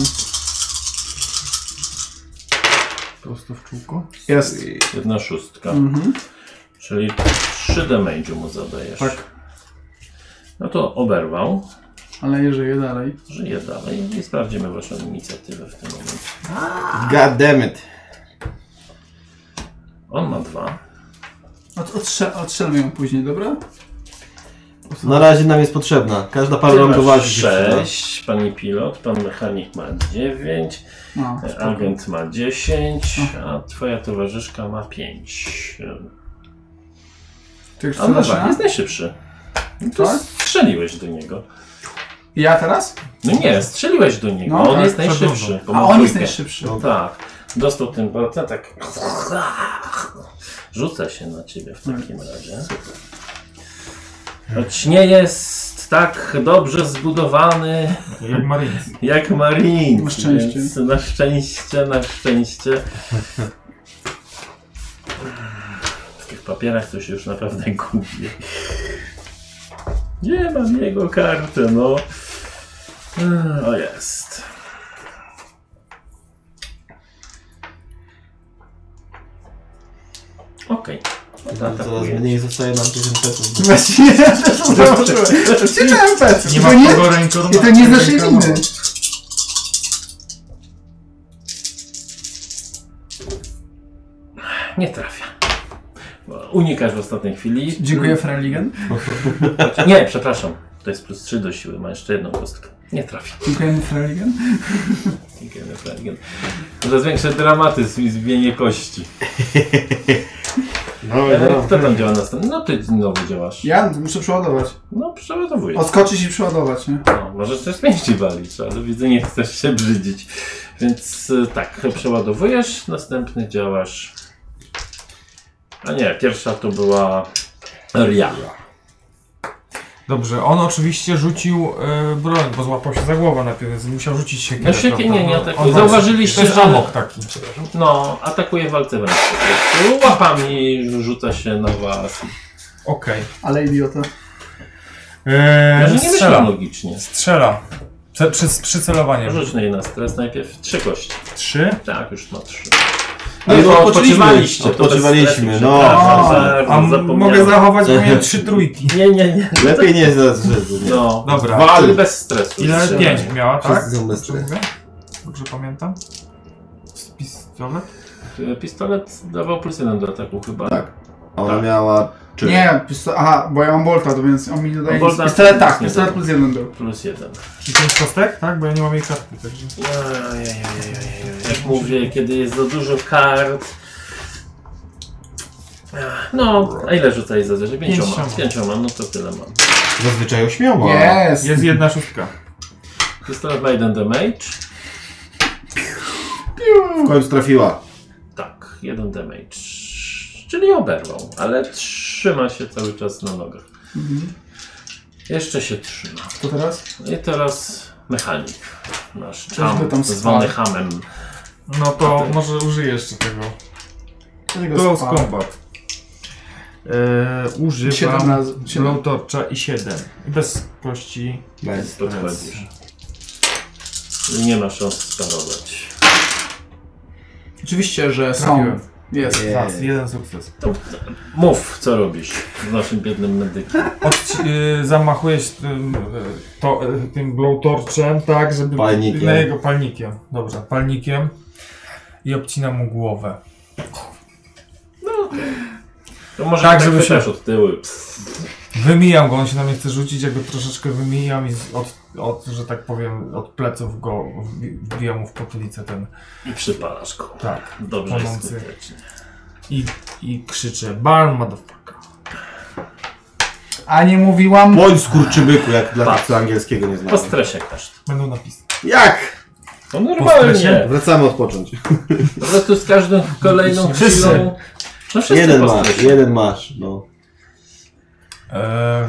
Prosto w czółko?
Jest.
Jedna szóstka.
Mm.
Mhm.
Czyli 3 damage'u mu zadajesz.
Tak.
No to oberwał.
Ale nie żyje dalej.
Żyje dalej i sprawdzimy waszą inicjatywę w tym momencie.
God damn it.
On ma dwa.
Od, odstrze- odstrzelmy ją później, dobra?
Na razie nam jest potrzebna. Każda para
Ty
nam
masz
towarzyszy.
sześć, pani pilot, pan mechanik ma 9,
No,
agent ma 10, a twoja towarzyszka ma 5.
ty już
A no
strzelasz,
tak,
nie?
jest najszybszy. No to
Tak?
strzeliłeś do niego.
Ja teraz?
No nie, strzeliłeś do niego.
No
on
tak,
jest
przed
najszybszy. bo
A
ma
on jest
trójkę.
najszybszy.
No tak. Dostał ten balta, tak. Rzuca się na ciebie w takim razie. Choć nie jest tak dobrze zbudowany
Jak Marines.
jak Marine.
Na szczęście.
Więc na szczęście, na szczęście. W tych papierach to się już naprawdę gubi. Nie mam jego karty, no. Mm, O jest. Okej.
Zaraz
Atakuje.
mniej zostaje nam tych impetów.
No
Właściwie ja też zauważyłem. Gdzie ten PC?
Nie
To
ma
nie-
kogo ręką.
I to nie znaczy, z naszej winy.
Nie trafia. Unikasz w ostatniej chwili.
Dziękuję, Freligen.
Nie, przepraszam. To jest plus 3 do siły, ma jeszcze jedną kostkę. Nie trafi.
Dziękujemy, Freligen.
Może zwiększę dramatyzm i zmienię kości.
No,
E,
no.
kto tam działa następny? No ty znowu działasz.
Ja muszę przeładować.
No przeładowuję.
Odskoczyć i przeładować, nie?
No, możesz też pięści walić, ale widzę, nie chcesz się brzydzić. Więc e, tak, przeładowujesz, następny działasz. A nie, pierwsza to była Ria.
Dobrze, on oczywiście rzucił e, broń, bo złapał się za głowę najpierw, więc musiał rzucić się
No się nie, nie atakuje.
To
Zauważyliście,
jest
że
amok taki.
no, atakuje walce wręcz. po prostu. Łapami rzuca się na was.
Okej.
Ale idiota.
Eee,
Może nie myślę
Strzela.
logicznie.
Strzela. Prze, przy, przy celowaniu.
Rzuć na jej na stres najpierw trzy kości.
Trzy.
Tak, już ma trzy.
No
Ale
i
to
odpoczywaliśmy.
odpoczywaliście, to bez
Odpoczywaliśmy,
stresu,
no.
przepraszam, za-
A m-
zapomniałem.
mogę zachować, bo miałem trzy trójki.
Nie, nie, nie.
Lepiej nie znać, że
No.
Dobra.
Ale
Wal!
bez stresu.
Ile?
Strzelanie.
Pięć miała, tak?
Wszyscy są bez
Dobrze mówię? Dobrze pamiętam? Z pistolet?
Y, Pistolet dawał plus jeden do ataku chyba. Tak.
A Ona miała... Czy?
Nie, pistolet. Aha, bo ja mam Bolta, to więc on mi dodaje.
Bolta-
Pistolet tak,
nie
pistolet
daje.
plus jeden był.
Plus jeden.
Czy pięć kostek? Tak, bo ja nie mam jej karty, także...
Jak mówię, kiedy jest za dużo kart. Ach, No, a ile rzucaj za dużo? Pięcioma.
Pięcioma.
Pięcioma, no to tyle mam.
Zazwyczaj ośmioma.
Jest!
Jest jedna szóstka.
Pistolet ma jeden damage.
W końcu trafiła.
Tak, jeden damage. Czyli oberwał, ale trzyma się cały czas na nogach.
Mhm.
Jeszcze się trzyma. No
To teraz?
I teraz mechanik. Nasz
Coś by
tam
tam
zwany
spał.
hamem.
No to może użyję jeszcze tego.
Dlaczego
Close
spadł?
Combat. Eee,
Siedem
używam
razy. siedem.
Slow Torcha i 7. Bez kości.
Bez.
Podchodzisz. I Nie ma szans sparować.
Oczywiście, że są.
Trafiłem.
Jest.
Raz, jeden sukces.
To, mów, co robisz z naszym biednym medykiem.
Odci- y, zamachuję się tym, y, to, y, tym Blow Torchem, tak, żeby...
Palnikiem.
Na jego palnikiem. Dobrze, palnikiem. I obcinam mu głowę.
To może
Tak,
tak, tak
żeby
chwytasz od tyłu. Pff,
Wymijam go, on się na mnie chce rzucić, ja go troszeczkę wymijam i z- od, od że tak powiem, od pleców go wbi- wbijam mu w potylicę ten.
I przypalasz go.
Tak.
Dobrze jest
Pomocy.
skutecznie.
I, i krzyczę, Barn motherfucker.
A nie mówiłam.
Bądź skurczybyku, jak dla
Tak.
tych, co angielskiego nie
Po
znają.
stresie każdy.
Będą napisy.
Jak?
To
stresie?
normalnie.
Wracamy odpocząć.
Po prostu z każdą kolejną
Wszyscy.
chwilą. No wszyscy
Jeden
po
masz,
stresie.
jeden masz, no.
Eee,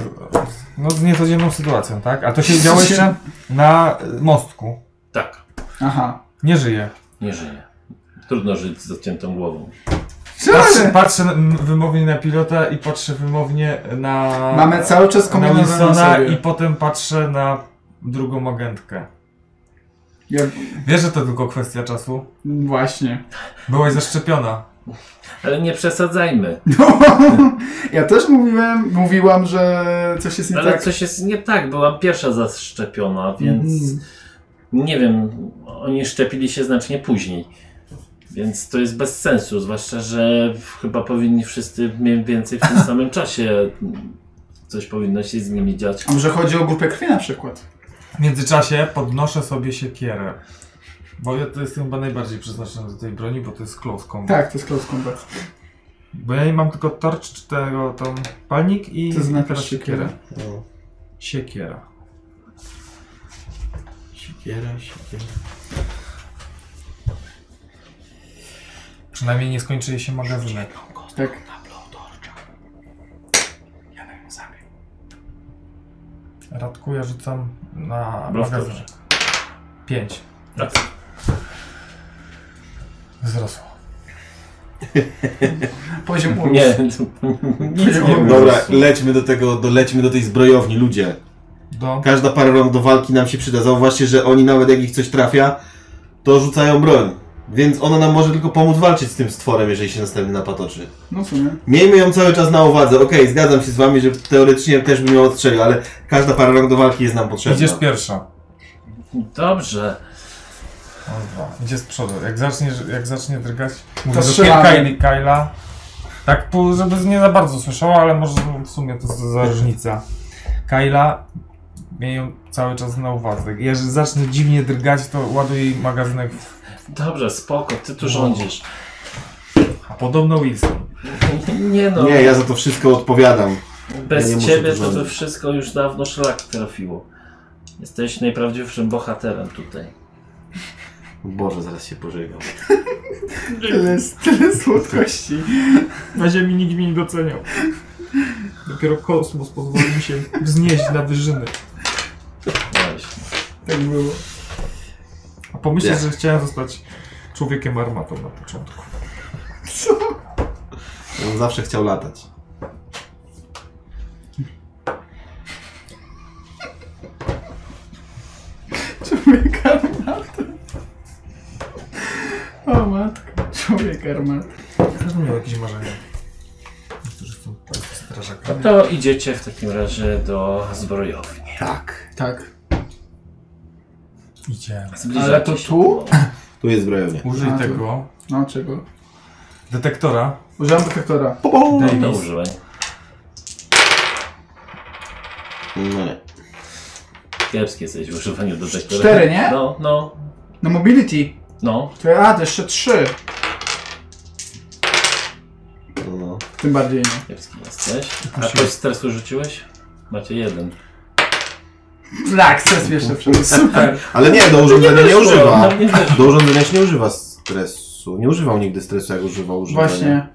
no z niecodzienną sytuacją, tak? A to się działo jeszcze na y, mostku.
Tak,
Aha.
Nie żyje.
nie żyje. Trudno żyć z zaciętą głową.
Patrzę,
Czemu?
patrzę na- m, wymownie na pilota i patrzę wymownie na...
Mamy cały czas
na
kombinowane na
Wilsona
sobie.
i potem patrzę na drugą agentkę.
Ja...
Wiesz, że to tylko kwestia czasu?
Właśnie.
Byłaś zaszczepiona.
Ale nie przesadzajmy.
ja też mówiłem, mówiłam, że coś jest nie
Ale
tak.
coś jest nie tak. Byłam pierwsza zaszczepiona, więc
Mhm.
nie wiem. Oni szczepili się znacznie później. Więc to jest bez sensu. Zwłaszcza, że chyba powinni wszyscy mniej więcej w tym samym czasie coś powinno się z nimi dziać.
A może chodzi o grupę krwi na przykład?
W międzyczasie podnoszę sobie siekierę. Bo ja to jestem chyba najbardziej przeznaczony do tej broni, bo to jest kloską.
Tak, to jest close combat.
Bo ja mam tylko torcz, czy tego, tam palnik i...
To znaczy
teraz
siekierę.
No.
Siekiera.
Siekiera, siekiera.
Przynajmniej nie skończy jej się magazynek.
Tak.
Radku ja rzucam na
Blast
magazynek. Pięć.
Tak.
Wzrosło.
Poziom ulu.
Nie, nic nie było.
Dobra, lećmy do tego, do, lećmy do tej zbrojowni, ludzie.
Do...
Każda parę rąk do walki nam się przyda. Zauważcie, że oni nawet jak ich coś trafia, to rzucają broń. Więc ona nam może tylko pomóc walczyć z tym stworem, jeżeli się następny napatoczy.
No co nie?
Miejmy ją cały czas na uwadze. Okej, zgadzam się z wami, że teoretycznie też bym ją odstrzelił, ale każda para rąk do walki jest nam potrzebna.
Idziesz pierwsza.
Dobrze.
Raz, dwa. Idzie z przodu. Jak zacznie, jak zacznie drgać, mówię
To
do
strzelamy.
Kayla Kyla. Tak, po- żeby nie za bardzo słyszała, ale może w sumie to za za różnica. Kyla miej ją cały czas na uwadze. Jeżeli zacznie dziwnie drgać, to ładuj jej magazynek. w-
Dobrze, spoko, ty tu rządzisz.
A podobno Wilson.
Nie no,
Nie, ja za to wszystko odpowiadam.
bez
ja nie muszę
ciebie
tu
to by
rządzić.
wszystko już dawno szlak trafiło. Jesteś najprawdziwszym bohaterem tutaj.
Boże, zaraz się pożegam.
Tyle, tyle słodkości.
Na ziemi nikt mnie nie doceniał. Dopiero kosmos pozwolił mi się wznieść na wyżyny.
Właśnie.
Tak było.
A pomyśleć,
Nie.
że chciałem zostać człowiekiem armatą na początku.
On zawsze chciał latać.
Człowiek armaty. O matka. Człowiek armaty.
Każdy miał jakieś marzenia. Niektórzy są tak strażakami.
No To idziecie w takim razie do zbrojowni.
Tak.
Tak.
Idziemy.
Zbliżacie
Ale to
się
tu?
do-
Tu jest zbrojownia.
Użyj
A, to-
tego
No czego?
detektora.
Użyłam detektora.
Daj no, to
Davis.
używaj.
No nie.
Kiepski jesteś w używaniu do detektora.
Cztery, nie?
No, no,
No mobility.
no.
To ja, a, to jeszcze trzy.
No, no.
Tym bardziej nie.
Kiepski jesteś. A coś stresu rzuciłeś? Macie jeden.
Tak, stres jeszcze Super.
Ale nie, do urządzenia nie
weszło,
używa.
tam No, nie weszło.
Do urządzenia się nie używa stresu. Nie używał nigdy stresu, jak używał urządzenia.
Tak, Właśnie.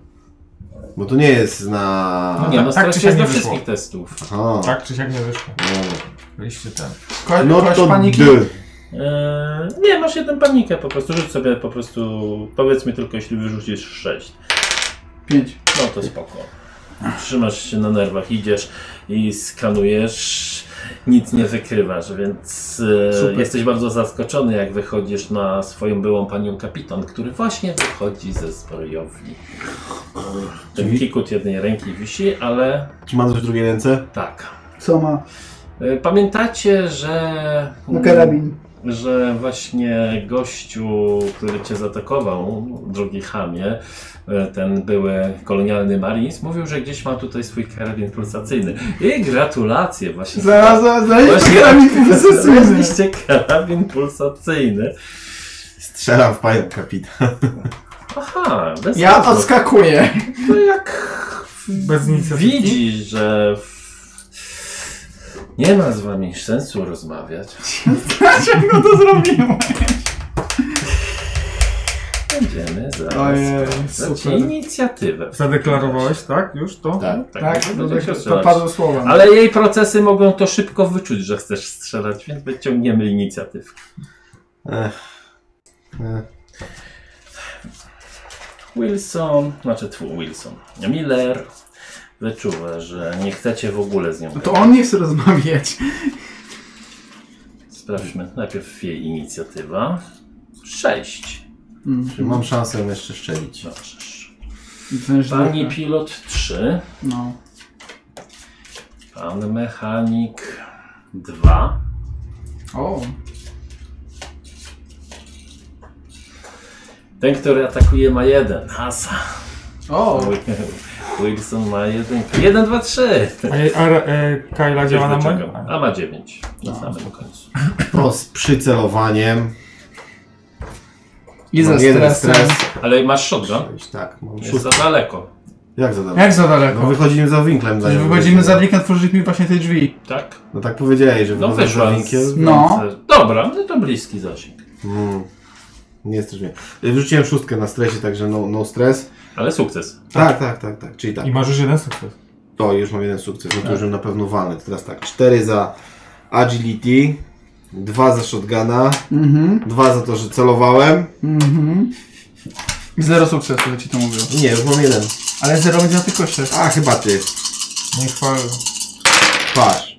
Bo to nie jest na...
Nie, no
tak
stres
czy
jest
siak
do
nie wyszło.
wszystkich testów.
Aha.
Tak czy siak nie wyszło.
No.
Byliście ten.
Ko
No
kogoś
to
Tak, paniki?
dy.
Eee, nie, masz jeden panikę po prostu. Rzuć sobie po prostu, powiedz mi tylko, jeśli wyrzucisz sześć.
Pięć.
No to spoko. Trzymasz się na nerwach, idziesz i skanujesz, nic nie wykrywasz, więc e,
Super.
jesteś bardzo zaskoczony, jak wychodzisz na swoją byłą panią kapitan, który właśnie wychodzi ze zbrojowni. Ten
Czyli-
kikut jednej ręki wisi, ale
Czy mam coś w drugiej ręce?
tak.
Co ma?
E, Pamiętacie, że...
No karabin.
że właśnie gościu, który cię zaatakował, drugi chamie, e, ten były kolonialny marines, mówił, że gdzieś ma tutaj swój karabin pulsacyjny. I gratulacje właśnie.
Zaraz, zaraz, zaraz.
Właśnie-
karabin pulsacyjny.
Znaleźliście karabin pulsacyjny.
Strzelam w panią kapitan.
Aha, bez
Ja
sensu.
odskakuję.
To jak
Bez inicjatywy.
widzi, że w- nie ma z wami sensu rozmawiać.
Dlaczego to zrobiłem?
Będziemy zaraz
Ojej,
sprawdzać
super.
inicjatywę.
Zadeklarowałeś, tak? Już to?
Tak.
Tak,
będziecie
to, to
strzelać.
padło słowa.
Ale jej procesy mogą to szybko wyczuć, że chcesz strzelać, więc wyciągniemy inicjatywkę.
Ech.
Wilson, znaczy twój Wilson, Miller wyczuwa, że nie chcecie w ogóle z nią.
No to on nie chce rozmawiać.
Sprawdźmy. Najpierw jej inicjatywa. Sześć.
Czy mam szansę ją jeszcze szczelić?
Dobrze. Pani
Zężdżarka.
pilot trzy.
No.
Pan mechanik dwa.
O,
Ten, który atakuje ma jeden. Asa.
O!
Wilson ma jedynkę. Jeden, dwa, trzy.
A, jej- a e, Kyla działa na moje?
Czekam. A ma dziewięć. Na samym końcu.
Prost przycelowaniem.
I ze
Mam jeden
stresem.
stres.
Ale masz shotgun?
Sześć, Tak, mam
Jest
szóstkę.
za daleko.
Jak zadam?
Jak za daleko?
No wychodzimy za winklem.
Przecież
zanim
wychodzimy
wejdziemy.
za blinkę, otworzyć mi właśnie te drzwi.
Tak?
No tak powiedziałeś, że
No
wychodzę za
wyszła.
winkiem.
z-
No.
Dobra, no to bliski zasięg.
Mm. Nie jesteś mnie. Wrzuciłem szóstkę na stresie, także no, no stres.
Ale sukces.
Tak, tak, tak, tak. Czyli tak.
I masz już jeden sukces.
To już mam jeden sukces, no to już bym na pewno walny. To Teraz tak, 4 za agility, 2 za shotguna,
Mhm,
2 za to, że celowałem.
mhm. Zero sukcesu, jak ci to mówił.
Nie, już mam jeden.
Ale zero będzie na tych kościach.
A, chyba ty.
Nie chwal.
Patrz.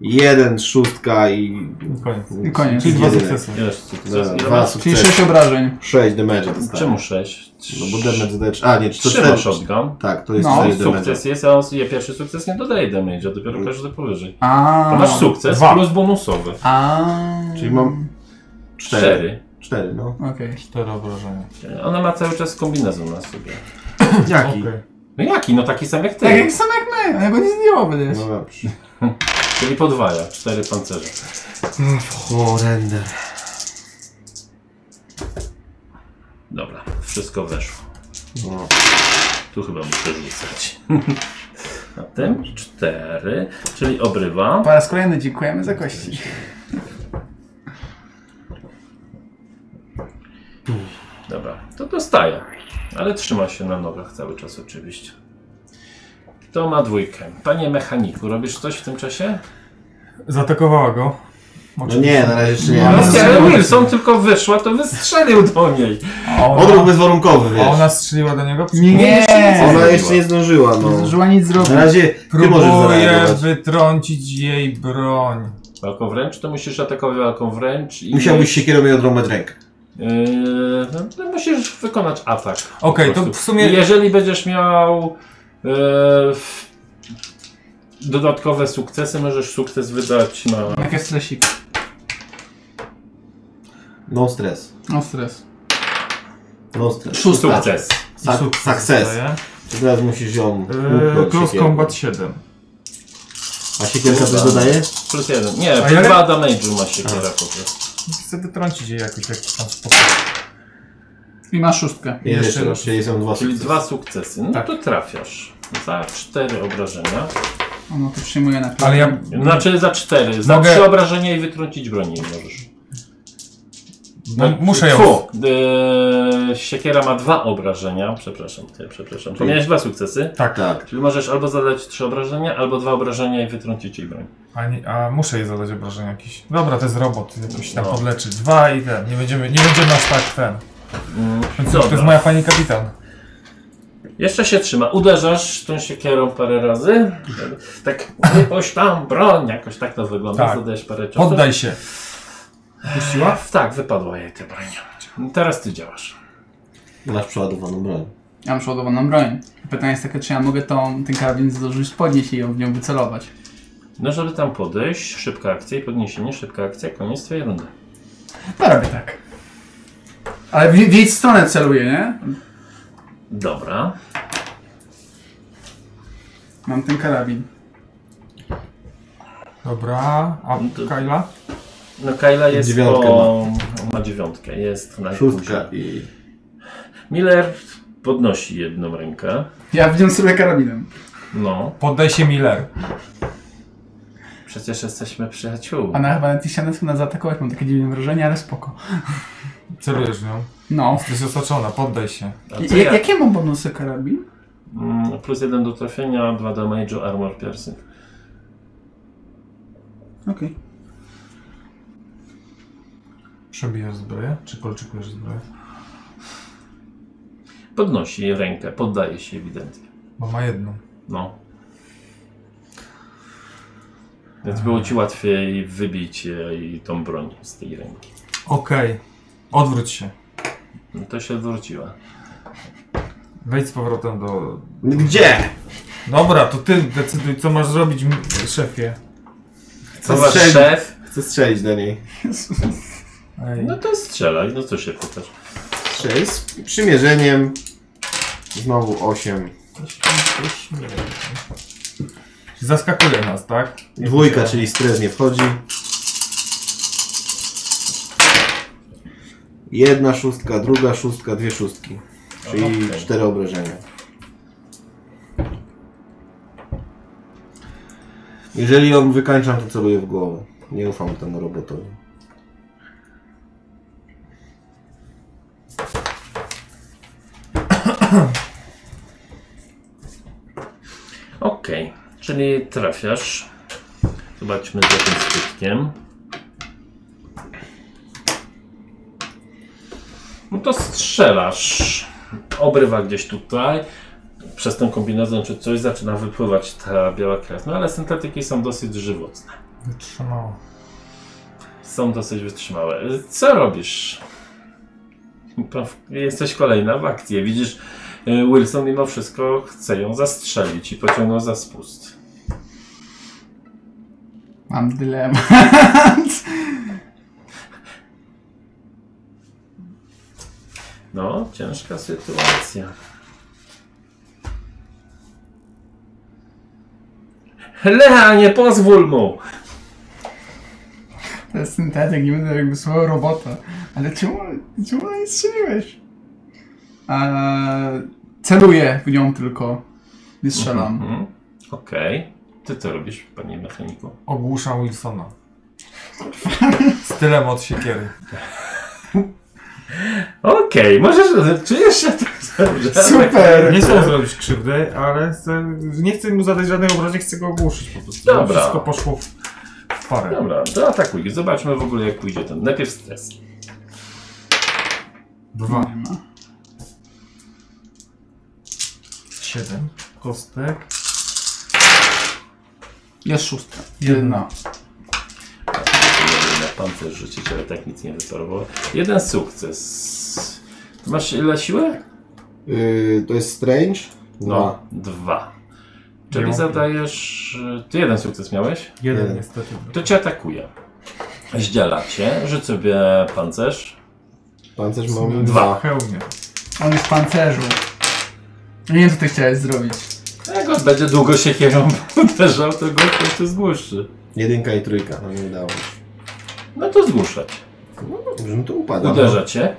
Jeden, szóstka i...
I koniec.
I koniec.
Czyli dwa
jedynek.
sukcesy.
Wiesz, sukces.
Dobra,
Ile
Dwa
masz?
Czyli
sukcesy.
sześć obrażeń.
6 damage'a dostałem.
Czemu sześć? Trz-
No bo damage dodaje... A, nie,
Trzy ma
4.
shotgun.
Tak, to jest
No,
6
Sukces
damage'a.
jest, a on ja pierwszy sukces nie dodaje damage'a, dopiero każdy powyżej.
A.
To masz sukces
Dwa.
plus bonusowy.
A.
Czyli mam 4.
Cztery.
4, no.
Okej.
Cztery obrażenia.
Ona ma cały czas kombinezon na sobie.
Jaki?
Okej.
No jaki? No taki sam jak ty.
Tak jak sam jak my, ona go nie zdjęła będziesz.
No dobrze.
Czyli podwaja. Cztery pancerze. No,
Horrender.
Dobra, wszystko weszło.
No.
Tu chyba muszę rzucać. A tym cztery, czyli obrywa.
Po raz kolejny dziękujemy za kości.
Dobra, to dostaje. Ale trzyma się na nogach cały czas oczywiście. To ma dwójkę. Panie mechaniku, robisz coś w tym czasie?
Zaatakowała go.
No nie, na razie jeszcze nie.
No,
ale-
No, ale Wilson tylko wyszła, to wystrzelił do niej.
A
Odruch
ona,
bezwarunkowy,
a
wiesz.
ona strzeliła do niego?
Nie!
Ona jeszcze nie zdążyła,
Nie
no.
zdążyła nic zrobić.
Na razie ty możesz
Próbuję
zareagować.
wytrącić jej broń.
Walką wręcz, to musisz atakować walką wręcz i...
Musiałbyś się kierownie odrąbać rękę.
Yy, no, to musisz wykonać atak. po
Okej, to
prostu.
w sumie-
Jeżeli będziesz miał yy, dodatkowe sukcesy, możesz sukces wydać na...
Jakie stresik.
No stres.
No stres.
No stres.
Szósta.
Sukces.
Sa-
Sukces
success.
daje.
To teraz musisz ją
Yy,
łupnąć
Cross
siekierą.
Combat 7.
A siekierka też dodaje?
Plus jeden. Nie, plus
ja-
dwa damage'u ma się po prostu.
Chcę wytrącić jej jakoś w jakiś tam sposób.
I masz szóstkę.
I
Jeszcze
Jeszcze
raz.
raz, czyli są dwa
Czyli
sukcesy.
dwa sukcesy. No
Tak.
to trafiasz. Za cztery obrażenia.
Ono to przyjmuje na klatę.
Ale ja...
Znaczy za cztery. Za
Mhm. Mogę-
trzy obrażenia i wytrącić broni nie możesz. Tak.
No, muszę ją...
Fu, yy, siekiera ma dwa obrażenia. Przepraszam, ty, przepraszam. To miałeś dwa sukcesy.
Tak.
Tak.
Czyli możesz albo zadać trzy obrażenia, albo dwa obrażenia i wytrącić jej broń.
A, nie, a muszę jej zadać obrażenia jakieś. Dobra, to jest robot, jakoś tam
No.
podleczy. Dwa i ten. Nie będziemy, nie będziemy aż tak ten.
Mm,
To jest
dobra.
moja pani kapitan.
Jeszcze się trzyma. Uderzasz tą siekierą parę razy. Tak, jakoś tam broń, jakoś tak to wygląda.
Tak.
Zadajesz parę ciosów.
Poddaj się.
Puściła? Tak, wypadła jej ta broń. Teraz ty działasz.
Masz przeładowaną broń.
Ja mam przeładowaną broń. Pytanie jest takie, czy ja mogę tą, ten karabin zdążyć podnieść i ją w nią wycelować.
No, żeby tam podejść, szybka akcja i podniesienie, szybka akcja, koniec twojej rundy.
To robię tak. Ale w, w jej stronę celuję, nie?
Dobra.
Mam ten karabin.
Dobra, a
No to-
Kyla?
No Kayla jest
Dziewiątkę
po... ma. dziewiątkę, jest na
Szóstka i...
Miller podnosi jedną rękę.
Ja w nią celuję karabinem.
No,
Poddaj się Miller.
przecież jesteśmy przyjaciółmi.
Ona chyba nawet nie chciała nas zaatakować, mam takie dziwne wrażenie, ale spoko.
Celujesz nią.
No.
Jesteś osaczona, poddaj się.
A co
I,
ja?
jakie mam bonusy karabin?
Mm, Plus jeden do trafienia, dwa damage'u, armor piercing.
Okej.
Przebijasz zbroję? Czy kolczykujesz zbroję?
Podnosi jej rękę, poddaje się ewidentnie.
Bo ma jedną.
No. Więc było ci łatwiej wybić jej tą broń z tej ręki.
Okej. Odwróć się.
No to się odwróciła.
Wejdź z powrotem do...
Gdzie?
Dobra, to ty decyduj, co masz zrobić, m- szefie.
Co
Chcę
masz
strzelić,
szef?
chcę strzelić do niej.
Ej.
No to strzelaj, no co się pytasz.
Strzelić z przymierzeniem. Znowu 8.
Zaskakuje nas, tak?
Dwójka, czyli stres nie wchodzi. Jedna szóstka, druga szóstka, dwie szóstki. Czyli
Okej.
cztery obrażenia. Jeżeli on wykańczam, to celuję w głowę. Nie ufam temu robotowi.
Okej, czyli trafiasz. Zobaczmy z jakim skutkiem. No to strzelasz. Obrywa gdzieś tutaj. Przez ten kombinezon czy coś zaczyna wypływać ta biała krew. No ale syntetyki są dosyć żywotne.
Wytrzymało.
Są dosyć wytrzymałe. Co robisz? Pan- Jesteś kolejna w akcji. Widzisz, y, Wilson mimo wszystko chce ją zastrzelić i pociągnął za spust.
Mam dylemat.
No, ciężka sytuacja. Lea, nie pozwól mu!
To jest syntetyk, nie będę jakby słowo robota. Ale czemu, czemu nie strzeliłeś? Eee, celuję w nią tylko. Nie strzelam.
Mhm. Okej. Ty co robisz, panie mechaniku?
Ogłusza Wilsona. Stylem od siekiery.
Okej, możesz... Czujesz się tak dobrze?
Super!
Nie chcę zrobić krzywdy, ale chcę, nie chcę mu zadać żadnej obrażeń, chcę go ogłuszyć po prostu. żeby
Dobra.
Wszystko poszło w, w parę.
Dobra, to atakuj. Zobaczmy w ogóle jak pójdzie ten. Najpierw stres.
Dwa.
Nie ma.
Siedem. Kostek.
Jest szóstka. Jedna.
Na pancerz rzucić, ale tak nic nie wyparowało. Jeden sukces. Masz ile siły?
Yy, to jest strange?
No.
Dwa.
Dwa. Czyli
Nie mam.
zadajesz... Ty jeden sukces miałeś?
Jeden,
Jeden.
niestety.
To cię atakuje. Zdziela cię, rzuć sobie pancerz.
Pancerz mam
Dwa.
Hełmie.
On jest w pancerzu. No Nie wiem, co ty chciałeś zrobić.
Jak on będzie długo się kierą uderzał, to go ktoś tu zgłuszy.
Jedynka i trójka. No nie udało. mi się.
No to zgłuszać.
Dobrze, no to upada.
Uderza cię.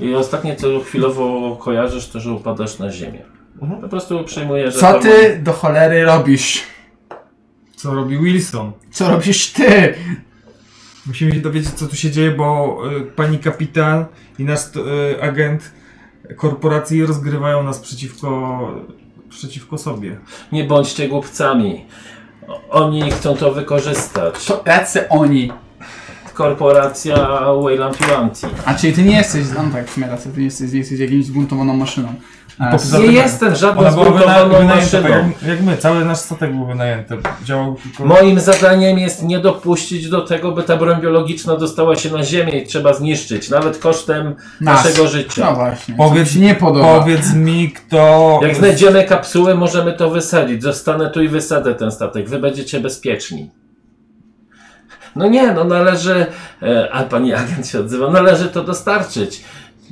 I ostatnie, co chwilowo kojarzysz, to że upadasz na ziemię.
Mhm.
Po prostu przyjmujesz... że
Co
tam-
ty do cholery robisz?
Co robi Wilson?
Co robisz ty?
Musimy się dowiedzieć, co tu się dzieje, bo y, pani kapitan i nasz y, agent korporacji rozgrywają nas przeciwko, przeciwko sobie.
Nie bądźcie głupcami. O- Oni chcą to wykorzystać.
To jacy oni?
Korporacja Wayland Yuanti.
A czyli ty nie jesteś, no tak, w sumie racja, ty nie jesteś, jesteś jakimś zbuntowaną maszyną. A,
Po- za-
Nie
tym-
jestem żadną
Ona była wyna-
zbudowaną
wynajęta, tak
maszyną.
jak, jak my, cały nasz statek był wynajęty. Działał tylko...
Moim zadaniem jest nie dopuścić do tego, by ta broń biologiczna dostała się na ziemię i trzeba zniszczyć, nawet kosztem
Nas.
naszego
no
życia.
właśnie, co mi
Powiedz-
się nie podoba.
Powiedz mi, kto...
Jak znajdziemy kapsuły, możemy to wysadzić. Zostanę tu i wysadzę ten statek. Wy będziecie bezpieczni. No nie, no należy, e, a pani agent się odzywa, należy to dostarczyć.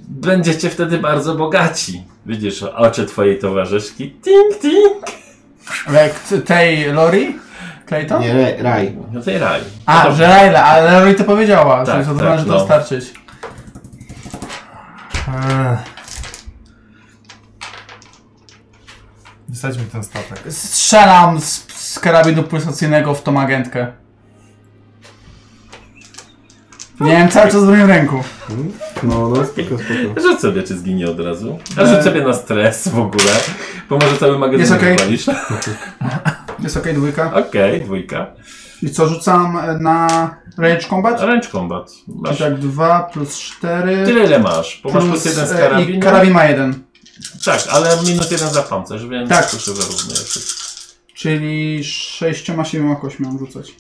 Będziecie wtedy bardzo bogaci. Widzisz oczy twojej towarzyszki? Ting, ting.
Jak t- tej Lori? Clayton?
Nie, raj. raj.
No tej raj.
A,
Dobrze.
że Raila, ale Lori to powiedziała,
Tak,
tak, że to
tak,
należy
no.
dostarczyć.
Eee. Wysadźmy ten statek.
Strzelam z, z karabinu pulsacyjnego w tą agentkę. Miałem cały czas w moim ręku.
No, no, spoko, spoko.
Rzuć sobie, czy zginie od razu. A rzuć sobie na stres w ogóle, bo może cały magazyn
E. Jest okej.
wywalisz.
Jest okej, dwójka.
Okej, dwójka.
I co, rzucam e, na Rage Combat?
Ręcz kombat.
Czyli
Masz
tak 2 plus 4
tyle, ile masz. Bo masz plus jeden z karabinu.
e, I karabin ma jeden,
Tak, ale minus jeden za pancerz, więc
Tak.
proszę zarówno jest.
czyli 6 siedmioma kośmią rzucać.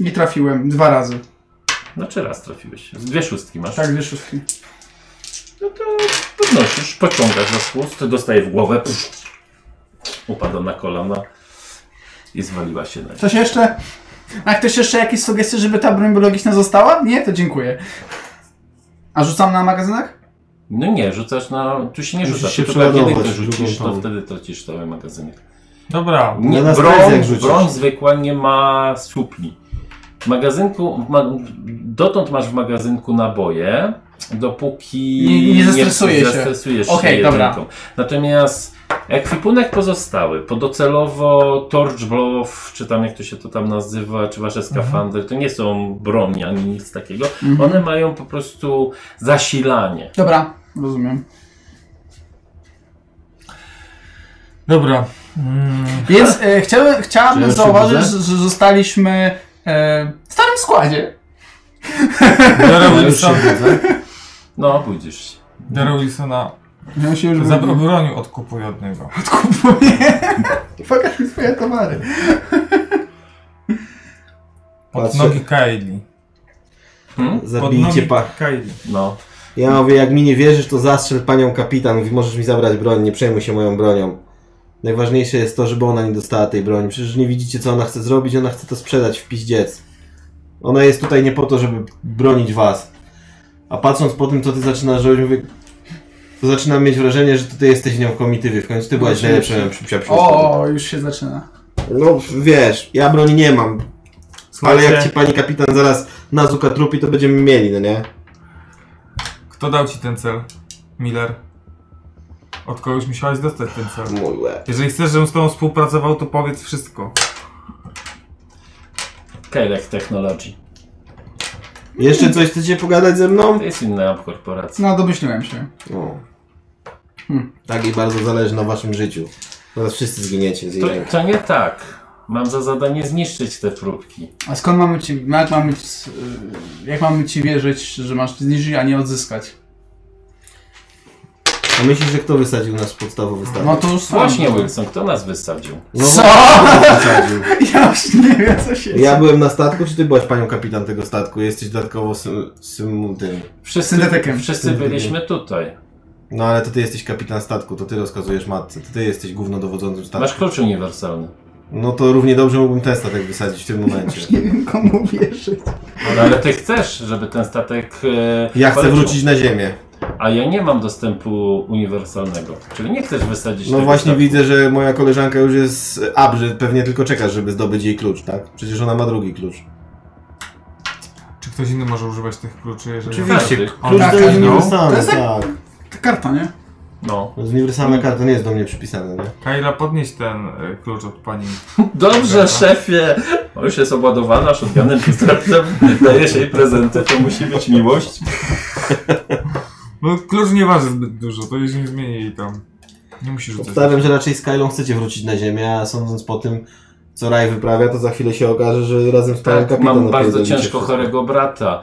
I trafiłem dwa razy.
Znaczy raz trafiłeś. Dwie szóstki masz.
Tak, dwie szóstki.
No to podnosisz, pociągasz za spust, dostaje w głowę. Pff, upada na kolana i zwaliła się na nią.
Coś jeszcze? A ktoś jeszcze jakieś sugestie, żeby ta broń biologiczna została? Nie? To dziękuję. A rzucam na magazynach?
No nie, rzucasz na... Tu się nie
Musisz
rzucasz,
się
tylko jak jedynkę
przeładować w
rzucisz,
drugą
to
tą.
wtedy tracisz cały magazynek.
Dobra,
Nie,
na
broń,
strajk jak rzucisz.
broń zwykła nie ma supli. W magazynku, w ma, dotąd masz w magazynku naboje, dopóki
Nie- nie zestresuje się.
zestresujesz się
Okej,
jedynką.
dobra.
Natomiast ekwipunek pozostały, podocelowo torch blow, czy tam jak to się to tam nazywa, czy wasze
Mhm.
skafandry, to nie są broni ani nic takiego. One mają po prostu zasilanie.
Dobra, rozumiem.
dobra. Mm,
Więc e, chciałem,
Czy
chciałabym
ja się
zauważyć,
budzę?
że, że zostaliśmy e, w starym składzie.
Biorę
Ja już się
Wilsona,
widzę.
No, pójdziesz się.
biorę Wilsona
Ja się już
za broniu odkupuję od niego.
kupuję. Pokaż mi swoje towary.
Pod
Patrzę.
nogi Kaili. Pod
Zabijcie
nogi
pa.
Kaili.
No.
Ja mówię, jak mi nie wierzysz, to zastrzel panią kapitan. Mówi, możesz mi zabrać broń, nie przejmuj się moją bronią. Najważniejsze jest to, żeby ona nie dostała tej broni. Przecież nie widzicie, co ona chce zrobić, ona chce to sprzedać w piździec. Ona jest tutaj nie po to, żeby bronić was. A patrząc po tym, co ty zaczynasz robić, mówię, to zaczynam mieć wrażenie, że to ty jesteś nią w komitywie. W końcu ty byłaś najlepszą przyjaciółką.
No, O, już się zaczyna.
No wiesz, ja broni nie mam, ale jak ci
Słuchajcie,
pani kapitan zaraz nazuka trupi, to będziemy mieli, no nie?
kto dał ci ten cel? Miller. Od kogoś musiałeś dostać ten cel.
Mój łeb.
Jeżeli chcesz, żebym z tobą współpracował, to powiedz wszystko.
Kelek Technology.
Jeszcze coś chcecie pogadać ze mną?
To jest inna korporacja.
No, domyśliłem się.
O. No. Tak i bardzo zależy na waszym życiu. Zaraz wszyscy zginiecie z jej
To,
ręki.
to nie tak. Mam za zadanie zniszczyć te próbki.
A skąd mamy ci, jak mamy, ci- y, jak mamy ci wierzyć, że masz zniżyć, a nie odzyskać?
A myślisz, że kto wysadził nasz podstawowy stan?
No to już
Właśnie,
sądzę.
Wilson, kto nas wysadził?
No,
Co?
kto wysadził?
Ja już nie wiem, co się
Ja byłem na statku, czy ty byłaś panią kapitan tego statku? Jesteś dodatkowo sym, sym tym.
Wszyscy,
Syntetykiem.
wszyscy byliśmy tutaj.
No ale to ty jesteś kapitan statku, to ty rozkazujesz matce, to ty jesteś główno dowodzącym
Masz
statku.
klucz uniwersalny.
No to równie dobrze mógłbym ten statek wysadzić w tym momencie.
Nie wiem, komu wierzyć.
No, ale ty chcesz, żeby ten statek. E,
Ja chcę
poleciał.
wrócić na ziemię.
A ja nie mam dostępu uniwersalnego. Czyli nie chcesz wysadzić
No
tego
właśnie
statku.
widzę, że moja koleżanka już jest abrzy, pewnie tylko czekasz, żeby zdobyć jej klucz, tak? Przecież ona ma drugi klucz.
No.
Czy ktoś inny może używać tych kluczy, jeżeli...
Oczywiście,
Klucz
tak,
do
tak,
uniwersalny,
To jest
tak.
Ta karta, nie?
No.
Z uniwersalna karta nie jest do mnie przypisana, nie?
Kaila, podnieś ten y, klucz od pani.
Dobrze, szefie! O, już jest obładowana shotgunem pistoletem. Dajesz jej prezenty, to musi być miłość.
Tak,
No, klucz nie waży zbyt dużo, to już nie zmieni jej tam. Nie musisz rzucać.
Obstawiam, że raczej z Kylą chcecie wrócić na ziemię, a sądząc po tym, co Raj wyprawia, to za chwilę się okaże, że razem z panem
Tak,
kapitanem
mam bardzo
odpierdolicie
ciężko
wszystko.
chorego brata.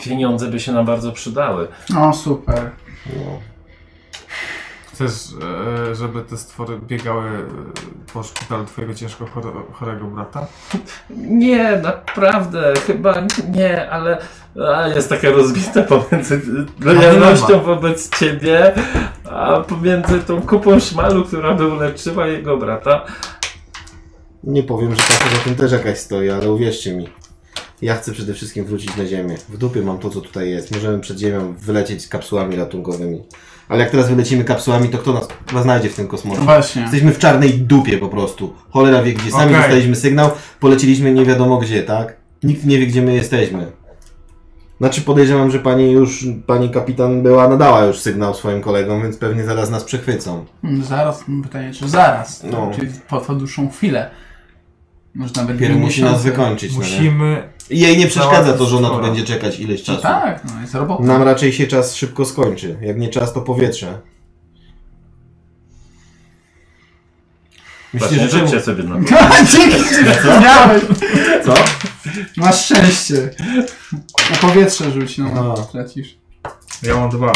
Pieniądze by się nam bardzo przydały.
O, super.
No.
Chcesz, e, żeby te stwory biegały e, po szpitalu twojego ciężko chore- chorego brata?
Nie, naprawdę, chyba nie, ale a jest taka rozbita pomiędzy lojalnością wobec ciebie, a pomiędzy tą kupą szmalu, która by uleczyła jego brata.
Nie powiem, że tak za tym też jakaś stoi, ale uwierzcie mi. Ja chcę przede wszystkim wrócić na ziemię. W dupie mam to, co tutaj jest. Możemy przed ziemią wylecieć z kapsułami ratunkowymi. Ale jak teraz wylecimy kapsułami, to kto nas chyba znajdzie w tym kosmosie?
Właśnie.
Jesteśmy w czarnej dupie po prostu. Cholera wie gdzie. Sami
Okej.
dostaliśmy sygnał, poleciliśmy nie wiadomo gdzie, tak? Nikt nie wie gdzie my jesteśmy. Znaczy podejrzewam, że pani już, pani kapitan była, nadała już sygnał swoim kolegom, więc pewnie zaraz nas przechwycą.
Mm, Zaraz, mm, pytanie, czy zaraz?
No.
Czyli po, po dłuższą chwilę. Może nawet
Pierw
dwie
musi nas
miesiące.
wykończyć. no nie?
Musimy...
I jej nie przeszkadza to, że ona tu
Załatwić
będzie czekać ileś
No
czasu.
tak, no jest robota.
Nam raczej się czas szybko skończy. Jak nie czas, to powietrze.
Właśnie,
Myślisz, że czemu?
rzućcie sobie na to.
No, Dzięki, miałeś.
Co?
Masz szczęście. Na powietrze rzuć, no.
A.
Tracisz.
Ja mam dwa.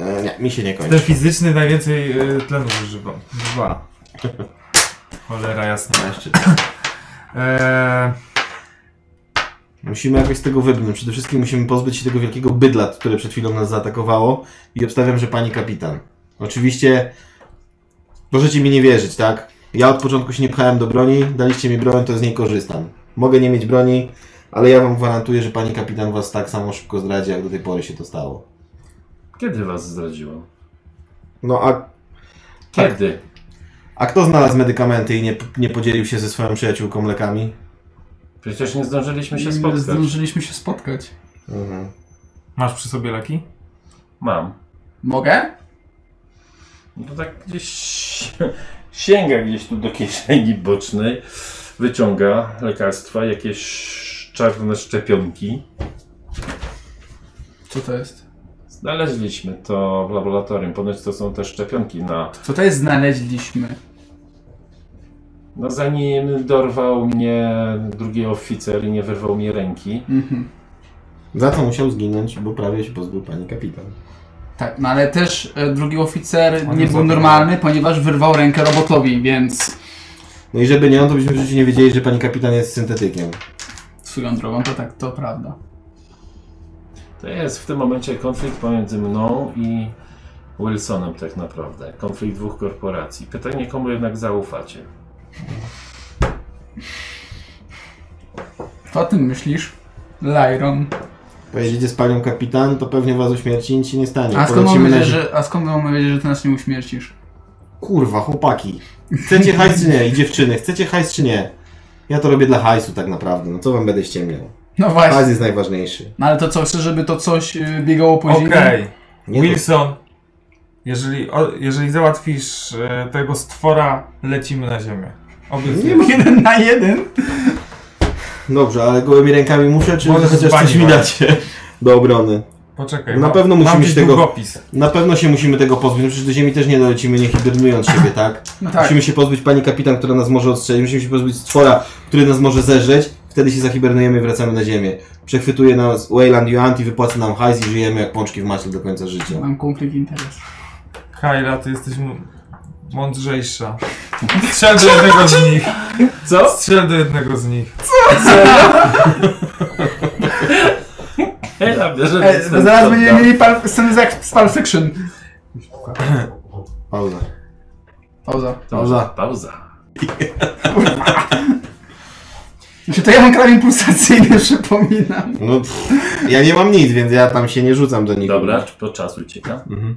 E, nie, mi się nie kończy.
Ten fizyczny najwięcej e, tlenu zużywa. Dwa. Cholera jasna.
Jeszcze.
Eee,
Musimy jakoś z tego wybrnąć. Przede wszystkim musimy pozbyć się tego wielkiego bydla, które przed chwilą nas zaatakowało. I obstawiam, że pani kapitan. Oczywiście możecie mi nie wierzyć, tak? Ja od początku się nie pchałem do broni, daliście mi broń, to z niej korzystam. Mogę nie mieć broni, ale ja wam gwarantuję, że pani kapitan was tak samo szybko zdradzi, jak do tej pory się to stało.
Kiedy was zdradziłam?
No a, Tak.
Kiedy?
a kto znalazł medykamenty i nie, nie podzielił się ze swoją przyjaciółką lekami?
Przecież nie zdążyliśmy się
Nie
spotkać.
Zdążyliśmy się spotkać.
Mhm.
Masz przy sobie leki?
Mam.
Mogę?
No to tak gdzieś sięga gdzieś tu do kieszeni bocznej, wyciąga lekarstwa, jakieś czarne szczepionki.
Co to jest?
Znaleźliśmy to w laboratorium. Ponoć to są te szczepionki na.
Co to jest znaleźliśmy?
No zanim dorwał mnie drugi oficer i nie wyrwał mi ręki.
Mhm.
Za co musiał zginąć, bo prawie się pozbył pani kapitan.
Tak, no ale też e, drugi oficer
On
nie
jest
był
za-
normalny, ponieważ wyrwał rękę robotowi, więc
No i żeby nie on, to byśmy w życiu nie wiedzieli, że pani kapitan jest syntetykiem.
swoją drogą to tak, to prawda.
To jest w tym momencie konflikt pomiędzy mną i Wilsonem tak naprawdę. Konflikt dwóch korporacji. Pytanie, komu jednak zaufacie?
To o tym myślisz? Lyron.
Pojedziecie z panią kapitan, to pewnie was uśmierci, nic się nie stanie.
A skąd mam
Polecimy na-
nadzieję, że, a skąd mam nadzieję, że ty nas nie uśmiercisz?
Kurwa, chłopaki. Chcecie hajs czy nie? I dziewczyny, chcecie hajs czy nie? Ja to robię dla hajsu tak naprawdę, no co wam będę ściemniał?
No
Hajs
właśnie.
jest najważniejszy.
No ale to co, chcesz, żeby to coś y, biegało po ziemi?
Okej.
Nie to-
Wilson, jeżeli, o, jeżeli załatwisz e, tego stwora, lecimy na ziemię.
Nie
Obiecuję.
ma-
Jeden na jeden?
Dobrze, ale gołymi rękami muszę, czy
Możesz
chociaż
zbani,
coś mi
Marek.
dacie do obrony?
Poczekaj.
Na
mam-
pewno musi
mam
mieć
gdzieś
tego-
długopis.
Na pewno się musimy tego pozbyć, no przecież do ziemi też nie dolecimy, nie hibernując siebie, tak?
No tak.
Musimy się pozbyć pani kapitan, która nas może odstrzelić, musimy się pozbyć stwora, który nas może zeżreć, wtedy się zahibernujemy i wracamy na ziemię. Przechwytuje nas Wayland Yuant i wypłaca nam hajs i żyjemy jak pączki w maśle do końca życia.
Mam konflikt interesów.
Kajla, ty jesteś m- mądrzejsza. Strzel do jednego z nich.
Co?
Strzel do jednego z nich.
Hela, bierze
E, bo zaraz będziemy mieli par- sceny z jak z Pulp Fiction.
Pauza.
Pauza.
Pauza. Pauza.
Znaczy to ja mam kraj impulsacyjny, przypominam.
No, pff, ja nie mam nic, więc ja tam się nie rzucam do nikogo.
Dobra, bo czas ucieka.
Mhm.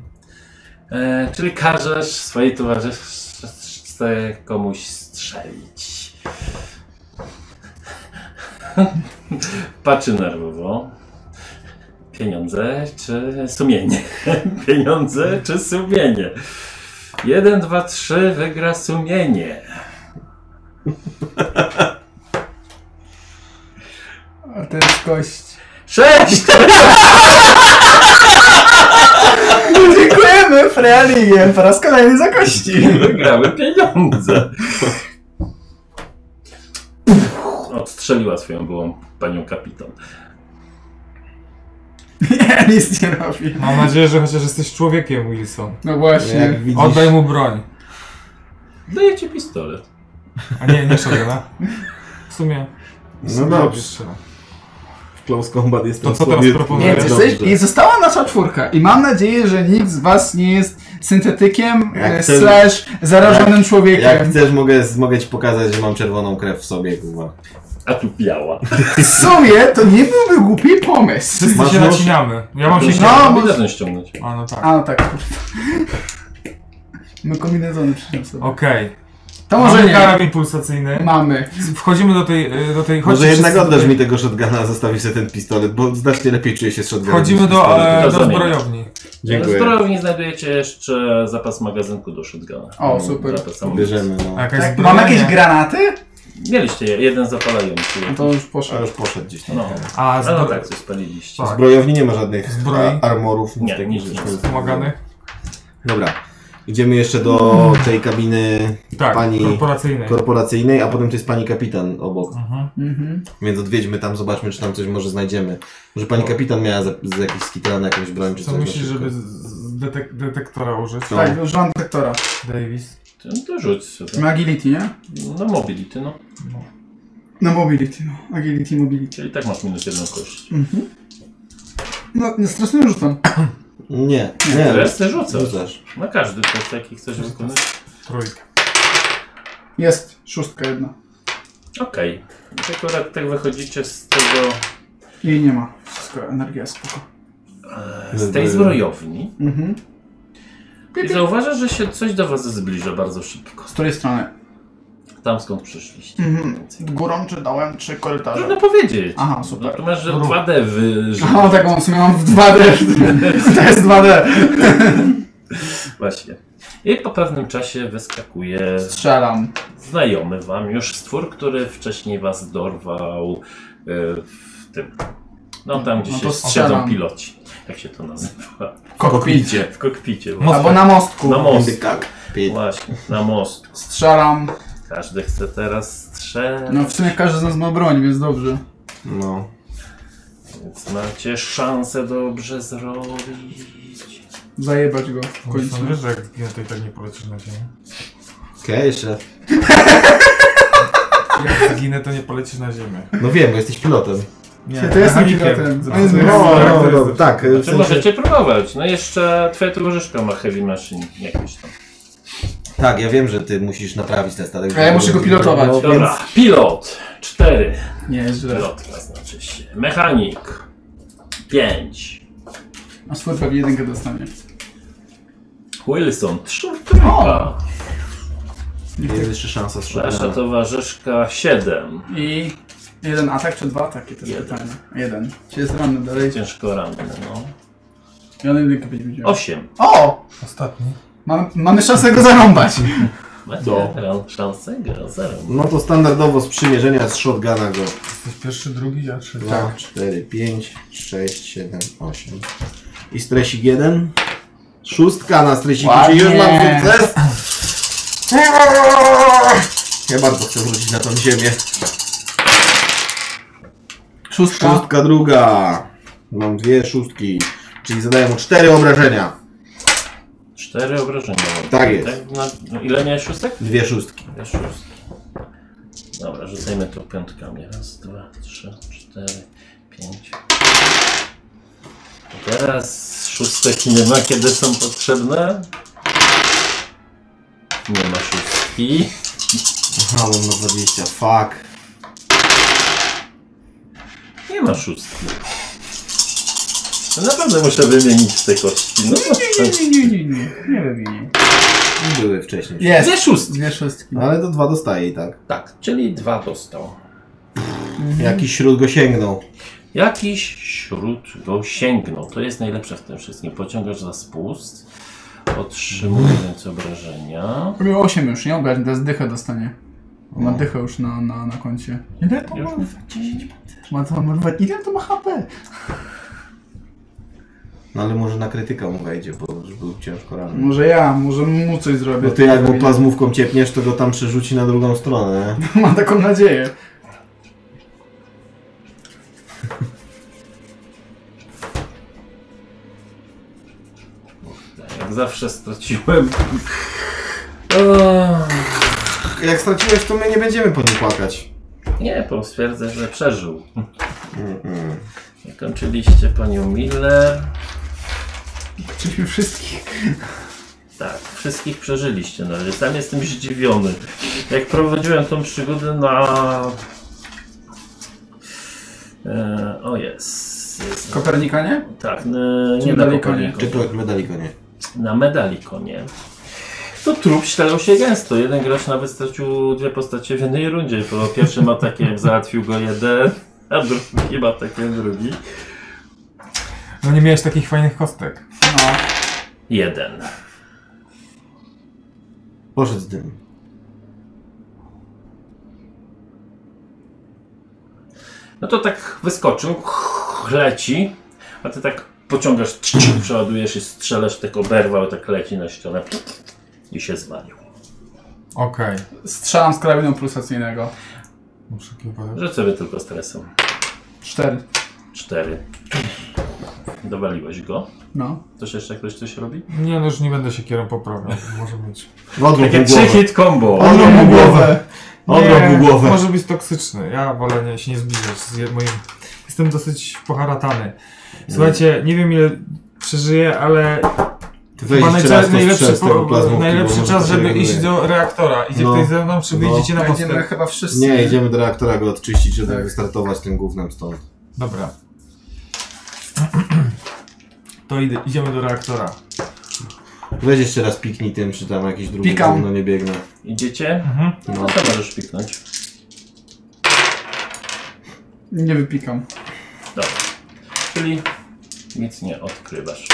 E, czyli każesz swojej towarzyszce komuś strzelić. Patrzy nerwowo. Pieniądze czy sumienie? Pieniądze czy sumienie? Jeden, dwa, trzy, wygra sumienie.
A to jest kość.
Sześć!
No, Dziękujemy, Frealigen, po raz kolejny za kości.
Wygrały pieniądze. Odstrzeliła swoją byłą panią kapitan.
Nie, nic nie robi.
Mam nadzieję, że chociaż jesteś człowiekiem, Wilson.
No
Jak
właśnie.
widzisz,
Oddaj mu broń.
Daję ci pistolet.
A nie, nie szogana. W sumie. w sumie
No dobrze.
nie strzela.
w close combat jestem
To co teraz
słaby-
proponuję?
Nie,
Dobrze.
jesteś, i została nasza czwórka. I mam nadzieję, że nikt z was nie jest syntetykiem
Jak
e,
chcesz-
slash zarażonym
Jak
człowiekiem.
chcesz, mogę, mogę ci pokazać, że mam czerwoną krew w sobie, kurwa.
A tu biała.
W sumie to nie byłby głupi pomysł.
Wszyscy
Masz
się
nóż?
nacinamy. Ja mam
Tu
się...
No,
białą
może-
Można ściągnąć.
A no tak.
A no tak, kurwa. My kombinezony przyniosłem.
Okej.
No,
To może
Mamy
nie.
karabin pulsacyjny.
Mamy.
Wchodzimy do tej... e, Do tej
Może
chodźcie
jednak
wszyscy do
oddasz
tej-
mi tego shotguna, a zostawisz sobie ten pistolet, bo znacznie lepiej czuję się z shotgunem.
Wchodzimy
niż z
do,
pistoletem.
e, do
Rozumiem.
zbrojowni.
W
Dziękuję.
zbrojowni znajdujecie jeszcze zapas magazynku do shotguna.
O, super.
Zapas amunicji.
Bierzemy, no.
A jakaś
Tak,
zbroja?
mam jakieś
Nie.
granaty?
Mieliście je- jeden zapalający.
No to już
A
poszło.
już poszedł gdzieś tam.
No,
A,
ale no
zbro...
tak, coś spaliliście.
W zbrojowni nie ma żadnych
Zbroi?
a, armorów, nic
Nie,
takich
nic,
rzeczy.
nic.
pomagany?
Dobra. Idziemy jeszcze do tej kabiny
Tak,
pani
korporacyjny.
korporacyjnej, a potem to jest pani kapitan obok.
Mhm.
Mhm.
Więc odwiedźmy tam, zobaczmy, czy tam coś może znajdziemy. Może pani kapitan miała za, za jakiś skitrany, jakąś broń, czy
Co
coś. na
myślisz,
szybko.
żeby z- z detek detektora użyć?
No.
Tak, używam detektora.
Davis.
No to rzuć sobie.
No agility, nie?
No mobility, no.
No mobility, no. Agility, mobility.
Czyli tak masz minus jedną kość.
Mm.
Mhm. No, nie stresuję rzucam.
Nie,
Nie,
nie.
Resztę rzucasz.
Rzucasz.
Na każdy test, jaki chcesz wykonać.
Trójka.
Jest, szóstka jedna.
Okej. Okay. Akurat tak wychodzicie z tego
Jej nie ma. Wszystko, energia, spoko.
e, z tej zbrojowni
Mhm.
i zauważasz, że się coś do was zbliża bardzo szybko.
Z której strony?
Tam skąd przyszliście.
Mhm.
mniej więcej.
Górą czy dołem czy korytarzem?
Trudno powiedzieć.
Aha, super.
No, to masz że 2D wy... że-
O, No, taką w sumie mam w 2D. To jest 2D.
Właśnie. I po pewnym czasie wyskakuje
Strzelam.
znajomy wam już stwór, który wcześniej was dorwał e, w tym. No tam gdzie
No
się
to
siedzą
strzelam.
piloci. Jak się to nazywa?
W kokpicie.
W kokpicie.
Albo na mostku.
Na most.
Tak.
Właśnie, na most.
Strzelam.
Każdy chce teraz strzelać,
No w sumie każdy z nas ma broń, więc dobrze.
No.
więc macie szansę dobrze zrobić.
Zajebać go w
Końcu.
końcu.
Są no, wiesz, że jak zginę, to i tak nie polecisz na ziemię.
Okej, jeszcze raz.
Jak zginę, to nie polecisz na ziemię.
No wiem, bo jesteś pilotem.
Nie,
Ja to jestem
mechanikiem.
pilotem.
Zepsuję
On jest
sobie
No,
No,
charakter,
no, no,
zepsuję.
tak.
Znaczy,
W
Czy
sensie,
możecie próbować? No jeszcze twoja towarzyszka ma heavy machine jakieś tam.
tak, ja wiem, że ty musisz naprawić ten statek.
A ja muszę go pilotować.
No, więc
Dobra, pilot 4.
Nie, jest źle.
Pilotka znaczy się. Mechanik 5.
A swój pewnie jedynkę dostanie.
Wilson 3. Trójka.
jest jeszcze szansa
Nasza
strzelania.
towarzyszka 7.
I jeden atak czy dwa ataki? To jest
Jeden.
pytanie. Jeden. Czy jest ranny dalej?
Ciężko ranny, no.
I on jedynkę będzie widział.
8.
O!
Ostatni.
Mamy, mamy szansę go zarąbać.
Macie ran- szansę go zero.
No to standardowo z przymierzenia z shotguna go.
Jesteś pierwszy, drugi, a trzeci.
2, 4, 5, 6, 7, 8. I stresik 1. Szóstka na stresiku, czyli już mam
Ładnie.
sukces. Ja bardzo chcę wrócić na tą ziemię.
Szóstka.
Szóstka druga. Mam dwie szóstki, czyli zadaję mu cztery obrażenia.
4 obrażenia.
Tak jest.
na- no, ile miałeś szóstek?
Dwie szóstki.
Ja szóstki. Dobra, rzucajmy to piątkami. Raz, dwa, trzy, cztery, pięć. I Teraz szóstek nie ma, kiedy są potrzebne. Nie ma szóstki.
Aha, mam na 20. Fuck.
Nie ma szóstki. No Naprawdę muszę wymienić te kości. No,
Nie, nie, nie, nie. Nie wymienię.
Nie były wcześniej.
Jest.
Dwie szóstki.
Dwie szóstki.
No ale to dwa dostaje i tak.
Tak, czyli dwa dostał.
Jakiś śród go sięgnął.
Jakiś śród go sięgnął. To jest najlepsze w tym wszystkim. Pociągasz za spust,
Mm.
otrzymując obrażenia.
Miał 8 już, nie ogarnę, teraz dychę dostanie. Ma dychę już na, na, na koncie. Ile to ma?
Już
ma, to ma, ma ile to ma HP?
No ale może na krytyka mu wejdzie, bo już był ciężko ranny.
Może ja, może mu coś zrobię.
Bo ty jak mu plazmówką ciepniesz, to go tam przerzuci na drugą stronę. nie?
Mam taką nadzieję.
Tak, Jak zawsze straciłem. O,
Jak straciłeś, to my nie będziemy po nim płakać.
nie, bo stwierdzę, że przeżył.
Mm-mm.
Kończyliście panią Miller.
Czyśmy wszystkich.
Tak, wszystkich przeżyliście. No, ale sam jestem zdziwiony. Jak prowadziłem tą przygodę na. E, o jest. jest.
Kopernika, nie?
Tak, e, nie na
Medalikonie.
Kopernikonie.
Czy to medalik nie?
na medalikonie. To trup śledzał się gęsto. Jeden gracz nawet stracił dwie postacie w jednej rundzie. Po pierwszym atakiem załatwił go jeden, a drugim atakiem drugi.
No nie miałeś takich fajnych kostek.
No.
Jeden.
Poszedł z tym.
No to tak wyskoczył, leci, a ty tak pociągasz, przeładujesz i strzelasz, tak oberwał, tak leci na ścianę i się zwalił.
Okej.
Strzelam z karabinu pulsacyjnego.
Muszę kiełbę.
Rzuć sobie tylko stresem.
Cztery.
Cztery. Dowaliłeś go.
No.
Coś jeszcze ktoś coś robi?
Nie, no już nie będę się kierą poprawiał. Może być.
W odwrót
Takie
mu
trzy
głowę.
hit combo.
Odrób mu głowę. Odrób mu głowę.
Może być toksyczny. Ja wolę nie, się nie zbliżać z je- moim. Jestem dosyć poharatany. Słuchajcie, nie wiem ile przeżyję, ale
Ty
chyba
weź jeszcze raz
najczas-
to strzel z
po-
tego plazmówki. bo
najlepszy
może
czas,
to
żeby
się
iść
reguluje.
do reaktora. Idzie
No.
ktoś ze mną, czy
No.
wyjdziecie na
Będziemy
postęp?
chyba wszyscy.
Nie, idziemy do reaktora go odczyścić, żeby
Tak.
wystartować tym gównem stąd.
Dobra. to idę, idziemy do reaktora.
Weź jeszcze raz piknij tym, czy tam jakiś drugi
Pikam.
gówno nie biegnę.
Idziecie?
Mhm.
No to sam możesz piknąć.
Nie wypikam.
Dobra. Czyli nic nie odkrywasz.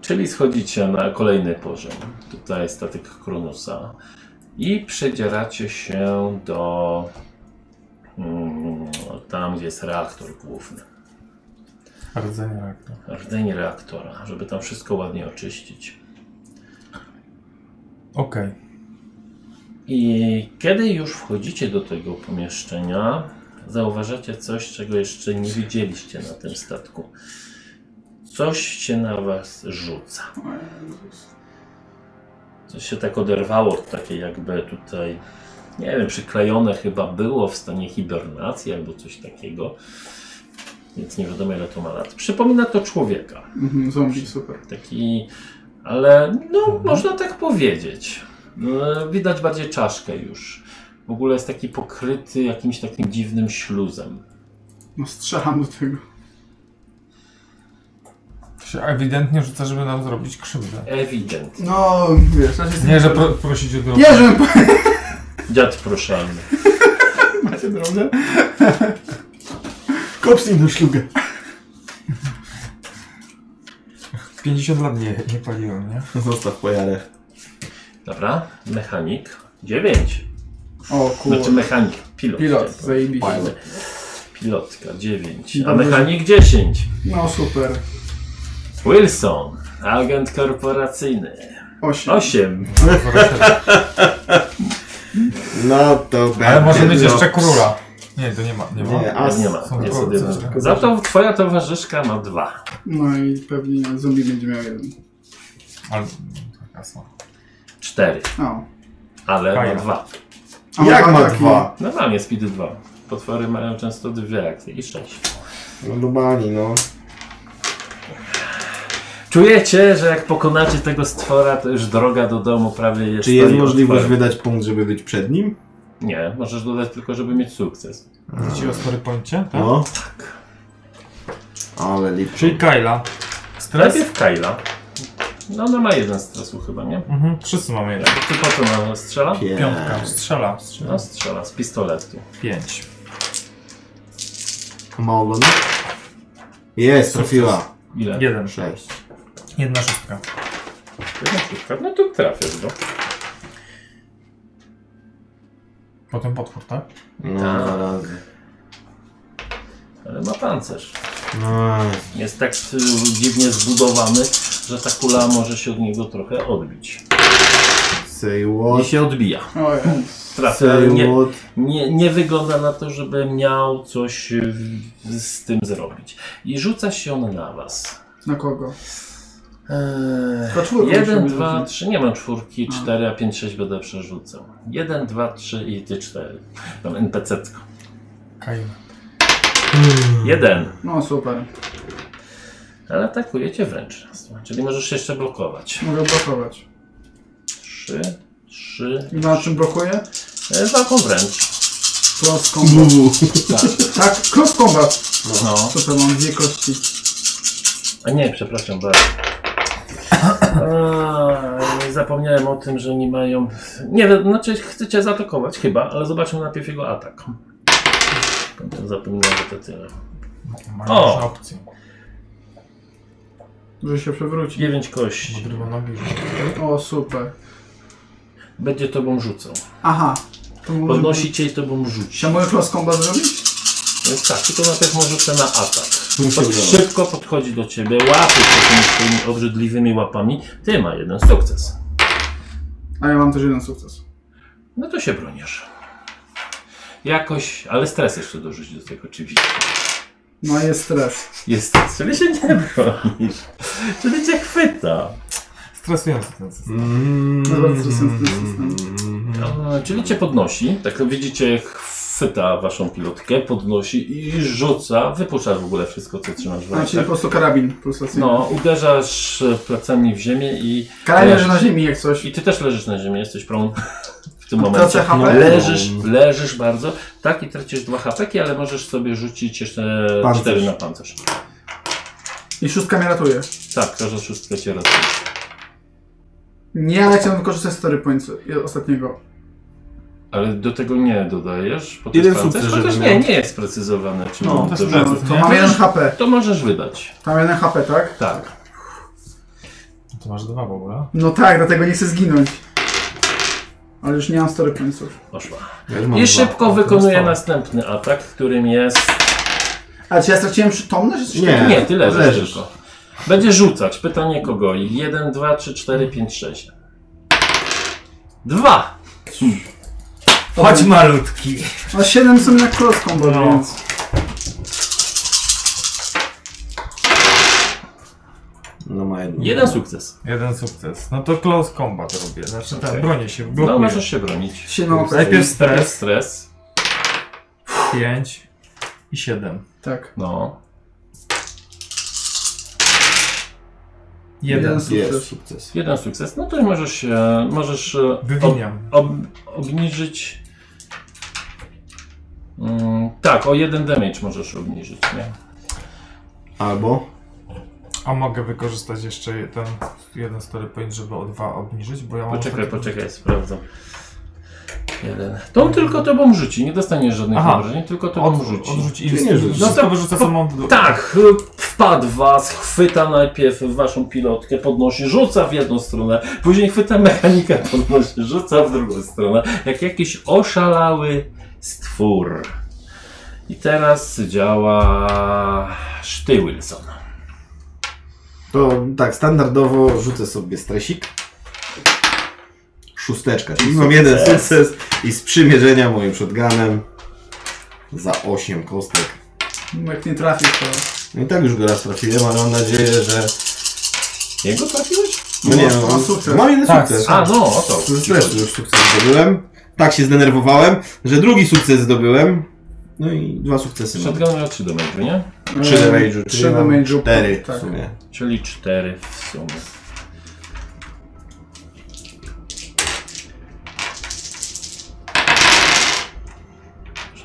Czyli schodzicie na kolejny poziom. Tutaj statek Kronusa. I przedzieracie się do mm, tam, gdzie jest reaktor główny.
Rdzenie reaktora.
Rdzeń reaktora, żeby tam wszystko ładnie oczyścić.
Okej.
I kiedy już wchodzicie do tego pomieszczenia, zauważacie coś, czego jeszcze nie widzieliście na tym statku. Coś się na was rzuca. Coś się tak oderwało, takie jakby tutaj, nie wiem, przyklejone chyba było w stanie hibernacji albo coś takiego. Więc nie wiadomo ile to ma lat. Przypomina to człowieka.
Mhm, zombie, super.
Taki, ale no,
Mhm.
można tak powiedzieć. E, Widać bardziej czaszkę już. W ogóle jest taki pokryty jakimś takim dziwnym śluzem.
No strzelam do tego.
To się ewidentnie rzuca, żeby nam zrobić krzywdę.
Ewidentnie.
No, wiesz, znaczy jestem...
Nie, że pro, prosić o drogę.
Nie, żebym po...
Dziad proszalny.
Macie drogę? Kopsnij do szlugę.
50 lat nie, nie paliłem, nie?
Zostaw pojarę.
Dobra, mechanik. 9.
O kurwa.
Znaczy mechanik, pilot.
Pilot,
chciałem powiedzieć.
zajebiście.
Pilotka 9, a
Dobrze, że-
mechanik 10.
No super.
Wilson, agent korporacyjny.
Osiem.
8.
No to
Ale może
będzie
być
no.
jeszcze króla. Nie, to nie ma, nie ma.
Nie, as.
Nie ma.
Są
Jest
kolce,
jedyna.
tak.
Za to twoja towarzyszka ma 2.
No i pewnie zombie będzie miał jeden.
Ale... tak, taka są.
4,
O.
ale ma
Faja.
2.
A
Jak ma
taki-
dwa?
Normalnie Speedy 2. Potwory mają często dwie akcje i sześć.
No Lubani, no.
Czujecie, że jak pokonacie tego stwora, to już droga do domu prawie jest.
Czy jest
stoi
możliwość
otworem.
wydać punkt, żeby być przed nim?
Nie, możesz dodać tylko, żeby mieć sukces.
Ci o story poincie, tak?
No. Ale lip.
Czyli Kyla. Stres?
Najpierw Kyla. No ona ma jeden stresu chyba, nie?
Mhm, wszyscy mamy jeden.
Ty po co ona strzela?
Piątka, strzela.
No strzela z pistoletu.
Pięć.
Ma ogon? Jest, trafiła.
Ile?
Jeden.
Sześć.
Jedna szóstka.
Jedna szóstka. No to trafiasz go.
Potem potwór, tak?
No,
Tak.
dwa razy.
Ale ma pancerz.
No,
Jest tak y, dziwnie zbudowany, że ta kula może się od niego trochę odbić.
say
I
what?
się odbija.
O, jest.
Trafia, ale
Say
nie,
what?
Nie, nie wygląda na to, żeby miał coś y, z tym zrobić. I rzuca się on na was.
Na kogo? Tylko
Eee,
czwórką
jeden,
musimy
dwa,
rzucić.
trzy. Nie mam czwórki,
A.
cztery, a pięć, sześć będę przerzucał. Jeden, dwa, trzy i ty cztery. Tam NPC.
Kyla.
Hmm. Jeden.
No super.
Ale atakujecie wręcz. nas. Czyli możesz jeszcze blokować.
Mogę blokować.
Trzy, trzy.
I na czym blokuję?
E, walką wręcz.
Cross combat. Tak, cross combat.
No.
Super, mam dwie kości.
A nie, przepraszam bardzo. Eee, zapomniałem o tym, że nie mają. Nie wiem, znaczy chcecie zaatakować chyba, ale zobaczmy najpierw jego atak. Potem Zapomniałem, że to tyle.
Mają
O!
już opcję.
Że się przewróci.
9 kości.
Odrywa nogi.
O super.
Będzie tobą rzucał.
Aha. To może-
Podnosi cię i tobą rzuci.
Się mogę cross combat zrobić?
Więc tak, tylko najpierw może rzucę na atak.
Muszę
Pod,
udawać.
szybko podchodzi do ciebie, łapie się tymi swoimi obrzydliwymi łapami. Ty ma jeden sukces.
A ja mam też jeden sukces.
No to się bronisz. Jakoś, ale stres jeszcze dorzuć do tego oczywiście.
No jest stres.
Jest, czyli się nie bronisz. Czyli cię chwyta.
Stresujący ten system.
Mm.
To jest bardzo stresujący ten system.
E, Czyli cię podnosi, tak widzicie, chwyta waszą pilotkę, podnosi i rzuca, wypuszcza w ogóle wszystko, co trzymasz
A,
w
czyli Znaczy, po
rękach.
prostu karabin pulsacyjny.
tak. No, uderzasz e, plecami w ziemię i,
Karabin leży na ziemi jak coś.
i ty też leżysz na ziemi, jesteś prone. w tym momencie.
HP?
Leżysz, leżysz bardzo. Tak, i tracisz dwa HP, ale możesz sobie rzucić jeszcze
Pancerz.
cztery na pancerz.
I szóstka mnie ratuje.
Tak, każda szóstka cię ratuje.
Nie, ale chciałem wykorzystać story points ostatniego.
Ale do tego nie dodajesz, bo to
Jeden
jest pancerz,
sukces,
chociaż
żeby
nie,
miał. znaczy-
nie jest sprecyzowane, czy
No,
to,
to
że-
jest
No, to
Nie?
mam jeden HP.
to możesz wydać.
Tam jeden HP, tak?
Tak.
To masz dwa w ogóle.
No tak, dlatego nie chcę zginąć. Ale już nie mam story pointsów.
Poszła.
Ja już mam
I
dwa.
szybko wykonuje następny atak, którym jest.
A czy ja straciłem przytomność? Czy coś
Nie.
takiego?
Nie, ty leżysz,
leżysz.
tylko. Będzie rzucać. Pytanie kogo? 1, 2, 3, 4, 5, 6. 2!
Chodź malutki.
No 7 są na cross combo,
No.
więc...
No ma jedno.
Jeden sukces.
Jeden sukces. No to close combat robię. Znaczy
Okej.
tak, bronię się,
No,
blokuję.
możesz się bronić.
Się no,
Najpierw
Jest
stres,
stres.
pięć i siedem.
tak.
No.
Jeden.
Jest sukces.
Jeden sukces. No to i możesz się. Możesz. e, ob-
Wywiniam.
ob, obniżyć. Mm, tak, o jeden damage możesz obniżyć, nie?
Albo?
A mogę wykorzystać jeszcze ten jeden story point, żeby o dwa obniżyć, bo ja mam...
Poczekaj,
ostatni-
poczekaj, sprawdzam. Jeden. To on tylko tobą rzuci, nie dostaniesz żadnych
Aha.
obrażeń, tylko tobą
Od,
rzuci.
odrzuć
Ty
i
nie rzucisz.
no to wyrzucę co mam w
Tak, wpadł w was, chwyta najpierw waszą pilotkę, podnosi, rzuca w jedną stronę, później chwyta mechanikę, podnosi, rzuca w drugą stronę, jak jakiś oszalały stwór. I teraz działa szty Wilson.
To tak, standardowo rzucę sobie stresik. Szósteczka, czyli mam jeden sukces i z przymierzenia moim shotgunem za 8 kostek.
Jak nie trafisz, to...
No i tak już go raz trafiłem, ale mam nadzieję, że...
Jego trafiłeś?
No nie,
No,
mam
sukces.
Mam jeden
Tak,
sukces.
A, no, o to.
Ze stresu już sukces zdobyłem. Tak się zdenerwowałem, że drugi sukces zdobyłem. No i dwa sukcesy mam.
Shotgun miał 3 do metru, nie?
3 damage'u,
3
czyli mam
damage'u.
4 w
E, tak.
sumie.
Czyli 4 w sumie.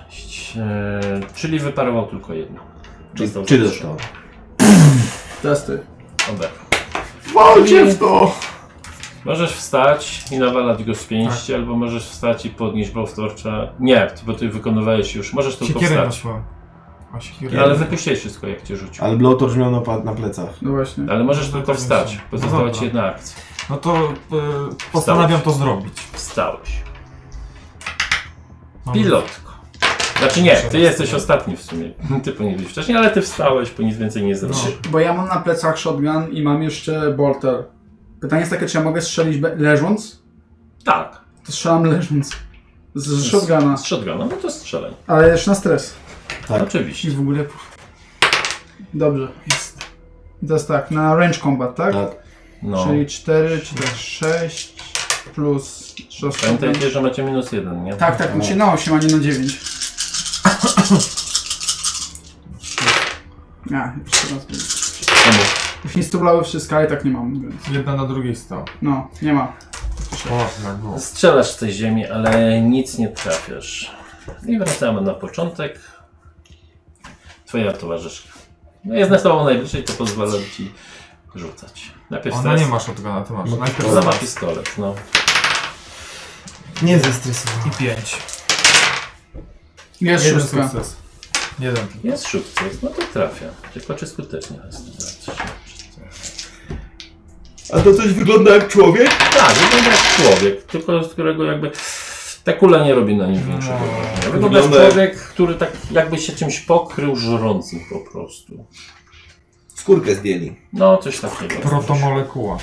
Sześć, e, czyli wyparował tylko jedno.
Czyli
Dostał
Czy
za
dostał?
Testy.
trzy. Oberwał.
Walcie w to!
Możesz wstać i nawalać go z pięści,
Tak.
albo możesz wstać i podnieść bałstorcza. Nie, bo ty wykonywałeś już. Możesz tylko
Siekierę
wstać. No,
nosiłem. A siekierę.
Ale wypuściłeś wszystko, jak cię rzucił.
Ale Blowtorch miał napad na plecach.
No właśnie.
Ale możesz
No
tylko
tak,
wstać,
myślę.
bo została
No
ci
dobra.
jedna akcja.
No to y, postanawiam to zrobić.
Wstałeś.
Mam-
Pilotko. Znaczy nie, ty
Przepraszam.
jesteś ostatni w sumie. Ty powinieneś wcześniej, ale ty wstałeś, bo nic więcej nie
No.
zrobiłeś.
Bo ja mam na plecach shotgun i mam jeszcze bolter. Pytanie jest takie, czy ja mogę strzelić be- leżąc?
Tak.
To strzelam leżąc. Z, z shotguna.
Z shotguna, no to strzelaj.
Ale jeszcze na stres.
Tak.
Oczywiście.
I w ogóle... Dobrze. Jest. To jest tak, na range combat, tak?
Tak.
No.
Czyli 4, czy też 6 plus 6.
Pamiętajcie, że macie minus jeden, nie?
Tak, tak, znaczy na 8, a nie na 9. A, jeszcze raz. będzie.
Czemu?
Już nie stublały wszystkie, ale tak nie mam, więc.
Jedna na drugiej stał.
No, nie ma.
O, tak było.
Strzelasz z tej ziemi, ale nic nie trafiasz. I wracamy na początek. Twoja towarzyszka. No jest na sobą najbliżej, to pozwala ci rzucać. Najpierw
Ona
stres,
nie ma shotguna, ty masz. Najpierw
ona ma
No zobacz.
pistolet, no.
Nie zestresowałem.
I pięć.
Jest
Jeden
szóstka.
sukces. Jeden.
Jest sukces, no to trafia. Tylko czy skutecznie jest?
A to coś wygląda jak człowiek?
Tak, wygląda jak człowiek, tylko z którego jakby ta kula nie robi na nim większego
No.
wrażenia. Wygląda jak
Wygląda jak-
człowiek, który tak jakby się czymś pokrył żrącym po prostu.
Skórkę zdjęli.
No, coś takiego.
Protomolekuła.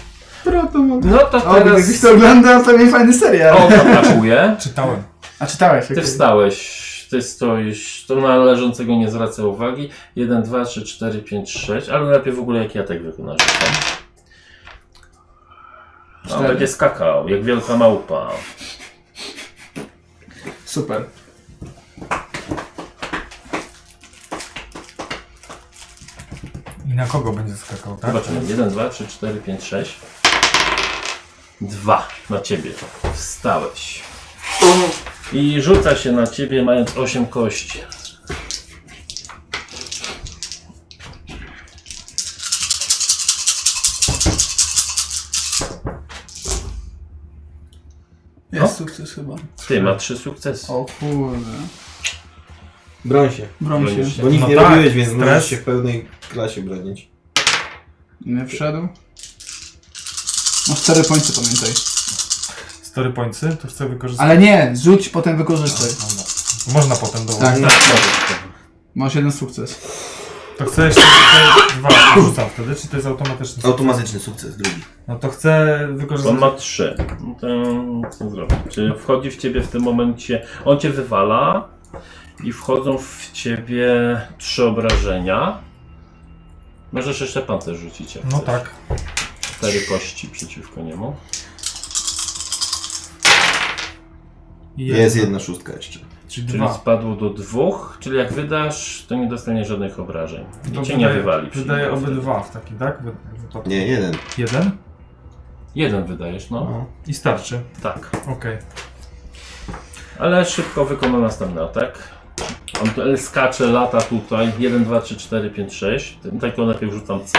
No to
O, gdybyś
teraz
to oglądał, to mi fajny serial.
on atakuje.
Czytałem.
A czytałeś?
Ty
okej.
wstałeś, ty stoisz, to na leżącego nie zwraca uwagi. 1, 2, 3, 4, 5, 6, ale lepiej w ogóle jak ja tak wykonasz. On
Cztery.
będzie skakał, jak wielka małpa.
Super.
I na kogo będzie skakał, tak?
Zobaczymy. 1, 2, 3, 4, 5, 6. 2 na ciebie. Wstałeś. I rzuca się na ciebie, mając 8 kości. no.
Jest sukces chyba.
Ty, ma 3 sukcesy.
O kurde.
Broń się.
Broń się.
Bronisz się.
Bo nic
No
nie
tak,
robiłeś, więc
stres.
możesz się w pełnej klasie bronić.
Nie wszedł. Masz 4 pońce, pamiętaj.
Story pointsy, to chcę wykorzystać.
Ale nie, rzuć, potem wykorzystaj.
Dobra. Można potem dołożyć.
Tak,
Tak, możesz.
masz jeden sukces.
To chcę jeszcze te dwa rzucam wtedy, czy to jest automatyczny?
Automatyczny sukces, drugi.
No to chcę
On
wykorzystać.
ma trzy. No to co zrobić? Czy wchodzi w ciebie w tym momencie. On cię wywala i wchodzą w ciebie trzy obrażenia. Możesz jeszcze pancerz rzucić. Jak
No
chcesz.
tak.
Cztery kości przeciwko niemu.
Jest jedna szóstka jeszcze.
Czyli
Czyli
dwa.
spadło do dwóch, czyli jak wydasz, to nie dostanie żadnych obrażeń. I
To
cię nie
wydaje-
wywali.
Wydaje
Czyli
obydwa w taki, tak? Wy- wypadku.
Nie, jeden.
Jeden?
Jeden wydajesz, no.
I starczy.
Tak.
Okej.
Ale szybko wykona następny atak. On tu- skacze, lata tutaj. 1, 2, 3, 4, 5, 6. Tylko najpierw rzucam co?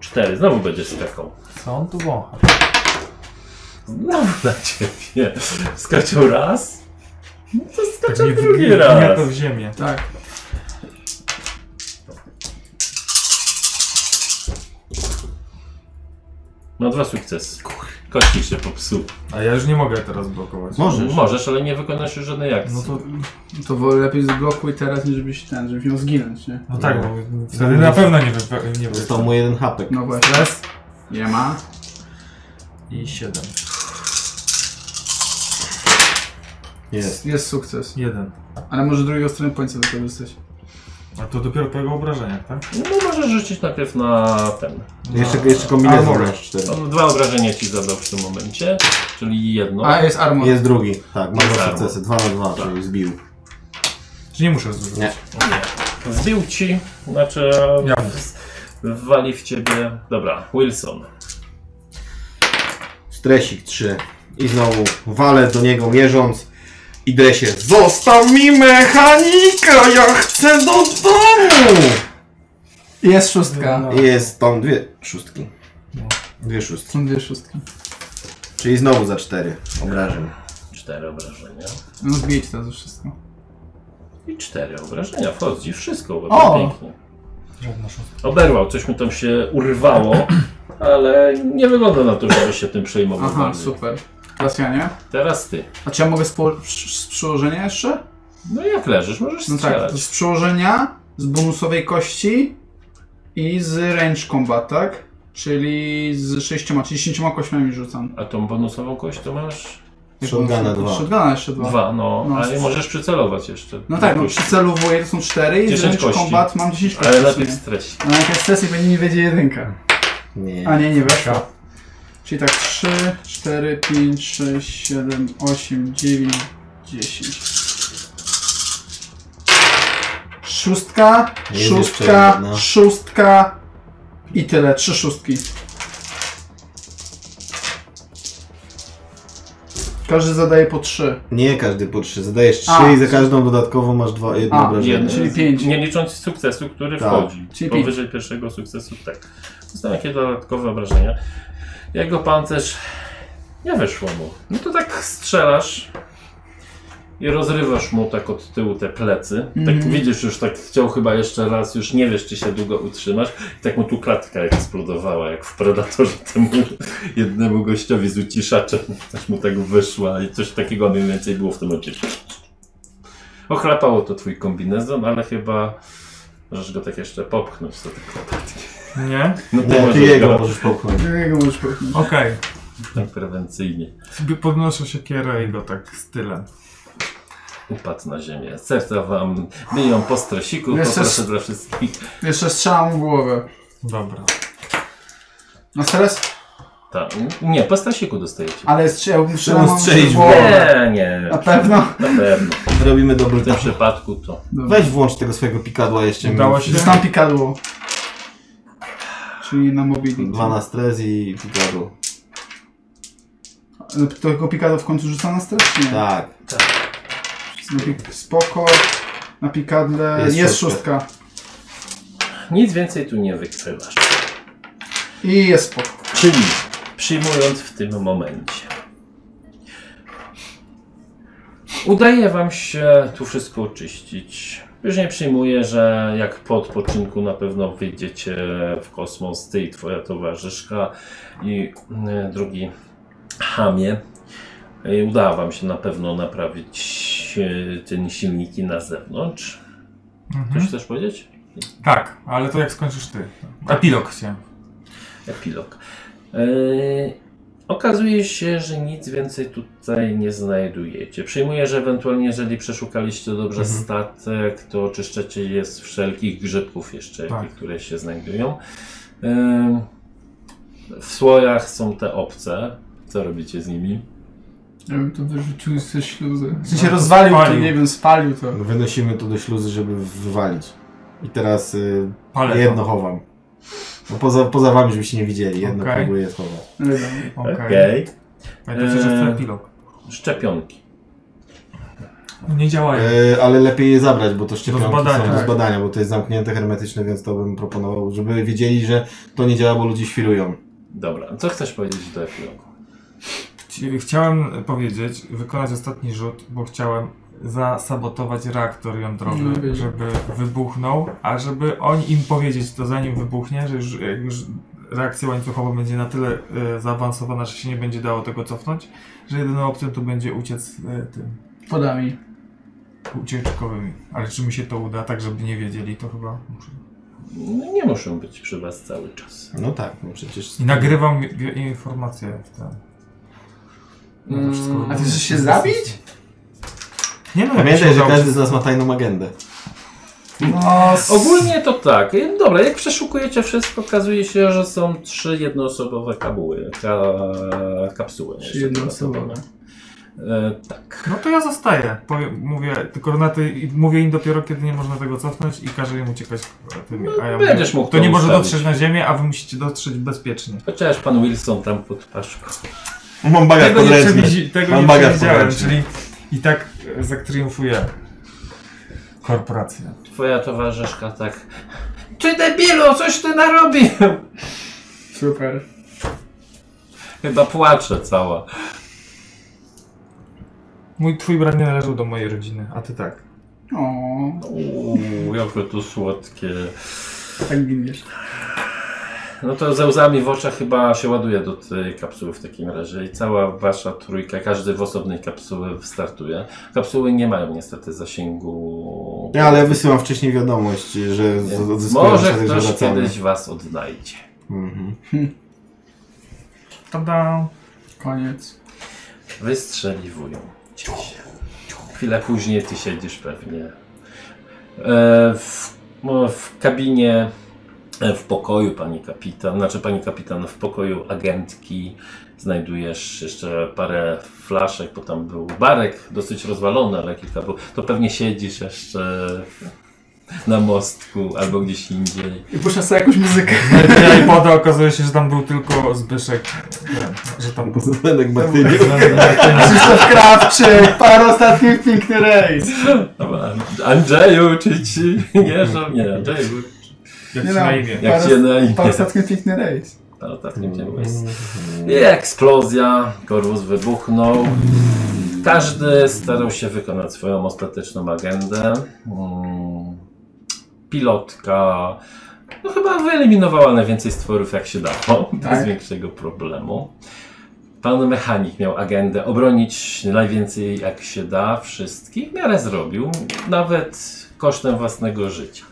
4. Znowu będziesz skakał.
Co on tu wącha?
Znowu na ciebie. Skaczał raz. No to skaczał
Tak nie
drugi
nie-
raz.
Nie to w ziemię.
Tak.
No dwa sukcesy. Kości się popsuł.
A ja już nie mogę teraz blokować.
Możesz.
Możesz, ale nie wykonasz już żadnej akcji.
No to.
To wolę lepiej zblokuj teraz, niż byś ten, żebyś miał zginąć, nie?
No tak,
No.
bo wtedy na pewno nie wype- nie
Został
wype-
mu jeden hapek.
No właśnie.
Raz
Nie ma.
i siedem.
Jest.
Jest sukces.
Jeden.
Ale może drugiego strony pońca wykorzystać.
A to dopiero po jego obrażeniach, tak?
No możesz rzucić najpierw na ten.
No. Jeszcze,
Na-
jeszcze kombinezon
Armor.
masz cztery.
On dwa obrażenia ci zadał w tym momencie, czyli jedno.
A, jest
No.
armor.
No. Jest drugi. Tak, ma dwa
Armor.
sukcesy. Dwa na dwa,
Tak.
czyli zbił.
Czy nie muszę zrzucić?
Nie.
Zbił ci, znaczy
Ja.
wali w ciebie. Dobra, Wilson.
Stresik 3. I znowu walę do niego mierząc. I dresie. Zostaw mi mechanika! Ja chcę do domu!
Jest
No,
szóstka.
I Jest tam dwie szóstki.
No.
Dwie szóstki.
Są dwie szóstki.
Czyli znowu za cztery obrażeń.
Cztery obrażenia.
No zbijcie teraz już wszystko.
I cztery obrażenia. Wchodzi wszystko,
O!
bardzo pięknie. Oberwał, coś mu tam się urwało, ale nie wygląda na to, żeby się tym przejmował.
Aha,
bardziej.
super. Teraz ja nie?
Teraz ty.
A czy ja mogę z, po, z, z przyłożenia jeszcze?
No jak leżysz, możesz
No tak,
strzelać.
to z przyłożenia, z bonusowej kości i z range combat, tak? Czyli z sześcioma, czyli z dziesięcioma kośmiami rzucam.
A tą bonusową kość to masz
Shotguna dwa.
Shotguna jeszcze dwa.
dwa, no,
No,
ale
z-
możesz przycelować jeszcze.
No tak, no
Jakoś.
przycelowuję, to są cztery i z
10
range
kości.
combat mam 10 kości.
Ale
w
lepiej
sumie.
stres.
No jakaś sesja będzie mi wiedzie jedynka. A
Nie.
nie, nie weszło. Czyli tak 3, 4, 5, 6, 7, 8, 9, 10. Szóstka,
Jest jeszcze
szóstka,
jedna.
szóstka i tyle. Trzy szóstki. Każdy zadaje po trzy.
Nie każdy po trzy. Zadajesz trzy
A.
i za każdą dodatkowo masz dwa, jedno
A,
obrażenie.
Nie,
Czyli
z-
pięć.
Nie licząc sukcesu, który
Tak.
wchodzi.
Czyli
Powyżej pierwszego sukcesu, tak. Zostały jakieś dodatkowe obrażenia. Jego pancerz nie wyszło mu. No to tak strzelasz i rozrywasz mu tak od tyłu te plecy. Tak widzisz, już tak chciał chyba jeszcze raz, już nie wiesz, czy się długo utrzymasz. I tak mu tu klatka eksplodowała, jak w Predatorze temu jednemu gościowi z uciszaczem. Też mu tak wyszła i coś takiego mniej więcej było w tym momencie. Ochlapało to twój kombinezon, ale chyba możesz go tak jeszcze popchnąć do tej klatki.
Nie?
No
Nie, ty Tak, jego możesz popchnąć.
Jakiego No, możesz powiedzieć?
Okej.
tak prewencyjnie.
Sobie podnoszę siekierę i go tak stylem.
Upadł na ziemię. Serca wam biją po strosiku,
Jeszcze
poproszę
s-
dla wszystkich.
Jeszcze strzelam w głowę.
Dobra.
No teraz?
Ta, nie, po strosiku dostajecie.
Ale strzelam, strzelam
strzelić w
Nie, nie,
Na pewno?
na pewno.
Robimy dobry
W tym
tak.
przypadku to.
Weź włącz tego swojego pikadła jeszcze.
Udało się?
Zostałem pikadło. Czyli na mobility.
Dwa na stres i pikadło.
Ale Tego pika No, to w końcu rzuca na stres? Nie.
Tak.
Na pik- Spoko. Na pikadle
Jest
jest,
szóstka.
szóstka.
Nic więcej tu nie wykrywasz.
I jest spoko.
Czyli przyjmując w tym momencie. Udaje wam się tu wszystko oczyścić. Już nie przyjmuję, że jak po odpoczynku na pewno wyjdziecie w kosmos, ty i twoja towarzyszka i mm, drugi Hamie. I Udało wam się na pewno naprawić e, ten silniki na zewnątrz. Coś chcesz powiedzieć?
Mhm. Tak, ale to jak skończysz ty. Epilog chciałem.
epilog. Yy, okazuje się, że nic więcej tutaj nie znajdujecie. Przyjmuję, że ewentualnie, jeżeli przeszukaliście dobrze
Mhm.
statek, to oczyszczacie je z wszelkich grzybków jeszcze,
Tak.
jakie- które się znajdują. Yy, w słojach są te obce. Co robicie z nimi?
Ja bym to wyrzucił ze śluzy.
W sensie rozwalił to,
Spalił.
nie wiem, spalił to.
Wynosimy to do śluzy, żeby wywalić. I teraz y,
Ale
jedno chowam. No poza, poza wami, żebyście nie widzieli. Jedno
Okej.
próbuję schować.
Nie wiem.
Okej.
Eee.
Pamiętajcie, że to epilog.
Szczepionki.
Nie działają.
E, ale lepiej je zabrać, bo to szczepionki
zbadania.
są do
Tak.
zbadania, bo to jest zamknięte, hermetyczne, więc to bym proponował, żeby wiedzieli, że to nie działa, bo ludzie świrują.
Dobra, co chcesz powiedzieć do epilogu?
Chci- Chciałem powiedzieć, wykonać ostatni rzut, bo chciałem zasabotować reaktor jądrowy,
No, wiedziałem.
żeby wybuchnął, a żeby oni im powiedzieć to zanim wybuchnie, że już, jak już reakcja łańcuchowa będzie na tyle e, zaawansowana, że się nie będzie dało tego cofnąć, że jedyną opcją to będzie uciec e, tym
Podami.
ucieczkowymi. Ale czy mi się to uda, tak żeby nie wiedzieli, to chyba muszę.
No, nie muszą być przy was cały czas.
No tak, no przecież...
I nagrywam i- i- informacje w ten. No to wszystko
Mm,
A ty
wygląda-
chcesz się zabić?
Nie no,
Pamiętaj,
jakby
że
się udało-
każdy z nas ma tajną agendę.
No, s-
Ogólnie to tak. Dobra, jak przeszukujecie wszystko, okazuje się, że są trzy jednoosobowe kabuły, ka, kapsuły.
Trzy jednoosobowe.
E, tak.
No to ja zostaję. Powiem, mówię, tylko na tej, mówię im dopiero, kiedy nie można tego cofnąć i każę im uciekać. e, Tymi, a ja mówię,
Będziesz mógł
to nie może
ustalić.
dotrzeć na ziemię, a wy musicie dotrzeć bezpiecznie.
Chociaż pan Wilson tam pod paszką.
Mam bagaż
Tego nie,
podręczny.
przewidziałem, tego
Mam
nie
bagaż
przewidziałem,
podręczny.
czyli i tak e, zatriumfuje korporacja.
Twoja towarzyszka tak. Ty debilu, coś ty narobił!
Super.
Chyba płacze cała.
Mój twój brat nie należał do mojej rodziny, a ty tak.
O,
Uuu, jakie to słodkie.
tak giniesz.
No to ze łzami w oczach chyba się ładuje do tej kapsuły w takim razie i cała wasza trójka, każdy w osobnej kapsuły startuje. Kapsuły nie mają niestety zasięgu.
Ja, ale ja wysyłam wcześniej wiadomość, że z- odzyskują
Może
statek, że
ktoś
wracamy.
kiedyś was odnajdzie.
Mhm.
Tada.
Koniec.
Wystrzeliwują cię. Chwilę później ty siedzisz pewnie e, w, no, w kabinie, e, w pokoju pani kapitan, znaczy pani kapitan, w pokoju agentki znajdujesz jeszcze parę flaszek, bo tam był barek dosyć rozwalony, ale kilka było. To pewnie siedzisz jeszcze na mostku albo gdzieś indziej.
I puszcza sobie jakąś muzykę.
Ja No i poda okazuje się, że tam był tylko Zbyszek. Ten, że tam był.
Zdenek Martyniuk.
tak?
Krzysztof Krawczyk, parę ostatnich piękny rejs.
Dobra, Andrzeju, czy ci nie, że nie, Andrzeju,
Jak
Nie
się
no.
na imię.
jak cię na imię?
Parę ostatnich piękny rejs.
Ale tak nie wiem, jest. I eksplozja, korpus wybuchnął. Każdy starał się wykonać swoją ostateczną agendę. Mm, Pilotka no chyba wyeliminowała najwięcej stworów jak się dało, bez
Tak.
większego problemu. Pan mechanik miał agendę obronić najwięcej jak się da wszystkich, w miarę zrobił, nawet kosztem własnego życia.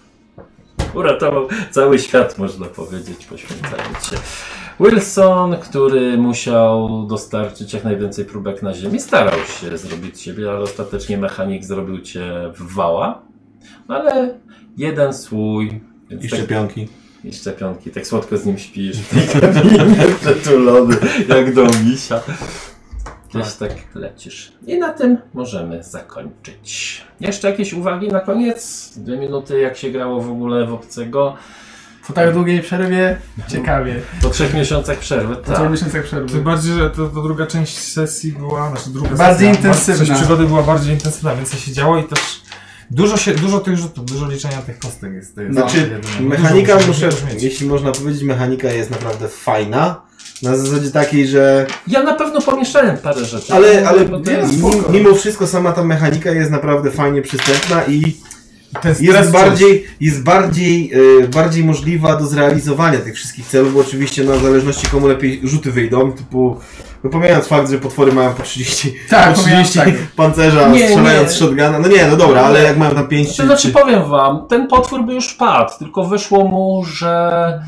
Uratował cały świat, można powiedzieć, poświęcając się. Wilson, który musiał dostarczyć jak najwięcej próbek na ziemi, starał się zrobić siebie, ale ostatecznie mechanik zrobił cię w wała, No ale jeden słój. więc
I
tak-
szczepionki.
i szczepionki, tak słodko z nim śpisz. w tej kabinie, Przetulony, jak do misia. Gdzieś tak lecisz. I na tym możemy zakończyć. Jeszcze jakieś uwagi na koniec? Dwie minuty, jak się grało w ogóle w obcego.
Po tak długiej przerwie ciekawie.
Po trzech miesiącach przerwy,
Po trzech
tak.
miesiącach przerwy.
Tym bardziej, że to, to druga część sesji była, znaczy druga
Bardziej
sesja,
intensywna.
Część przygody była bardziej intensywna, więcej się działo i też dużo, się, dużo tych rzutów, dużo liczenia tych kostek jest. To jest zawsze
Znaczy,
jedyne.
mechanika,
No, Dużo
muszę,
musimy też mieć.
jeśli można powiedzieć, mechanika jest naprawdę fajna. Na zasadzie takiej, że.
Ja na pewno pomieszczałem parę rzeczy.
Ale, ale
Bo No, to
nie,
jest-
mi-
spoko.
mimo wszystko sama ta mechanika jest naprawdę fajnie przystępna i
Ten
jest
stres
bardziej, jest bardziej, e, bardziej możliwa do zrealizowania tych wszystkich celów, bo oczywiście na zależności komu lepiej rzuty wyjdą, typu, no pomijając fakt, że potwory mają po 30,
Tak,
po
pomijam,
30
tak.
pancerza,
Nie,
strzelając
nie.
z shotguna, no nie, no dobra, ale jak mają tam 5
To znaczy powiem wam, ten potwór by już padł, tylko wyszło mu, że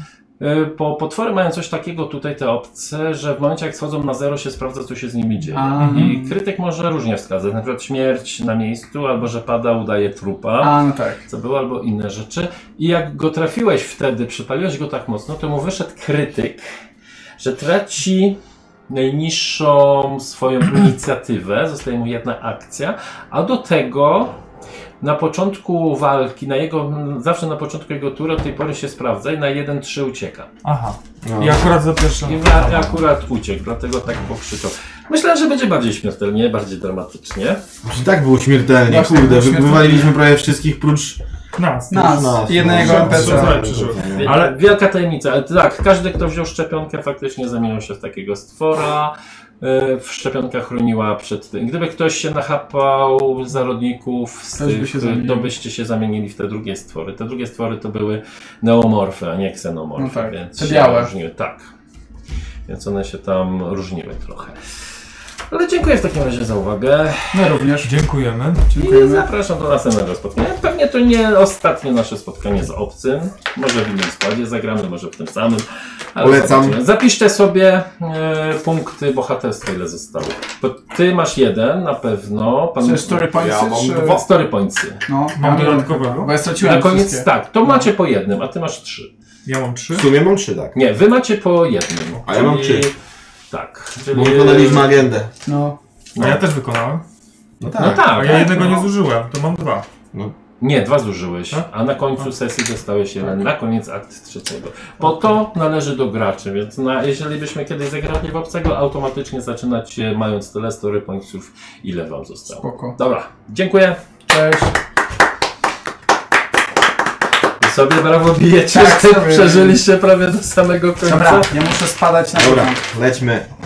y, po potwory mają coś takiego tutaj te obce, że w momencie jak schodzą na zero się sprawdza co się z nimi dzieje.
A.
I krytyk może różnie wskazać, na przykład śmierć na miejscu, albo że pada, udaje trupa,
A, no tak.
co było, albo inne rzeczy. I jak go trafiłeś wtedy, przypaliłeś go tak mocno, to mu wyszedł krytyk, że traci najniższą swoją inicjatywę, zostaje mu jedna akcja, a do tego na początku walki, na jego, zawsze na początku jego tury od tej pory się sprawdza i na 1-3 ucieka.
Aha. I akurat za pierwszym.
I wa- akurat uciekł, dlatego tak pokrzyczał. Myślę, że będzie bardziej śmiertelnie, bardziej dramatycznie.
Już i tak było śmiertelnie,
Właśnie,
kurde,
było
wy-
śmiertelnie.
wywaliliśmy prawie wszystkich, prócz
Nas.
Nas, jednego
no.
NPC.
Ale
Ale-
wielka tajemnica, ale tak, każdy kto wziął szczepionkę faktycznie zamieniał się w takiego stwora. Yy, W szczepionka chroniła przed tym. Gdyby ktoś się nachapał zarodników, z
Też by
tych, e,
się zamienił.
to byście się zamienili w te drugie stwory. Te drugie stwory to były neomorfy, a nie ksenomorfy.
No tak,
więc
te
się
białe.
Różniły. Tak. Więc one się tam różniły trochę. Ale dziękuję w takim razie za uwagę
My również.
Dziękujemy.
i
Dziękujemy.
zapraszam do następnego spotkania. Pewnie to nie ostatnie nasze spotkanie z obcym. Może w innym składzie zagramy, może w tym samym. ale
Polecam.
zobaczymy. Zapiszcie sobie e, punkty bohaterstwa, ile zostało. Bo ty masz jeden na pewno. Pan
Czy story points,
Ja mam
czy...
dwa.
Story pointsy.
No,
Mam
ja
dodatkowego.
Bo ja
Na
straciłem
koniec
wszystkie. No.
tak, to macie po jednym, a ty masz trzy.
Ja mam trzy.
W sumie mam trzy, tak.
Nie, wy macie po jednym.
A ja mam
czyli-
trzy.
Tak.
Bo
czyli-
wykonaliśmy agendę.
No.
No.
A ja też wykonałem.
No
No
tak.
A
tak.
ja jednego
no.
nie zużyłem, to mam dwa.
Nie, dwa zużyłeś,
Tak?
A?
a na końcu sesji dostałeś jeden, na koniec akt trzeciego. Bo to należy do graczy, więc na, jeżeli byśmy kiedyś zagrali w obcego, automatycznie zaczynać się mając tyle story pointsów, ile wam zostało.
Spoko.
Dobra, dziękuję.
Cześć.
Wy sobie brawo bijecie,
Tak
że
sobie.
przeżyliście prawie do samego końca.
Dobra, ja muszę spadać na
Dobra,
dół.
lećmy.